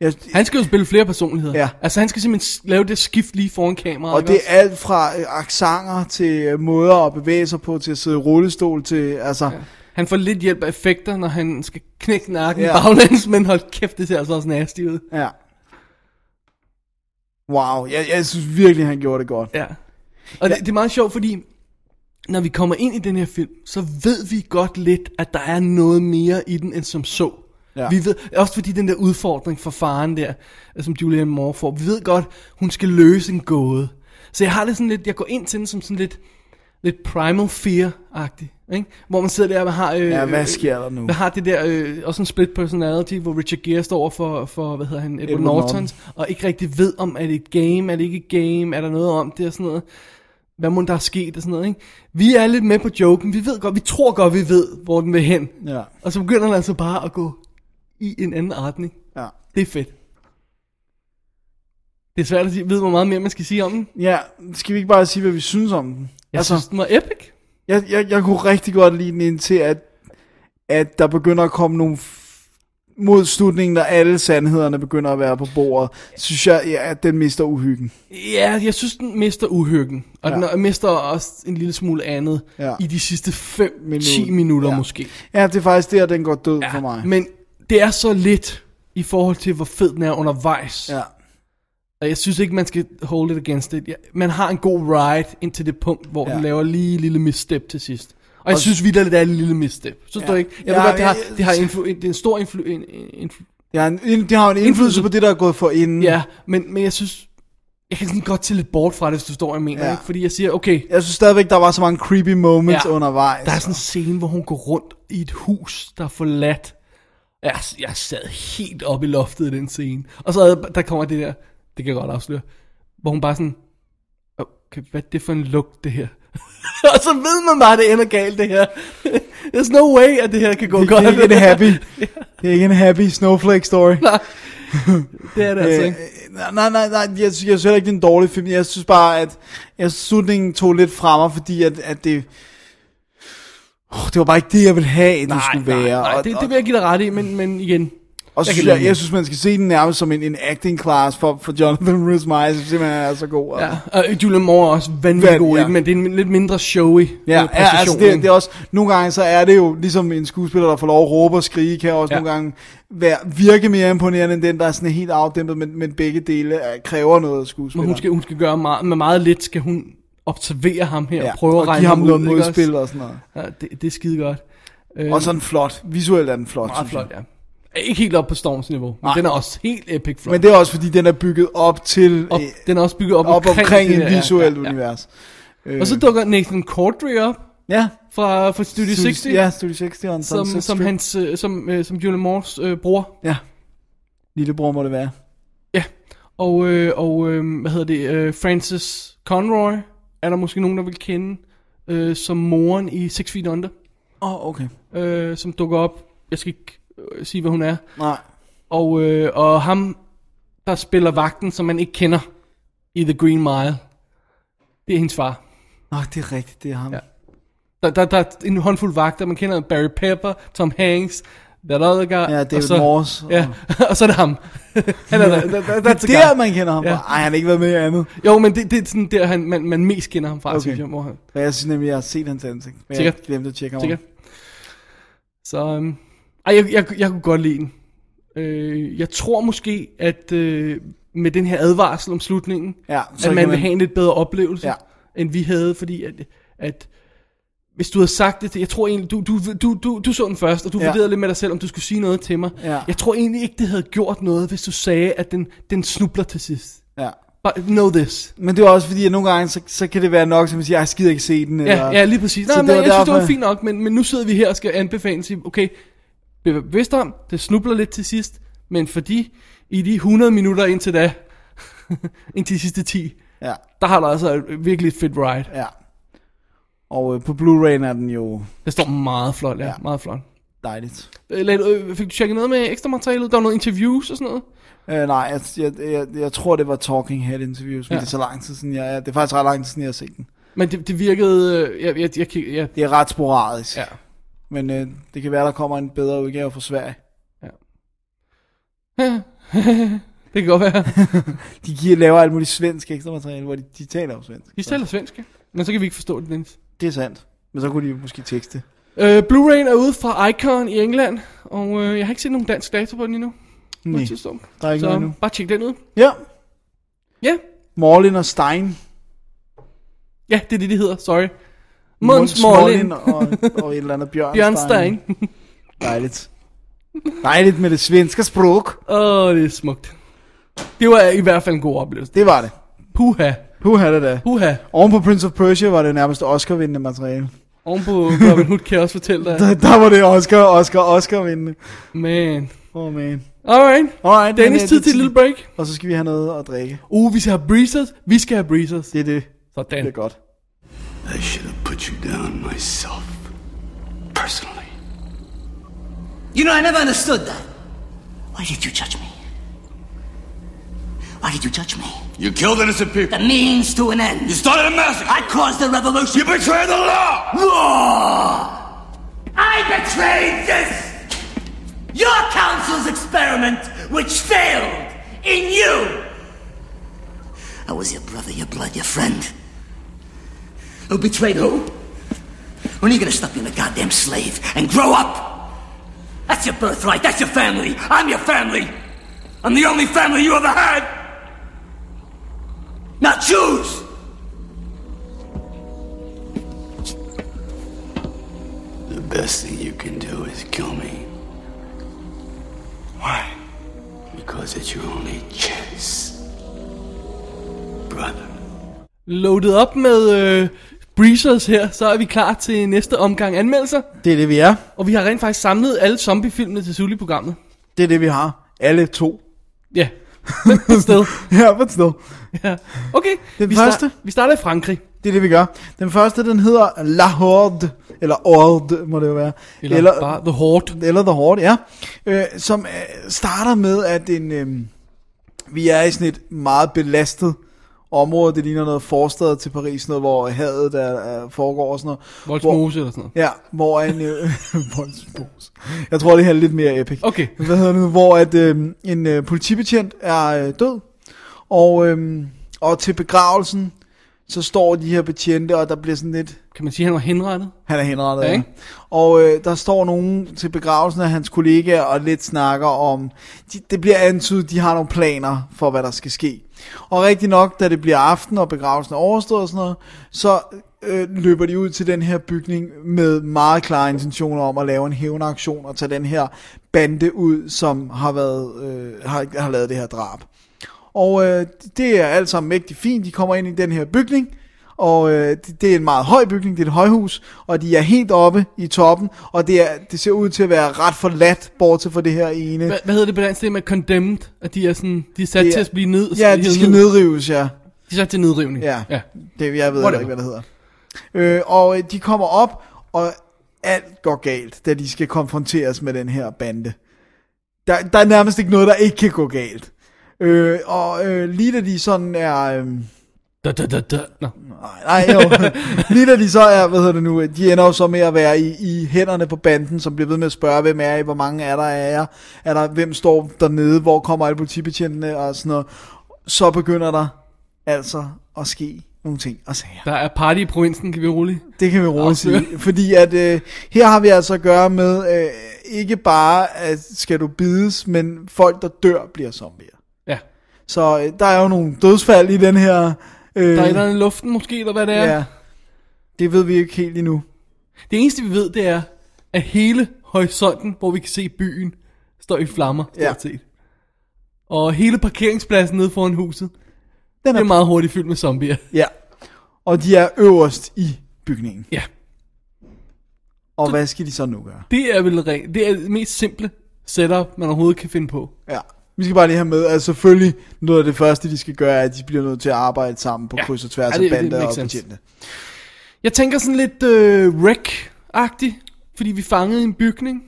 S7: jeg,
S6: Han skal jo spille flere personligheder.
S7: Ja.
S6: Altså, han skal simpelthen s- lave det skift lige foran kameraet.
S7: Og
S6: ikke
S7: det er
S6: også?
S7: alt fra øh, aksanger til øh, måder at bevæge sig på, til at sidde i rullestol, til altså... Ja.
S6: Han får lidt hjælp af effekter, når han skal knække nakken
S7: Ja.
S6: yeah. baglæns, men hold kæft, det ser altså også nasty ud.
S7: ja. Wow, jeg, jeg synes virkelig, han gjorde det godt.
S6: Ja. Og ja. Det, det er meget sjovt, fordi når vi kommer ind i den her film, så ved vi godt lidt, at der er noget mere i den, end som så.
S7: Ja.
S6: Ja. Vi ved, også fordi den der udfordring for faren der, øh, som Julianne Moore får, vi ved godt, hun skal løse en gåde. Så jeg har det sådan lidt, jeg går ind til den som sådan lidt, lidt primal fear-agtig, ikke? Hvor man sidder der og har... Øh,
S7: Ja, hvad
S6: øh,
S7: sker der nu?
S6: Hvad har det der, øh, også en split personality, hvor Richard Gere står over for, for hvad hedder han, Edward,
S7: Edward
S6: Edward
S7: Norton.
S6: Norton, og ikke rigtig ved om, er det et game, er det ikke et game, er der noget om det og sådan noget. Hvad må der er sket og sådan noget, ikke? Vi er lidt med på joken, vi ved godt, vi tror godt, vi ved, hvor den vil hen.
S7: Ja.
S6: Og så begynder den altså bare at gå i en anden retning.
S7: Ja.
S6: Det er fedt. Det er svært at sige, ved, hvor meget mere man skal sige om den.
S7: ja, skal vi ikke bare sige, hvad vi synes om den?
S6: Jeg altså, synes, den var epic.
S7: Jeg, jeg, jeg kunne rigtig godt lide den indtil, at, at der begynder at komme nogle f- mod slutningen, når alle sandhederne begynder at være på bordet, synes jeg, ja, at den mister uhyggen.
S6: Ja, jeg synes, den mister uhyggen. Og
S7: Ja.
S6: ja. den mister også en lille smule andet
S7: Ja.
S6: ja. i de sidste 5-10
S7: Minut.
S6: minutter, minutter
S7: Ja.
S6: ja. måske.
S7: Ja, det er faktisk der, den går død ja, for mig.
S6: Men det er så lidt i forhold til, hvor fed den er undervejs.
S7: Ja,
S6: Og jeg synes ikke, man skal hold it against it. Ja, Man har en god ride indtil det punkt, hvor
S7: Ja.
S6: ja. den laver lige en lille misstep til sidst. Og jeg synes videre, det er en lille misstep. Synes
S7: Ja.
S6: ja. du ikke? Jeg ja,
S7: Ja,
S6: ved godt, det har,
S7: jeg- Mm.
S6: det har influ- det er en stor influ- en, en,
S7: det har, en, det har en indflydelse på det, der er gået for inden.
S6: Ja, men, men jeg synes... Jeg kan sådan godt til lidt bort fra det, hvis du står, jeg mener.
S7: Ja.
S6: Ja. Ikke? Fordi jeg siger, okay,
S7: Jeg synes stadigvæk, der var så mange creepy moments ja.
S6: Ja.
S7: undervejs.
S6: Der er sådan en scene, hvor hun går rundt i et hus, der er forladt. Jeg, jeg sad helt oppe i loftet i den scene. Og så er- der kommer det der, det kan jeg godt afsløre, hvor hun bare sådan, okay, hvad er det for en lugt, det her? og så ved man bare, at det ender galt, det her. There's no way, at det her kan gå
S7: det,
S6: godt.
S7: det er ikke en happy, det er ikke en happy snowflake story.
S6: det er det altså ikke.
S7: Øh, øh, nej, nej, nej, jeg, jeg synes heller ikke, det er en dårlig film. Jeg synes bare, at jeg, synes, slutningen tog lidt fra mig, fordi at, at det... Oh, det var bare ikke det, jeg ville have, den skulle
S6: nej,
S7: være.
S6: nej,
S7: og,
S6: det,
S7: og,
S6: det vil jeg give dig ret i, men, men igen, jeg
S7: og synes,
S6: kan
S7: jeg,
S6: lide
S7: jeg
S6: den.
S7: synes, man skal se den nærmest som en, en acting class for, for Jonathan Rhys Meyers, som simpelthen er så god. og-
S6: ja. Og Julian Moore er også vanvittig
S7: Vand,
S6: god i
S7: ja.
S6: den, men det er en lidt mindre showy
S7: Ja,
S6: øh,
S7: ja altså
S6: præstation,
S7: det,
S6: ikke?
S7: det er også, nogle gange så er det jo ligesom en skuespiller, der får lov at råbe og skrige, kan også ja.
S6: Ja.
S7: nogle gange være, virke mere imponerende end den, der er sådan helt afdæmpet, men, men begge dele øh, kræver noget af
S6: Men
S7: skuespilleren.
S6: hun skal, hun skal gøre meget, med meget lidt, skal hun observere ham her ja, og prøve at
S7: og
S6: regne
S7: give ham
S6: ud,
S7: noget
S6: ikke også?
S7: modspil og sådan noget.
S6: Ja, det, det er skide godt. Øh,
S7: Og sådan flot. Visuelt er den flot,
S6: meget
S7: synes jeg.
S6: flot, ja. Ikke helt op på Storms niveau, men
S7: Nej.
S6: den er også helt epic flot.
S7: Men det er også fordi, den er bygget op til...
S6: op,
S7: øh,
S6: den er også bygget op,
S7: op omkring,
S6: det
S7: et
S6: der, ja,
S7: visuelt
S6: ja, ja.
S7: univers.
S6: Og så dukker Nathan Cordry op
S7: Ja.
S6: fra, fra Studio 60,
S7: Ja, Studio 60 og en
S6: som,
S7: Sunset
S6: som,
S7: Strip.
S6: hans, øh, som, øh, som Julian Moores øh, bror.
S7: Ja. Lillebror må det være.
S6: Ja. Og, øh, og øh, hvad hedder det, øh, Francis Conroy, er der måske nogen, der vil kende, øh, som moren i Six Feet Under.
S7: Åh, oh, okay.
S6: øh, som dukker op. Jeg skal ikke øh, sige, hvad hun er.
S7: Nej.
S6: Og, øh, og ham, der spiller vagten, som man ikke kender i The Green Mile, det er hendes far.
S7: Nå, det er rigtigt, det er ham. Ja.
S6: Ja. Der, der, der er en håndfuld vagter, man kender Barry Pepper, Tom Hanks, that other guy.
S7: Ja,
S6: og
S7: David
S6: så,
S7: Morse.
S6: Ja, og så er det ham. Han er der, der, der, der,
S7: Det er der, man kender ham. Ja.
S6: Ja.
S7: Ej, han har ikke været med i andet.
S6: Jo, men det, det er sådan der, han, man, man mest kender ham fra,
S7: Okay.
S6: okay. synes jeg, hvor han,
S7: Men jeg synes nemlig, jeg har set hans ansigt. Men jeg
S6: Sikkert.
S7: glemte at tjekke ham.
S6: Sikkert. Så, øhm, ej, jeg, jeg, jeg kunne godt lide den. Øh, jeg tror måske, at øh, med den her advarsel om slutningen,
S7: Ja, så
S6: så at
S7: kan
S6: man
S7: man-
S6: vil have en lidt bedre oplevelse,
S7: Ja.
S6: ja. end vi havde, fordi at, at hvis du havde sagt det, til- jeg tror egentlig, du, du, du, du, du så den først, og du
S7: Ja.
S6: ja. vurderede lidt med dig selv, om du skulle sige noget til mig.
S7: Ja.
S6: Jeg tror egentlig ikke, det havde gjort noget, hvis du sagde, at den, den snubler til sidst.
S7: Ja.
S6: But know this.
S7: Men det er også fordi, at nogle gange, så, så kan det være nok, som man siger, jeg gider ikke se den.
S6: Ja, ja lige præcis.
S7: Så
S6: Nej, men
S7: det
S6: jeg
S7: var
S6: synes, det
S7: derfor-
S6: var fint nok, men, men nu sidder vi her og skal anbefale og sige, okay, bliv bevidst om, det snubler lidt til sidst, men fordi i de 100 minutter indtil da, indtil de sidste 10,
S7: Ja,
S6: der har der altså et- virkelig et fedt ride.
S7: ja. Og øh, på Blu-ray er den jo
S6: Det står meget flot, ja,
S7: Ja.
S6: ja. meget flot.
S7: dejligt.
S6: Øh, lagde du- øh, Fik du tjekket noget med ekstra materialet? Der var noget interviews og sådan noget?
S7: Øh, nej, jeg, jeg, jeg, jeg tror, det var Talking Head interviews, men ja.
S6: Ja.
S7: det er så lang tid siden, jeg, det er faktisk ret lang tid siden, jeg har set den.
S6: Men det, det virkede... øh, Jeg, jeg, jeg, jeg, jeg,
S7: Det er ret sporadisk,
S6: ja.
S7: men øh, det kan være, der kommer en bedre udgave fra Sverige.
S6: Det kan godt være.
S7: De giver, laver alt muligt svensk ekstra materiale, hvor de, de taler om svensk.
S6: De taler svensk, men så kan vi ikke forstå det, Dennis.
S7: Det er sandt. Men så kunne de jo måske tekste.
S6: Øh, Blu-rayen er ude fra Icon i England, og øh, jeg har ikke set nogen dansk dato på den endnu.
S7: Nej,
S6: Nej. Tidspunkt.
S7: der er ikke
S6: Så
S7: noget nu.
S6: bare tjek den ud.
S7: Ja,
S6: Ja,
S7: Morlin og Stein.
S6: ja det er det, de hedder. Sorry. Måns Morlind.
S7: og, og et eller andet Bjørnstein.
S6: Bjørnstein.
S7: Dejligt. Dejligt med det svenske sprog.
S6: Åh, oh, det er smukt. Det var i hvert fald en god oplevelse.
S7: Det var det.
S6: Puha,
S7: Puha det da.
S6: puha.
S7: Oven på Prince of Persia var det nærmest Oscar-vindende materiale.
S6: Ovenpå Robin Hood kan jeg også fortælle dig.
S7: Der, der var det Oscar, Oscar, Oscar-vindende.
S6: Man.
S7: Oh man.
S6: Alright.
S7: Alright, men,
S6: Dennis
S7: øh,
S6: tid
S7: det-
S6: til et lille break.
S7: Og så skal vi have noget at drikke.
S6: Uh, vi skal have breezers. Vi skal have breezers.
S7: Det er det.
S6: Sådan.
S7: Det er godt.
S3: I should have put you down myself. Personally.
S2: You know, I never understood that. Why did you judge me? Why did you judge me?
S3: You killed innocent people.
S2: The means to an end.
S3: You started a massacre.
S2: I caused the revolution.
S3: You betrayed the law.
S2: War! I betrayed this! Your council's experiment, which failed in you! I was your brother, your blood, your friend. Who betrayed who? When are you gonna stop being a goddamn slave and grow up? That's your birthright, that's your family. I'm your family. I'm the only family you ever had. Now choose!
S3: The best thing you can do is kill me. Why? Because it's your only chance. Brother.
S6: Loaded op med øh, breezers her, så er vi klar til næste omgang anmeldelser.
S7: Det er det, vi er.
S6: Og vi har rent faktisk samlet alle zombiefilmene til Sully-programmet.
S7: Det er det, vi har. Alle to.
S6: Ja. På et sted.
S7: Ja, but still.
S6: Ja. Okay.
S7: Den
S6: vi
S7: første?
S6: vi starter i Frankrig.
S7: Det er det, vi gør. Den første, den hedder La Horde. Eller Ord, må det jo være.
S6: Eller, eller bare The Horde.
S7: eller The Horde, ja. Øh, som øh, starter med, at en, øh, vi er i sådan et meget belastet område. Det ligner noget forstad til Paris, noget, hvor hadet er, er, foregår og sådan noget. Hvor-
S6: Voldsmose eller sådan noget.
S7: Ja, hvor en... Øh, voldsbos. Jeg tror, det her er lidt mere epic.
S6: Okay.
S7: Hvad hedder det nu? Hvor at, øh, en øh, politibetjent er øh, død, og, øh, og til begravelsen, så står de her betjente, og der bliver sådan lidt...
S6: Kan man sige, at han var henrettet?
S7: Han er henrettet,
S6: Ja,
S7: ja.
S6: ikke?
S7: Og øh, der står nogen til begravelsen af hans kollegaer og lidt snakker om... De, det bliver antydet, de har nogle planer for, hvad der skal ske. Og rigtig nok, da det bliver aften, og begravelsen er overstået og sådan noget, så øh, løber de ud til den her bygning med meget klare intentioner om at lave en hævnaktion og tage den her bande ud, som har, været, øh, har, har lavet det her drab. Og øh, det er alt sammen mægtig fint. De kommer ind i den her bygning, og øh, det, det er en meget høj bygning, det er et højhus, og de er helt oppe i toppen, og det, er, det ser ud til at være ret forladt, bortset fra det her ene.
S6: Hva, hvad hedder det på dansk? Det er med condemned, at de er, sådan, de er sat
S7: Det er-
S6: til at blive ned.
S7: ja,
S6: hivet
S7: de skal nedrives, ja.
S6: De er sat til nedrivning.
S7: Ja.
S6: ja.
S7: Det, jeg ved
S6: Whatever.
S7: Whatever. ikke, hvad det hedder. Øh, og øh, de kommer op, og alt går galt, da de skal konfronteres med den her bande. Der, der er nærmest ikke noget, der ikke kan gå galt. Øh, og øh, lige da de sådan er... Øh,
S6: Da, da, da, da. Nå.
S7: Nej, nej, jo. Lige da de så er, hvad hedder det nu, de ender jo så med at være i, i hænderne på banden, som bliver ved med at spørge, hvem er I, hvor mange er der af jer, er der, hvem står dernede, hvor kommer alle politibetjentene og sådan noget. Så begynder der altså at ske nogle ting og sager.
S6: Der er party i provinsen, kan vi roligt.
S7: Det kan vi roligt
S6: Afsløre.
S7: sige. Fordi at øh, her har vi altså at gøre med, øh, ikke bare at skal du bides, men folk der dør bliver zombier.
S6: Ja.
S7: Så øh, der er jo nogle dødsfald i den her... Øh,
S6: Der er et eller andet i luften måske, eller hvad det er.
S7: ja. Det ved vi ikke helt endnu.
S6: Det eneste, vi ved, det er, at hele horisonten, hvor vi kan se byen, står i flammer, stort
S7: Ja.
S6: set. Og hele parkeringspladsen nede foran huset,
S7: Den
S6: det er meget hurtigt fyldt med zombier.
S7: Ja. Og de er øverst i bygningen.
S6: Ja.
S7: Og hvad skal de så nu gøre?
S6: Det er vel rent, det er det mest simple setup, man overhovedet kan finde på.
S7: Ja. Vi skal bare lige have med, at selvfølgelig noget af det første, de skal gøre, er, at de bliver nødt til at arbejde sammen på
S6: Ja.
S7: ja. kryds og tværs
S6: Ja,
S7: ja,
S6: det-
S7: af
S6: det
S7: bander
S6: makes
S7: og
S6: sense.
S7: betjente.
S6: Jeg tænker sådan lidt øh, wreck-agtigt, fordi vi fangede en bygning.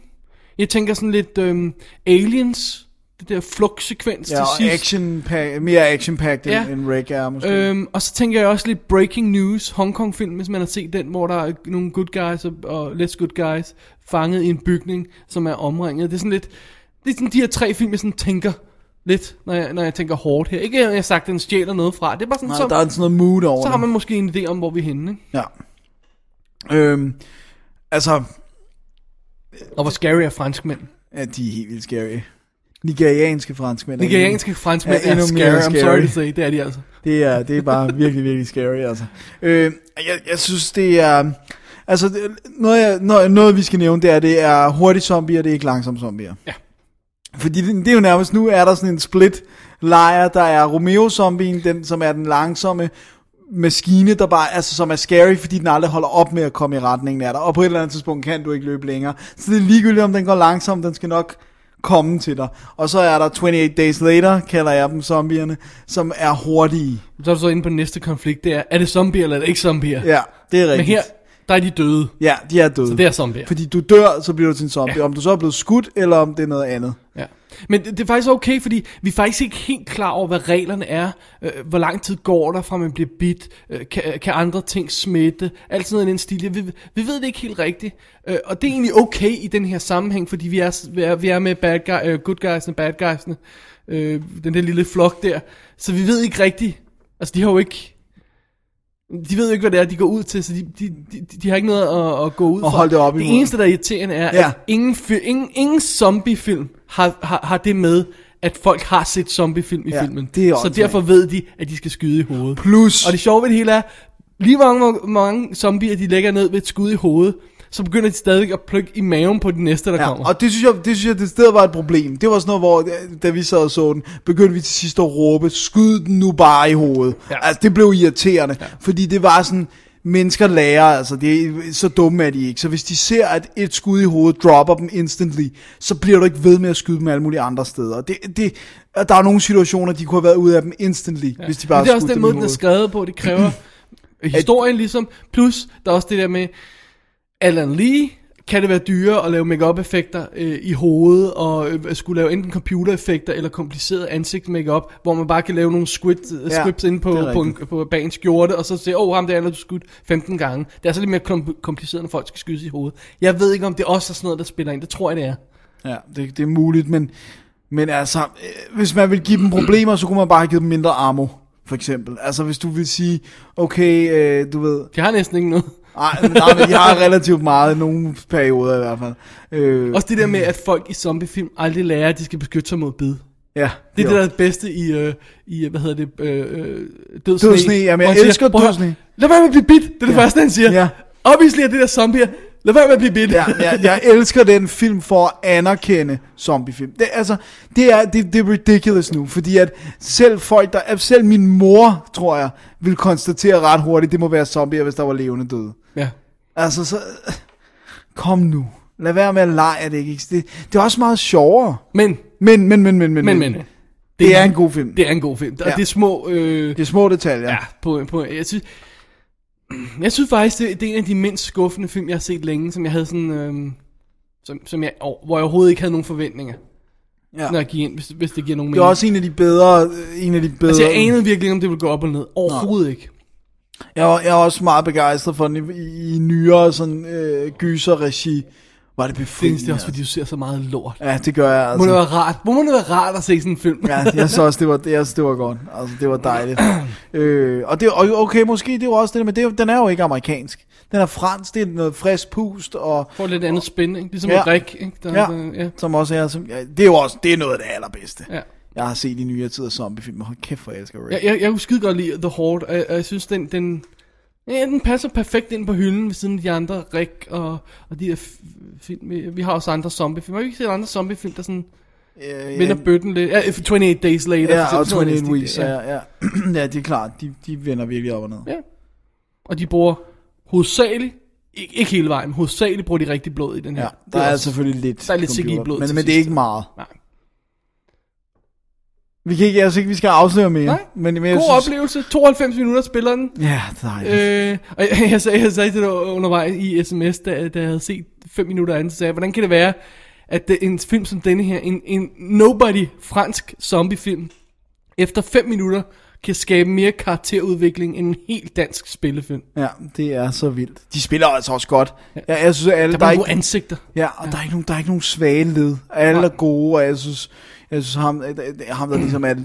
S6: Jeg tænker sådan lidt øh, aliens, det der flugtsekvens
S7: Ja, og
S6: til sidst.
S7: action pack, mere action pack end,
S6: Ja.
S7: ja. end Rick er måske. Øh.
S6: Øhm, og så tænker jeg også lidt breaking news, Hongkong-film, hvis man har set den, hvor der er nogle good guys og, og less good guys fanget i en bygning, som er omringet. Det er sådan lidt, det er sådan de her tre film, jeg sådan tænker lidt, når jeg, når jeg tænker hårdt her. Ikke at jeg har sagt, at den stjæler noget fra, det er bare sådan,
S7: Nej,
S6: så,
S7: der er sådan noget mood over
S6: så har
S7: det.
S6: man måske en idé om, hvor vi er henne. Ikke?
S7: Ja. Øhm, altså,
S6: Og hvor scary er franskmænd.
S7: ja, de er helt vildt scary. Nigerianske franskmænd. er
S6: Nigerianske franskmænd
S7: Ja,
S6: er,
S7: endnu
S6: er
S7: mere
S6: scary, I'm sorry
S7: scary.
S6: to say, det er de altså.
S7: Det er, det er bare virkelig, virkelig scary, altså. Øh, jeg, jeg synes, det er... Altså, det- noget, jeg, noget, noget vi skal nævne, det er, det er hurtige zombier, det er ikke langsomme zombier.
S6: Ja.
S7: Fordi det, det er jo nærmest, nu er der sådan en split lejr, der er Romeo-zombien, den som er den langsomme maskine, der bare, altså som er scary, fordi den aldrig holder op med at komme i retningen af dig, og på et eller andet tidspunkt kan du ikke løbe længere. Så det er ligegyldigt, om den går langsomt, den skal nok komme til dig. Og så er der 28 Days Later, kalder jeg dem zombierne, som er hurtige.
S6: Så er du så inde på den næste konflikt, det er, er det zombier eller er det ikke zombier?
S7: Ja, det er rigtigt.
S6: Men her, der er de døde.
S7: Ja, de er døde.
S6: Så det er zombier.
S7: Fordi du dør, så bliver du til en zombie. Ja. Om du så er blevet skudt, eller om det er noget andet.
S6: Ja. Men det, det er faktisk okay, fordi vi er faktisk ikke helt klar over, hvad reglerne er. Øh, hvor lang tid går der, fra man bliver bidt? Øh, kan, kan andre ting smitte? Alt sådan noget i den stil. Ja, Vi, vi ved det ikke helt rigtigt. Øh, og det er egentlig okay i den her sammenhæng, fordi vi er, s- vi er, vi er med bad guy, øh, good guysene, bad guysene. Øh, den der lille flok der. Så vi ved ikke rigtigt. Altså, de har jo ikke... De ved jo ikke, hvad det er, de går ud til, så de, de, de, de har ikke noget at, at gå ud
S7: Og
S6: fra.
S7: holde det op
S6: Det
S7: imod.
S6: eneste, der er irriterende, er, ja.
S7: Ja.
S6: at ingen, fi- ingen, ingen zombiefilm har, har, har det med, at folk har set zombiefilm i
S7: Ja,
S6: filmen.
S7: det er
S6: så
S7: åndssvagt.
S6: derfor ved de, at de skal skyde i hovedet.
S7: Plus-
S6: Og det sjove ved det hele er, lige hvor mange, hvor mange zombier, de lægger ned ved et skud i hovedet, så begynder de stadig at plukke i maven på de næste, der
S7: Ja,
S6: kommer.
S7: og det synes jeg, det synes jeg, det sted var et problem. Det var sådan noget, hvor, øh, da vi sad og så den, begyndte vi til sidst at råbe, skyd den nu bare i hovedet.
S6: Ja.
S7: Ja. Altså, det blev irriterende, ja. fordi det var sådan, mennesker lærer, altså, det er, så dumme er de ikke. Så hvis de ser, at et skud i hovedet dropper dem instantly, så bliver du ikke ved med at skyde dem alle mulige andre steder. Det, det, og der er nogle situationer, de kunne have været ude af dem instantly, ja. hvis de bare
S6: Men det er også
S7: skudte
S6: den
S7: dem i
S6: måde, den er
S7: hovedet.
S6: skrevet på, det kræver historien ligesom, plus der er også det der med, Alan Lee, kan det være dyrere at lave makeup effekter øh, i hovedet, og øh, at skulle lave enten computereffekter eller kompliceret ansigt makeup, hvor man bare kan lave nogle squid, øh,
S7: Ja,
S6: scripts inde
S7: det
S6: på,
S7: er
S6: på, en,
S7: rigtigt.
S6: på bag en skjorte, og så se, åh, oh, ham der er du skudt 15 gange. Det er så lidt mere kom- kompliceret, når folk skal skydes i hovedet. Jeg ved ikke, om det også er sådan noget, der spiller ind. Det tror jeg, det er.
S7: Ja, det, det er muligt, men, men altså, øh, hvis man vil give dem problemer, så kunne man bare have givet dem mindre ammo, for eksempel. Altså, hvis du vil sige, okay, øh, du ved,
S6: De har næsten ikke noget.
S7: ej, men nej, men de har relativt meget i nogle perioder i hvert fald. Øh,
S6: Også det der med, at folk i zombiefilm aldrig lærer, at de skal beskytte sig mod bid.
S7: ja,
S6: Det er
S7: jo.
S6: det, der er det bedste i, øh, i øh, hvad hedder det, øh, øh, død
S7: Død Sne, jamen, jeg elsker Død Sne.
S6: Lad være med at blive bit, det er det ja. første, han siger. Ja.
S7: Ja.
S6: Obviously er det der zombier, lad være med at blive bit.
S7: Ja, jeg, jeg elsker den film for at anerkende zombiefilm. Det, altså, det er, det, det er ridiculous nu, fordi at selv folk, der, at selv min mor, tror jeg, vil konstatere ret hurtigt, det må være zombier, hvis der var levende døde.
S6: ja.
S7: Altså, så... Kom nu. Lad være med at lege, at det ikke eksisterer. Det er også meget sjovere.
S6: Men,
S7: Men, men, men, men, men,
S6: men, men.
S7: Det er en god film.
S6: Det er en god film. Og
S7: Ja.
S6: det er små... Øh,
S7: Det er små detaljer.
S6: ja, på, på, jeg synes, jeg synes faktisk, det, det er en af de mindst skuffende film, jeg har set længe, som jeg havde sådan... Øh, som, som jeg, hvor jeg overhovedet ikke havde nogen forventninger,
S7: Ja.
S6: når jeg gik ind, hvis, hvis det giver nogen
S7: Det
S6: mening.
S7: er også en af de bedre... øh, En af de bedre.
S6: altså, jeg anede virkelig ikke, om det ville gå op eller ned. Overhovedet ikke.
S7: jeg, var- jeg er også meget begejstret for den i, i, i nyere sådan, øh, gyser-regi. Var det
S6: Det
S7: befriende?
S6: eneste er også, fordi du ser så meget lort.
S7: Ja, det gør jeg
S6: Må det
S7: altså.
S6: være rart? Hvor må det være rart at se sådan en film?
S7: Ja, jeg så også, det var, det, jeg, det var godt. Altså, det var dejligt. Øh, og det, og okay, måske det var også det, der- men det, er jo- den er jo ikke amerikansk. Den er fransk, det er noget frisk pust, og
S6: Får lidt andet spænd, ikke? Ligesom
S7: Ja.
S6: ja. Rik, ikke? Der,
S7: Ja.
S6: Der, ja.
S7: Som også er, som, ja, det er jo også, det er noget af det allerbedste.
S6: ja.
S7: Jeg har set i nyere tid af zombiefilm, og hold kæft for jeg elsker Ray.
S6: Jeg, jeg, jeg kunne skide godt lide The Horde, og jeg, og jeg synes, den, den, ja, den passer perfekt ind på hylden ved siden af de andre Rik og, og de der f- film. Vi, vi har også andre zombiefilm. Har vi ikke set andre zombiefilm, der sådan
S7: øh,
S6: vinder bøtten lidt? Ja, 28 Days Later. for
S7: ja,
S6: eksempel.
S7: og
S6: Sådan noget
S7: 28
S6: i den
S7: Weeks,
S6: stil der,
S7: ja. Ja, ja, det er klart, de, de vender virkelig op og ned.
S6: Ja. Og de bruger hovedsageligt, ikke, ikke hele vejen, men hovedsageligt bruger de rigtig blod i den her.
S7: Ja,
S6: Det
S7: der er, altså-
S6: også-
S7: selvfølgelig lidt
S6: der er lidt
S7: computer,
S6: CGI blod til
S7: men, men det er
S6: sidst.
S7: ikke meget.
S6: Nej.
S7: Vi kan ikke, jeg synes ikke, vi skal afsløre mere.
S6: Nej.
S7: men, men jeg
S6: God
S7: synes,
S6: oplevelse, 92 minutter spiller den.
S7: Ja, dejligt. Øh,
S6: Øh, og jeg, jeg, sagde, jeg sagde til dig undervejs i sms, da, da jeg havde set 5 minutter andet, så sagde jeg, hvordan kan det være, at det, en film som denne her, en, en nobody fransk zombiefilm, efter 5 minutter kan skabe mere karakterudvikling end en helt dansk spillefilm.
S7: ja, det er så vildt. De spiller altså også godt. Ja, jeg synes, at alle,
S6: Der
S7: der, er
S6: var gode
S7: ikke,
S6: ansigter.
S7: ja, og der er ikke nogen, der er ikke nogen svage led. Alle er gode, og jeg synes, jeg synes ham, øh, ham, der ligesom er øh,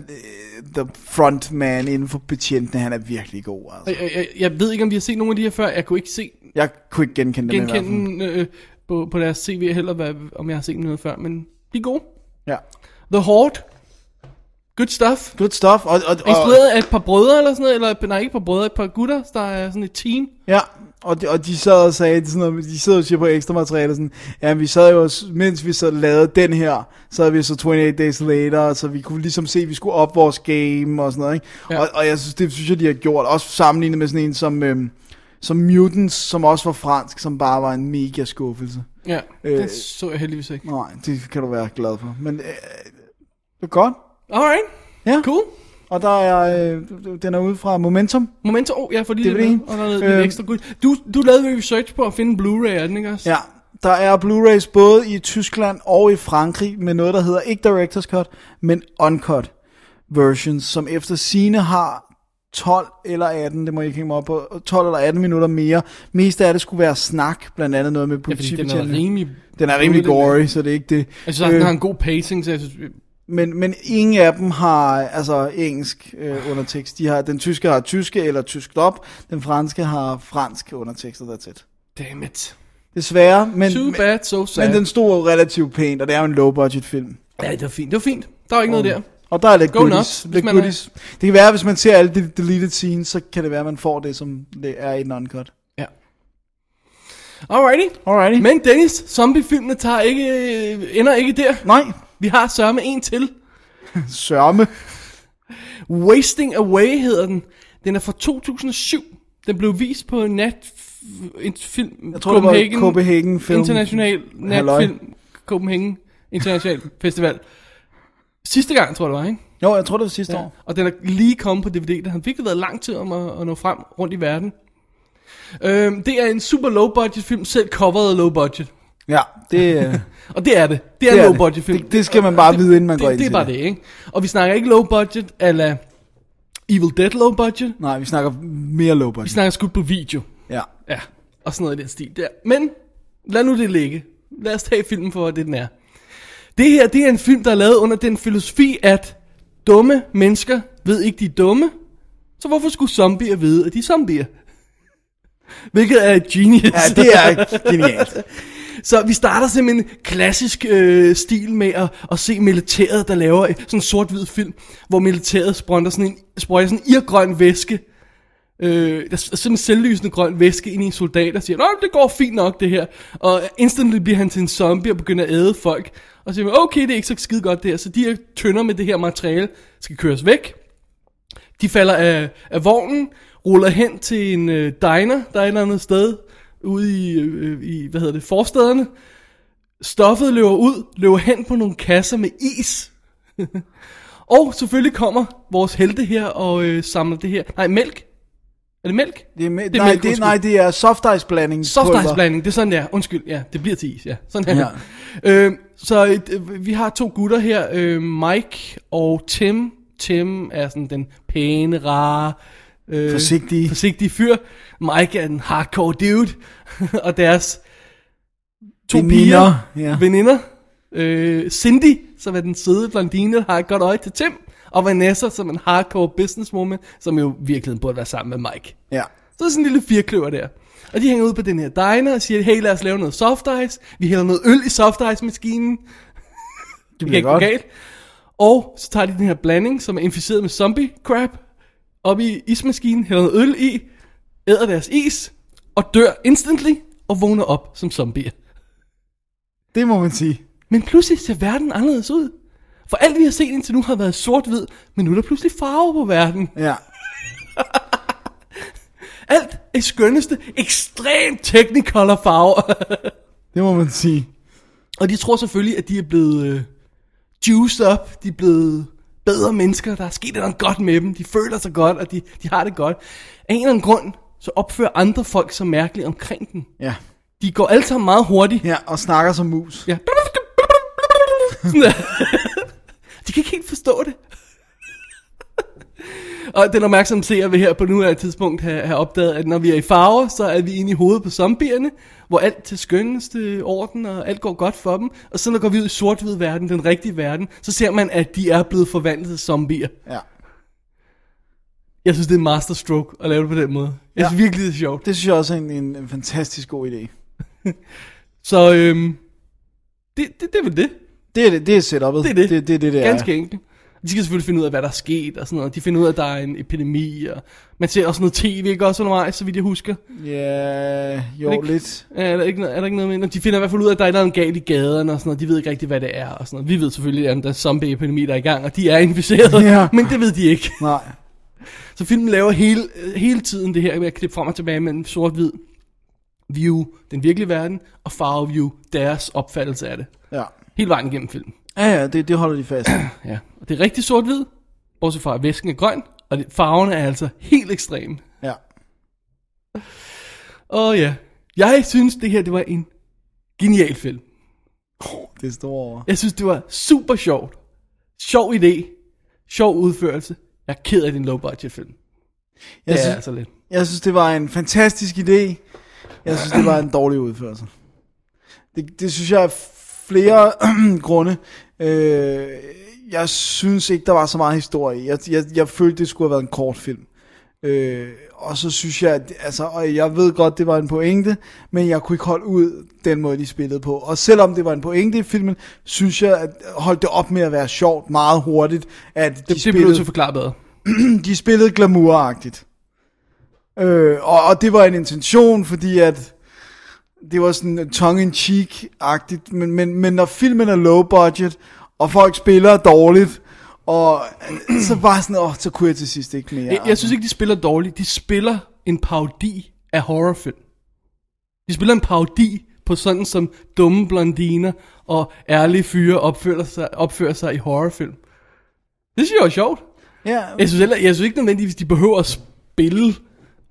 S7: the frontman inden for betjentene, han er virkelig god. Altså.
S6: Og Jeg, jeg, jeg ved ikke, om vi har set nogen af de her før. Jeg kunne ikke se
S7: Jeg kunne ikke genkende, dem i hvert fald.
S6: genkende øh, på, på deres CV heller, hvad, om jeg har set noget før, men de er gode.
S7: Ja.
S6: The Horde. Good stuff.
S7: Good stuff. Og, og, og,
S6: Inspireret af et par brødre eller sådan noget, eller nej, ikke et par brødre, et par gutter, der er sådan et team,
S7: ja, og de, og de sad og sagde sådan noget, de sidder og siger på ekstra materiale sådan, ja, vi sad jo, også- mens vi så lavede den her, så havde vi så 28 Days Later, så vi kunne ligesom se, at vi skulle op vores game og sådan noget, ikke?
S6: Ja.
S7: Ja. Og, og jeg synes, det synes jeg, de har gjort, også sammenlignet med sådan en som, øhm, som Mutants, som også var fransk, som bare var en mega skuffelse.
S6: Ja, øh,
S7: Øh.
S6: det så jeg heldigvis ikke.
S7: Nej, det kan du være glad for, men øh, det er godt.
S6: Alright,
S7: Ja,
S6: cool.
S7: og der er, øh, den er ude fra Momentum.
S6: Momento, oh, jeg får lige
S7: Det var
S6: lidt
S7: det
S6: med,
S7: ene.
S6: og der er lidt
S7: Øh.
S6: ekstra guld. Du, du lavede jo research på at finde en Blu-ray af den, ikke også?
S7: Ja, der er Blu-rays både i Tyskland og i Frankrig med noget, der hedder ikke Director's Cut, men Uncut versions, som efter sine har 12 eller 18, det må jeg ikke hænge mig op på, 12 eller 18 minutter mere. Mest af det skulle være snak, blandt andet noget med
S6: ja fordi den er
S7: politibetjentene.
S6: rimelig...
S7: den er rimelig gory, så det er ikke det.
S6: Jeg synes, øh, den har en god pacing, så jeg synes... øh,
S7: Men, men ingen af dem har altså engelsk øh, undertekst. De har, den tyske har tyske eller tysk op, den franske har fransk undertekst, og that's it.
S6: Damn it.
S7: Desværre, men,
S6: Too
S7: men,
S6: bad, so sad.
S7: men den stod jo relativt pænt, og det er jo en low-budget film.
S6: Ja, det var fint. Det var fint. Der var ikke noget der.
S7: Og der er lidt
S6: Go
S7: goodies.
S6: nuts, hvis
S7: lidt
S6: man
S7: goodies. Det kan være, hvis man ser alle de deleted scenes, så kan det være, at man får det, som det er i den uncut.
S6: Ja. Alrighty.
S7: Alrighty.
S6: Men Dennis, zombiefilmene tager ikke, øh, ender ikke der.
S7: Nej,
S6: Vi har sørme en til.
S7: sørme.
S6: Wasting Away hedder den. Den er fra 2007. Den blev vist på en nat en film.
S7: Jeg tror, det var Copenhagen Film.
S6: International
S7: Halløj.
S6: natfilm. Copenhagen International Festival. Sidste gang, tror jeg det var, ikke?
S7: Jo, jeg tror, det var sidste ja. år.
S6: Og den er lige kommet på DVD. Der har virkelig været lang tid om at, at nå frem rundt i verden. Øhm, det er en super low budget film, selv coveret af low budget.
S7: Ja, det, øh,
S6: Og det er det. Det er en
S7: Det er
S6: low
S7: det.
S6: budget film.
S7: Det- det skal man bare vide, inden man
S6: det,
S7: går
S6: det.
S7: ind
S6: Det er
S7: til
S6: bare det,
S7: det.
S6: ikke? Og vi snakker ikke low budget, eller Evil Dead low budget.
S7: nej, vi snakker mere
S6: Vi
S7: low-budget.
S6: snakker skudt på video.
S7: Ja.
S6: Ja, og sådan noget i den stil der. Men lad nu det ligge. Lad os tage filmen for, hvad det den er. Det her, det er en film, der er lavet under den filosofi, at dumme mennesker ved ikke, de er dumme. Så hvorfor skulle zombier vide, at de er zombier? Hvilket er genius.
S7: ja, det er genialt.
S6: Så vi starter simpelthen klassisk øh, stil med at, at se militæret, der laver sådan en sort-hvid film, hvor militæret sprøjter sådan en, sprøjter sådan en irgrøn væske. Øh, der er simpelthen selvlysende grøn væske ind i en soldat, der siger, Nå, det går fint nok det her. Og instantly bliver han til en zombie og begynder at æde folk. Og så siger, man, okay, det er ikke så skide godt det her. Så de her tønder med det her materiale skal køres væk. De falder af, af vognen, ruller hen til en øh, diner, der er et eller andet sted, ude i, øh, i hvad hedder det, forstederne. Stoffet løber ud, løber hen på nogle kasser med is. og selvfølgelig kommer vores helte her og øh, samler det her. Nej, mælk. Er det mælk?
S7: Det er, med,
S6: Det er
S7: nej,
S6: mælk,
S7: det,
S6: undskyld.
S7: nej, det er soft ice blanding.
S6: Soft ice blanding, det er sådan der. Undskyld, ja, det bliver til is, ja. Sådan her. Ja. Øhm, så øh, vi har to gutter her, øh, Mike og Tim. Tim er sådan den pæne, rare, øh,
S7: Forsigtige.
S6: forsigtige fyr. Mike er en hardcore dude, og deres to
S7: Veninder,
S6: piger,
S7: ja.
S6: veninder. Øh, Cindy, som er den søde blondine, der har et godt øje til Tim. Og Vanessa, som er en hardcore businesswoman, som jo virkelig burde være sammen med Mike.
S7: Ja.
S6: Så er sådan en lille firkløver der. Og de hænger ud på den her diner og siger, hey lad os lave noget soft ice. Vi hælder noget øl i soft ice maskinen. Det kan ikke gå
S7: godt.
S6: galt. Og så tager de den her blanding, som er inficeret med zombie crap, op i ismaskinen, hælder noget øl i, æder deres is, og dør instantly, og vågner op som zombier.
S7: Det må man sige.
S6: Men pludselig ser verden anderledes ud. For alt vi har set indtil nu har været sort-hvid, men nu er der pludselig farve på verden.
S7: Ja.
S6: Alt er skønneste, ekstremt technicolor farver.
S7: Det må man sige.
S6: Og de tror selvfølgelig, at de er blevet øh, juiced up, de er blevet bedre mennesker, der er sket noget godt med dem, de føler sig godt, og de, de har det godt. Af en eller anden grund, så opfører andre folk sig mærkeligt omkring dem.
S7: Ja.
S6: De går alle sammen meget hurtigt.
S7: Ja, og snakker som mus.
S6: Ja. Sådan der. de kan ikke helt forstå det. Og den opmærksomme seer vil her på nuværende tidspunkt have, have opdaget, at når vi er i farver, så er vi inde i hovedet på zombierne, hvor alt til skønneste orden, og alt går godt for dem. Og så når går vi ud i sort-hvid verden, den rigtige verden, så ser man, at de er blevet forvandlet til zombier.
S7: Ja.
S6: Jeg synes, det er en masterstroke at lave det på den måde. Jeg synes virkelig, det er sjovt.
S7: Det synes jeg også er en, en, en fantastisk god idé.
S6: Så øhm, det, det, det er vel det.
S7: Det er det, det er setup'et.
S6: Det er det.
S7: Det, det, er det, det
S6: Ganske
S7: er.
S6: enkelt. De skal selvfølgelig finde ud af, hvad der er sket og sådan noget. De finder ud af, at der er en epidemi. Og man ser også noget tv, ikke også undervejs, så vidt jeg husker.
S7: Ja, jo,
S6: ikke-
S7: lidt.
S6: Ja, Er der ikke, noget- er der ikke noget med? Nå, De finder i hvert fald ud af, at der er noget galt i gaderne og sådan noget. De ved ikke rigtigt, hvad det er og sådan noget. Vi ved selvfølgelig, at der er zombie-epidemi, der er i gang, og de er inficerede,
S7: Ja.
S6: men det ved de ikke.
S7: Nej.
S6: Så filmen laver hele, øh, hele tiden det her med at klippe frem og tilbage mellem sort-hvid view, den virkelige verden, og farve-view, deres opfattelse af det.
S7: Ja.
S6: Hele vejen igennem filmen.
S7: Ja, ja, det, det holder de fast. i.
S6: Ja. Og det er rigtig sort-hvid, bortset fra at væsken er grøn, og det, farverne er altså helt ekstreme.
S7: Ja.
S6: Åh ja, jeg synes det her, det var en genial film.
S7: Det står over.
S6: Jeg synes, det var super sjovt. Sjov idé. Sjov udførelse. Jeg er ked af din low budget film. Det
S7: Jeg,
S6: er
S7: synes,
S6: altså lidt.
S7: jeg synes, det var en fantastisk idé. Jeg synes, det var en dårlig udførelse. Det, det synes jeg er flere grunde. Øh, jeg synes ikke, der var så meget historie. i. Jeg, jeg, jeg følte, det skulle have været en kort film. Øh, og så synes jeg, at, altså, og jeg ved godt, det var en pointe, men jeg kunne ikke holde ud den måde, de spillede på. Og selvom det var en pointe i filmen, synes jeg, at holdt det op med at være sjovt meget hurtigt, at de
S6: Det, det bliver du nødt til
S7: spillede
S6: at forklare bedre.
S7: de spillede glamouragtigt. Øh, og, og det var en intention, fordi at det var sådan tongue-in-cheek-agtigt, men, men, men når filmen er low budget, og folk spiller dårligt, og så var sådan, åh, så kunne jeg til sidst ikke mere.
S6: Jeg, jeg synes ikke, de spiller dårligt. De spiller en parodi af horrorfilm. De spiller en parodi på sådan som dumme blondiner og ærlige fyre opfører sig, opfører sig i horrorfilm. Det synes jeg er sjovt.
S7: ja,
S6: Jeg synes, heller, jeg synes ikke nødvendigvis, de behøver at spille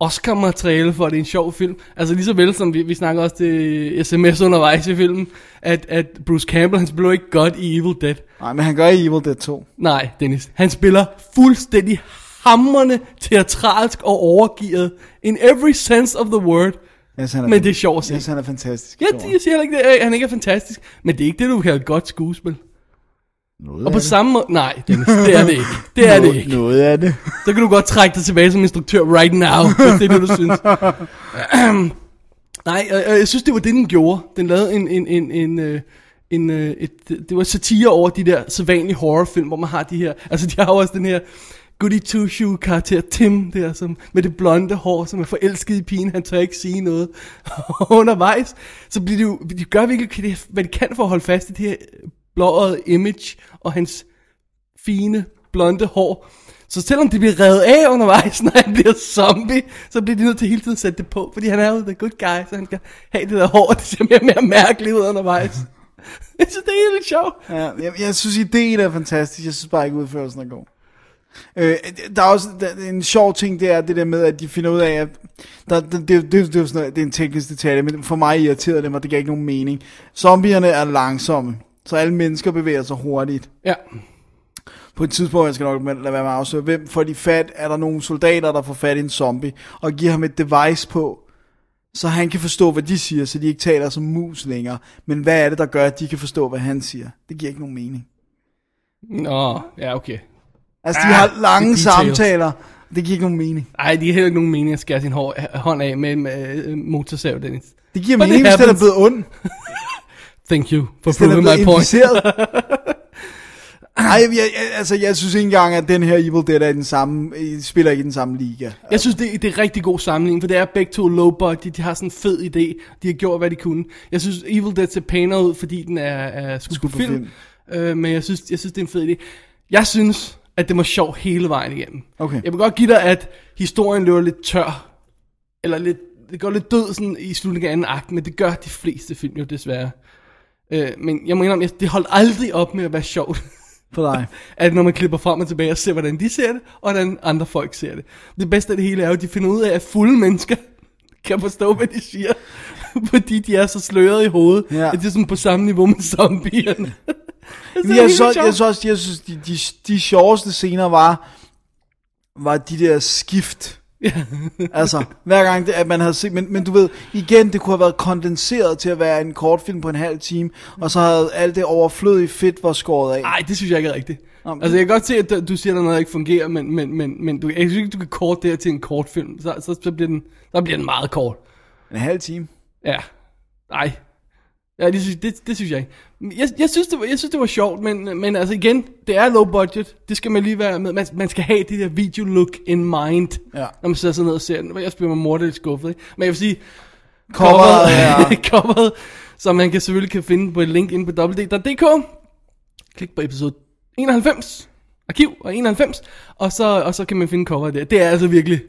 S6: Oscar-materiale for, at det er en sjov film. Altså lige så vel som vi, vi snakker også det sms undervejs i filmen, at, at Bruce Campbell, han spiller jo ikke godt i Evil Dead.
S7: nej, men han gør i Evil Dead 2.
S6: Nej, Dennis. Han spiller fuldstændig hammerne teatralsk og overgivet in every sense of the word.
S7: Yes, han er
S6: Men det er sjovt at se.
S7: Yes, han er fantastisk.
S6: Jeg, jeg siger heller ikke, at han ikke er fantastisk, men det er ikke det, du kalder et godt skuespil. Noget og på samme måde... Nej, Dennis, det er det ikke. Det er det ikke.
S7: Noget af det.
S6: Så kan du godt trække dig tilbage som instruktør right now, hvis det er det, du synes. Nej, og, og jeg synes, det var det, den gjorde. Den lavede en... en, en, en øh, en, øh, et, det var satire over de der sædvanlige horrorfilm, hvor man har de her... Altså, de har jo også den her goody two shoe karakter Tim der, som, med det blonde hår, som er forelsket i pigen, han tør ikke sige noget. Og undervejs, så bliver de jo, de gør virkelig, det- hvad de kan for at holde fast i det her blåøjet image, og hans fine, blonde hår. Så selvom det bliver revet af undervejs, når han bliver zombie, så bliver de nødt til hele tiden at sætte det på, fordi han er jo the good guy, så han kan have det der hår, og det ser mere og mere mærkeligt ud undervejs. Jeg synes, det er helt sjovt.
S7: Ja, jeg, jeg synes, ideen er fantastisk. Jeg synes bare ikke, udførelsen er god. Øh, der er også der, en sjov ting, det er det der med, at de finder ud af, at der, det, det, det, det, er jo sådan noget, det er en teknisk detalje, men for mig irriterede det mig, det gav ikke nogen mening. Zombierne er langsomme, så alle mennesker bevæger sig hurtigt.
S6: Ja,
S7: På et tidspunkt, jeg skal nok lade være med at afsløre, hvem får de fat? Er der nogle soldater, der får fat i en zombie, og giver ham et device på, så han kan forstå, hvad de siger, så de ikke taler som mus længere. Men hvad er det, der gør, at de kan forstå, hvad han siger? Det giver ikke nogen mening.
S6: nå, ja okay.
S7: Altså, de har lange
S6: details.
S7: samtaler. Det giver ikke nogen mening.
S6: Ej, det er heller ikke nogen mening at skære sin hår, hånd af med en øh, motorsav, Dennis.
S7: Det giver
S6: But it
S7: mening, hvis den er
S6: happens.
S7: blevet ond.
S6: Thank you for
S7: Hvis den
S6: proving
S7: er blevet
S6: my point.
S7: inficeret. Ej, jeg, jeg, altså, jeg synes ikke engang, at den her Evil Dead er i den samme, i- spiller ikke i den samme liga.
S6: Jeg synes, det, det er rigtig god sammenligning, for det er begge to low budget, de har sådan en fed idé, de har gjort, hvad de kunne. Jeg synes, Evil Dead ser pænere ud, fordi den er, er skudt på
S7: på
S6: film, øh, men jeg synes, jeg synes, det er en fed idé. Jeg synes, at det var sjov hele vejen igennem.
S7: Okay.
S6: Jeg vil godt give dig, at historien løber lidt tør, eller lidt, det går lidt død sådan i slutningen af anden akt, men det gør de fleste film jo desværre. Øh, men jeg må indrømme, at det holdt aldrig op med at være sjovt
S7: For dig.
S6: at når man klipper frem og tilbage og ser, hvordan de ser det, og hvordan andre folk ser det. Det bedste af det hele er jo, at de finder ud af, at fulde mennesker kan forstå, hvad de siger, fordi de er så sløret i hovedet,
S7: Ja.
S6: ja. at det er sådan på samme niveau med zombierne.
S7: Men jeg, så, jeg, så også, jeg synes, de, de, de sjoveste scener var, var de der skift. altså, hver gang, det, at man havde set, men, men du ved, igen, det kunne have været kondenseret til at være en kortfilm på en halv time, og så havde alt det overflødige fedt var skåret af.
S6: Nej, det synes jeg ikke er rigtigt.
S7: Nå, men-
S6: Altså, jeg kan godt se, at du- du siger, at der er noget, der ikke fungerer, men, men, men, men du, jeg synes ikke, du kan kort det her til en kort film. Så, så, så, bliver, den, så bliver den meget kort.
S7: En halv time.
S6: Ja. Nej. Ja, det synes, det, det synes jeg ikke. Jeg, jeg, synes, det var, jeg synes, det var sjovt, men, men altså igen, det er low budget. Det skal man lige være med. Man, man skal have det der video look in mind,
S7: Ja.
S6: når man sidder sådan ned og ser den. Jeg bliver mig mordet lidt skuffet, ikke? Men jeg vil sige,
S7: Coveret er...
S6: coveret, som man kan selvfølgelig kan finde på et link inde på www.dk. Klik på episode 91, arkiv og 91, og så, og så kan man finde coveret der. Det er altså virkelig,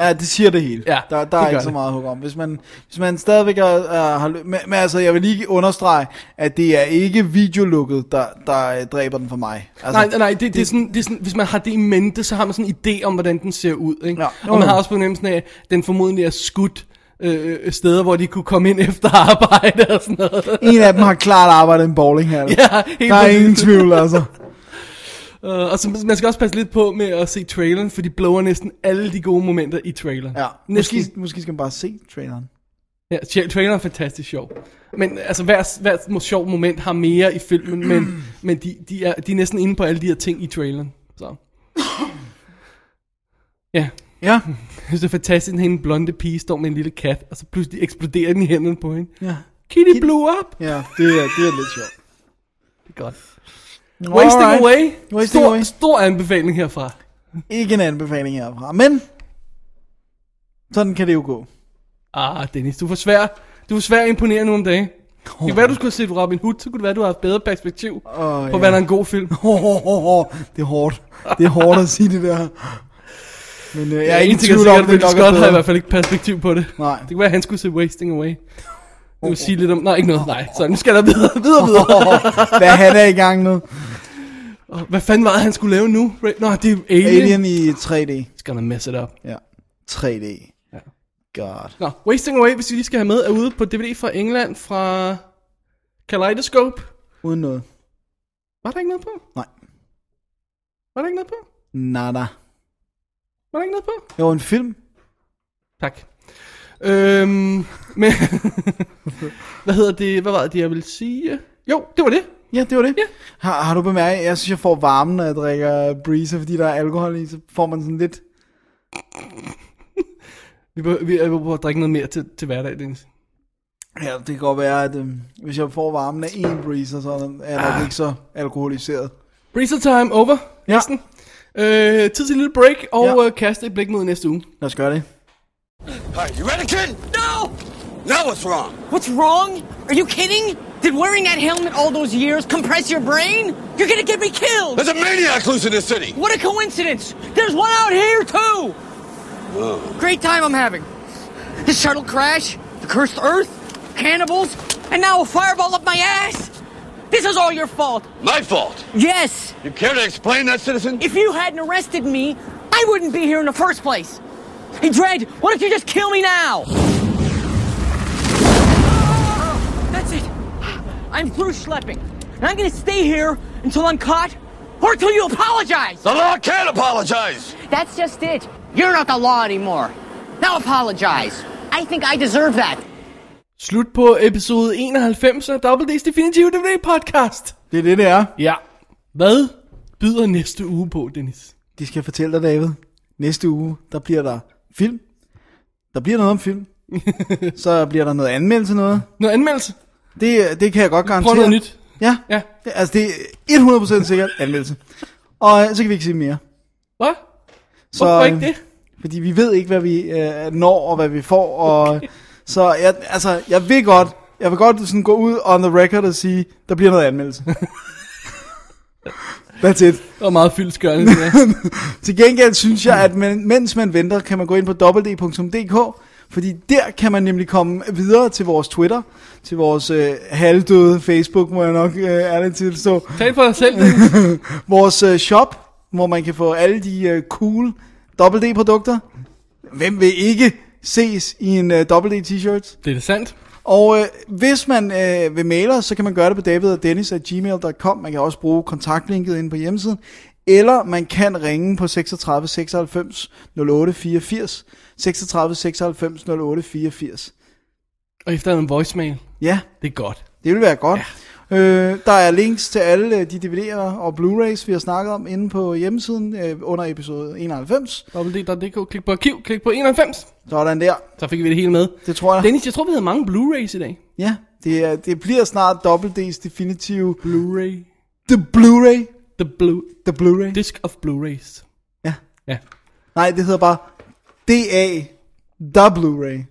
S7: Ja, det siger det hele.
S6: Ja,
S7: der,
S6: det
S7: der er
S6: gør
S7: ikke
S6: det.
S7: så meget at hugge om. Hvis man, hvis man stadigvæk er, er, har lø- men, men altså, jeg vil lige understrege, at det er ikke videolukket, der, der øh, dræber den for mig. Altså,
S6: nej, nej, nej, det, det, det, er sådan, det er sådan, hvis man har det i mente, så har man sådan en idé om, hvordan den ser ud, ikke?
S7: Ja.
S6: Og man har også fornemmelsen af, at den formodentlig er skudt øh, steder, hvor de kunne komme ind efter arbejde og sådan noget.
S7: En af dem har klart arbejdet i en bowlinghal.
S6: Ja, helt
S7: der er
S6: præcis.
S7: ingen tvivl, altså.
S6: Øh, og så, man skal også passe lidt på med at se traileren, for de blower næsten alle de gode momenter i traileren.
S7: Ja.
S6: Næsten.
S7: Måske, måske skal man bare se traileren.
S6: Ja, tra- traileren er fantastisk sjov. Men altså, hver, hver mo- sjov moment har mere i filmen, men, men de, de, er, de er næsten inde på alle de her ting i traileren. Så. Ja,
S7: Ja,
S6: jeg synes, det er fantastisk, at hende blonde pige står med en lille kat, og så pludselig eksploderer den i hænderne på hende.
S7: ja.
S6: Kitty blew up!
S7: ja det, er, det er lidt sjovt.
S6: Det er godt. Wasting
S7: Alright.
S6: Away.
S7: Wasting
S6: stor,
S7: Away.
S6: Stor anbefaling herfra.
S7: Ikke en anbefaling herfra, men sådan kan det jo gå.
S6: Ah, Dennis, du er for svær. Du er for svær at imponere nu om dagen. Det kunne være, du skulle have set Robin Hood, så kunne det være, du har haft bedre perspektiv oh, på,
S7: Og,
S6: hvad der er en god film.
S7: Oh, oh, oh, oh. Det er hårdt. Det er hårdt at sige det der. Men øh, jeg er
S6: Ja,
S7: ikke
S6: en
S7: i
S6: ting er
S7: tvivl om,
S6: sikkert,
S7: det
S6: Ridley
S7: nok
S6: Scott har i
S7: er
S6: hvert
S7: bedre.
S6: fald ikke perspektiv på det.
S7: Nej.
S6: Det kan være, at han skulle se Wasting Away. Nu vil sige lidt om... Nej, ikke noget. Nej, så nu skal der videre, videre, videre.
S7: Hvad han er i gang med.
S6: Og Hvad fanden var det, han skulle lave nu? Ra- Nå, det er Alien. Alien.
S7: Alien i 3D.
S6: It's gonna mess it up.
S7: Ja. 3D.
S6: Ja.
S7: God.
S6: Nå, Wasting Away, hvis vi lige skal have med, er ude på DVD fra England, fra Kaleidoscope.
S7: Uden noget.
S6: Var der ikke noget på?
S7: Nej.
S6: Var der ikke noget på?
S7: Nada.
S6: Var der ikke noget på?
S7: Det var en film.
S6: Tak. Øhm, men... hvad hedder det? Hvad var det, jeg ville sige? Jo, det var det.
S7: Ja, det var det.
S6: Ja.
S7: Har, har du bemærket, jeg synes, jeg får varmen, når jeg drikker Breezer, fordi der er alkohol i, så får man sådan lidt...
S6: Vi behøver, vi behøver at drikke noget mere til, til hverdag, Dennis.
S7: Ja, det kan godt være, at øh, hvis jeg får varmen af en Breezer, så er jeg
S6: Ah.
S7: nok ikke så alkoholiseret.
S6: Breezer time over.
S7: Ja.
S6: Næsten. Øh, tid til en lille break, og
S7: Ja.
S6: ja. øh, kaste et blik mod næste uge.
S7: Lad os gøre det.
S8: Hey, you ready, kid?
S4: No!
S8: Now what's wrong?
S4: What's wrong? Are you kidding? Did wearing that helmet all those years compress your brain? You're gonna get me killed!
S8: There's a maniac loose in this city.
S4: What a coincidence! There's one out here too!
S8: Oh.
S4: Great time I'm having. The shuttle crash, the cursed earth, cannibals, and now a fireball up my ass! This is all your fault!
S8: My fault.
S4: Yes!
S8: You care to explain that, citizen?
S4: If you hadn't arrested me, I wouldn't be here in the first place. Hey, Dredd, why don't you just kill me now? That's it. I'm through schlepping. And I'm gonna stay here until I'm caught or until you apologize.
S8: The law can't apologize.
S4: That's just it. You're not the law anymore. Now apologize. I think I deserve that.
S6: Slut på episode 91 af Double D's Definitive DVD podcast.
S7: Det er det, det er.
S6: Ja. Hvad byder næste uge på, Dennis?
S7: De skal fortælle dig, David. Næste uge, der bliver der film. Der bliver noget om film. så bliver der noget anmeldelse noget.
S6: Noget anmeldelse?
S7: Det, det kan jeg godt garantere.
S6: Prøv noget nyt.
S7: Ja.
S6: Ja.
S7: Det, altså, det er 100% sikkert anmeldelse. Og øh, så kan vi ikke sige mere.
S6: Hvad?
S7: Så,
S6: Hvorfor
S7: øh,
S6: ikke det?
S7: Fordi vi ved ikke, hvad vi øh, når og hvad vi får. Og, okay. Så jeg, altså, jeg vil godt, jeg vil godt sådan gå ud on the record og sige, der bliver noget anmeldelse. That's it.
S6: Det var meget fyldskørende, det der.
S7: Til gengæld synes jeg, at men, mens man venter, kan man gå ind på www.dk, fordi der kan man nemlig komme videre til vores Twitter, til vores øh, halvdøde Facebook, må jeg nok øh, ærligt tilstå.
S6: Tal for dig selv, Dennis.
S7: Vores øh, shop, hvor man kan få alle de øh, cool D-produkter. Hvem vil ikke ses i en øh, D-t-shirt?
S6: Det er da sandt.
S7: Og øh, hvis man øh, vil mail os, så kan man gøre det på davidogdennis.gmail.com. Man kan også bruge kontaktlinket inde på hjemmesiden. Eller man kan ringe på 36 96 08 84. 36 96 08 84.
S6: Og efter en voicemail.
S7: Ja,
S6: Det er godt.
S7: det vil være godt. Ja. Øh, der er links til alle øh, de DVD'er og Blu-rays, vi har snakket om inde på hjemmesiden øh, under episode 91.
S6: www.dk. Klik på arkiv. Klik på 91.
S7: Sådan der.
S6: Så fik vi det hele med.
S7: Det tror jeg.
S6: Dennis, jeg tror, vi havde mange Blu-rays i dag.
S7: Ja, Det, er, det bliver snart Double D's definitive
S6: Blu-ray.
S7: The Blu-ray.
S6: The blue
S7: The Blu-ray.
S6: disc of Blu-rays.
S7: Ja.
S6: Ja.
S7: Nej, det hedder bare DA The Blu-ray.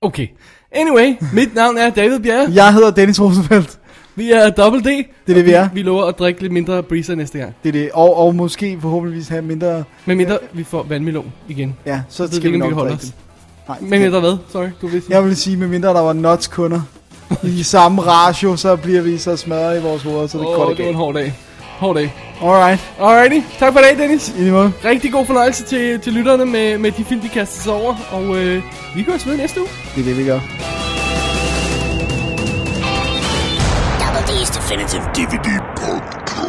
S6: Okay. Anyway, mit navn er David Bjerre.
S7: Jeg hedder Dennis Rosenfeldt.
S6: Vi er Double D.
S7: Det er det, vi er.
S6: Vi lover at drikke lidt mindre breezer næste gang.
S7: Det er det. Og, og måske forhåbentligvis have mindre...
S6: Men mindre vi får vandmelon igen.
S7: Ja, så
S6: ved vi
S7: skal vi
S6: ikke, om
S7: nok
S6: vi kan holde
S7: drikke
S6: os.
S7: dem. Nej,
S6: Men mindre hvad? Sorry, du vidste.
S7: Jeg vil sige, med mindre der var nuts kunder i samme ratio, så bliver vi så smadret i vores hoveder, så det oh, går
S6: Åh, det var en
S7: igen.
S6: hård dag. Hård dag.
S7: Alright,
S6: Alrighty. Tak for i dag, Dennis.
S7: i lige måde.
S6: Rigtig god fornøjelse til, til lytterne med, med de film, de kaster sig over. Og øh, vi høres ved næste uge.
S7: Det er det, vi gør.
S2: Double D's Definitive
S3: DVD podcast.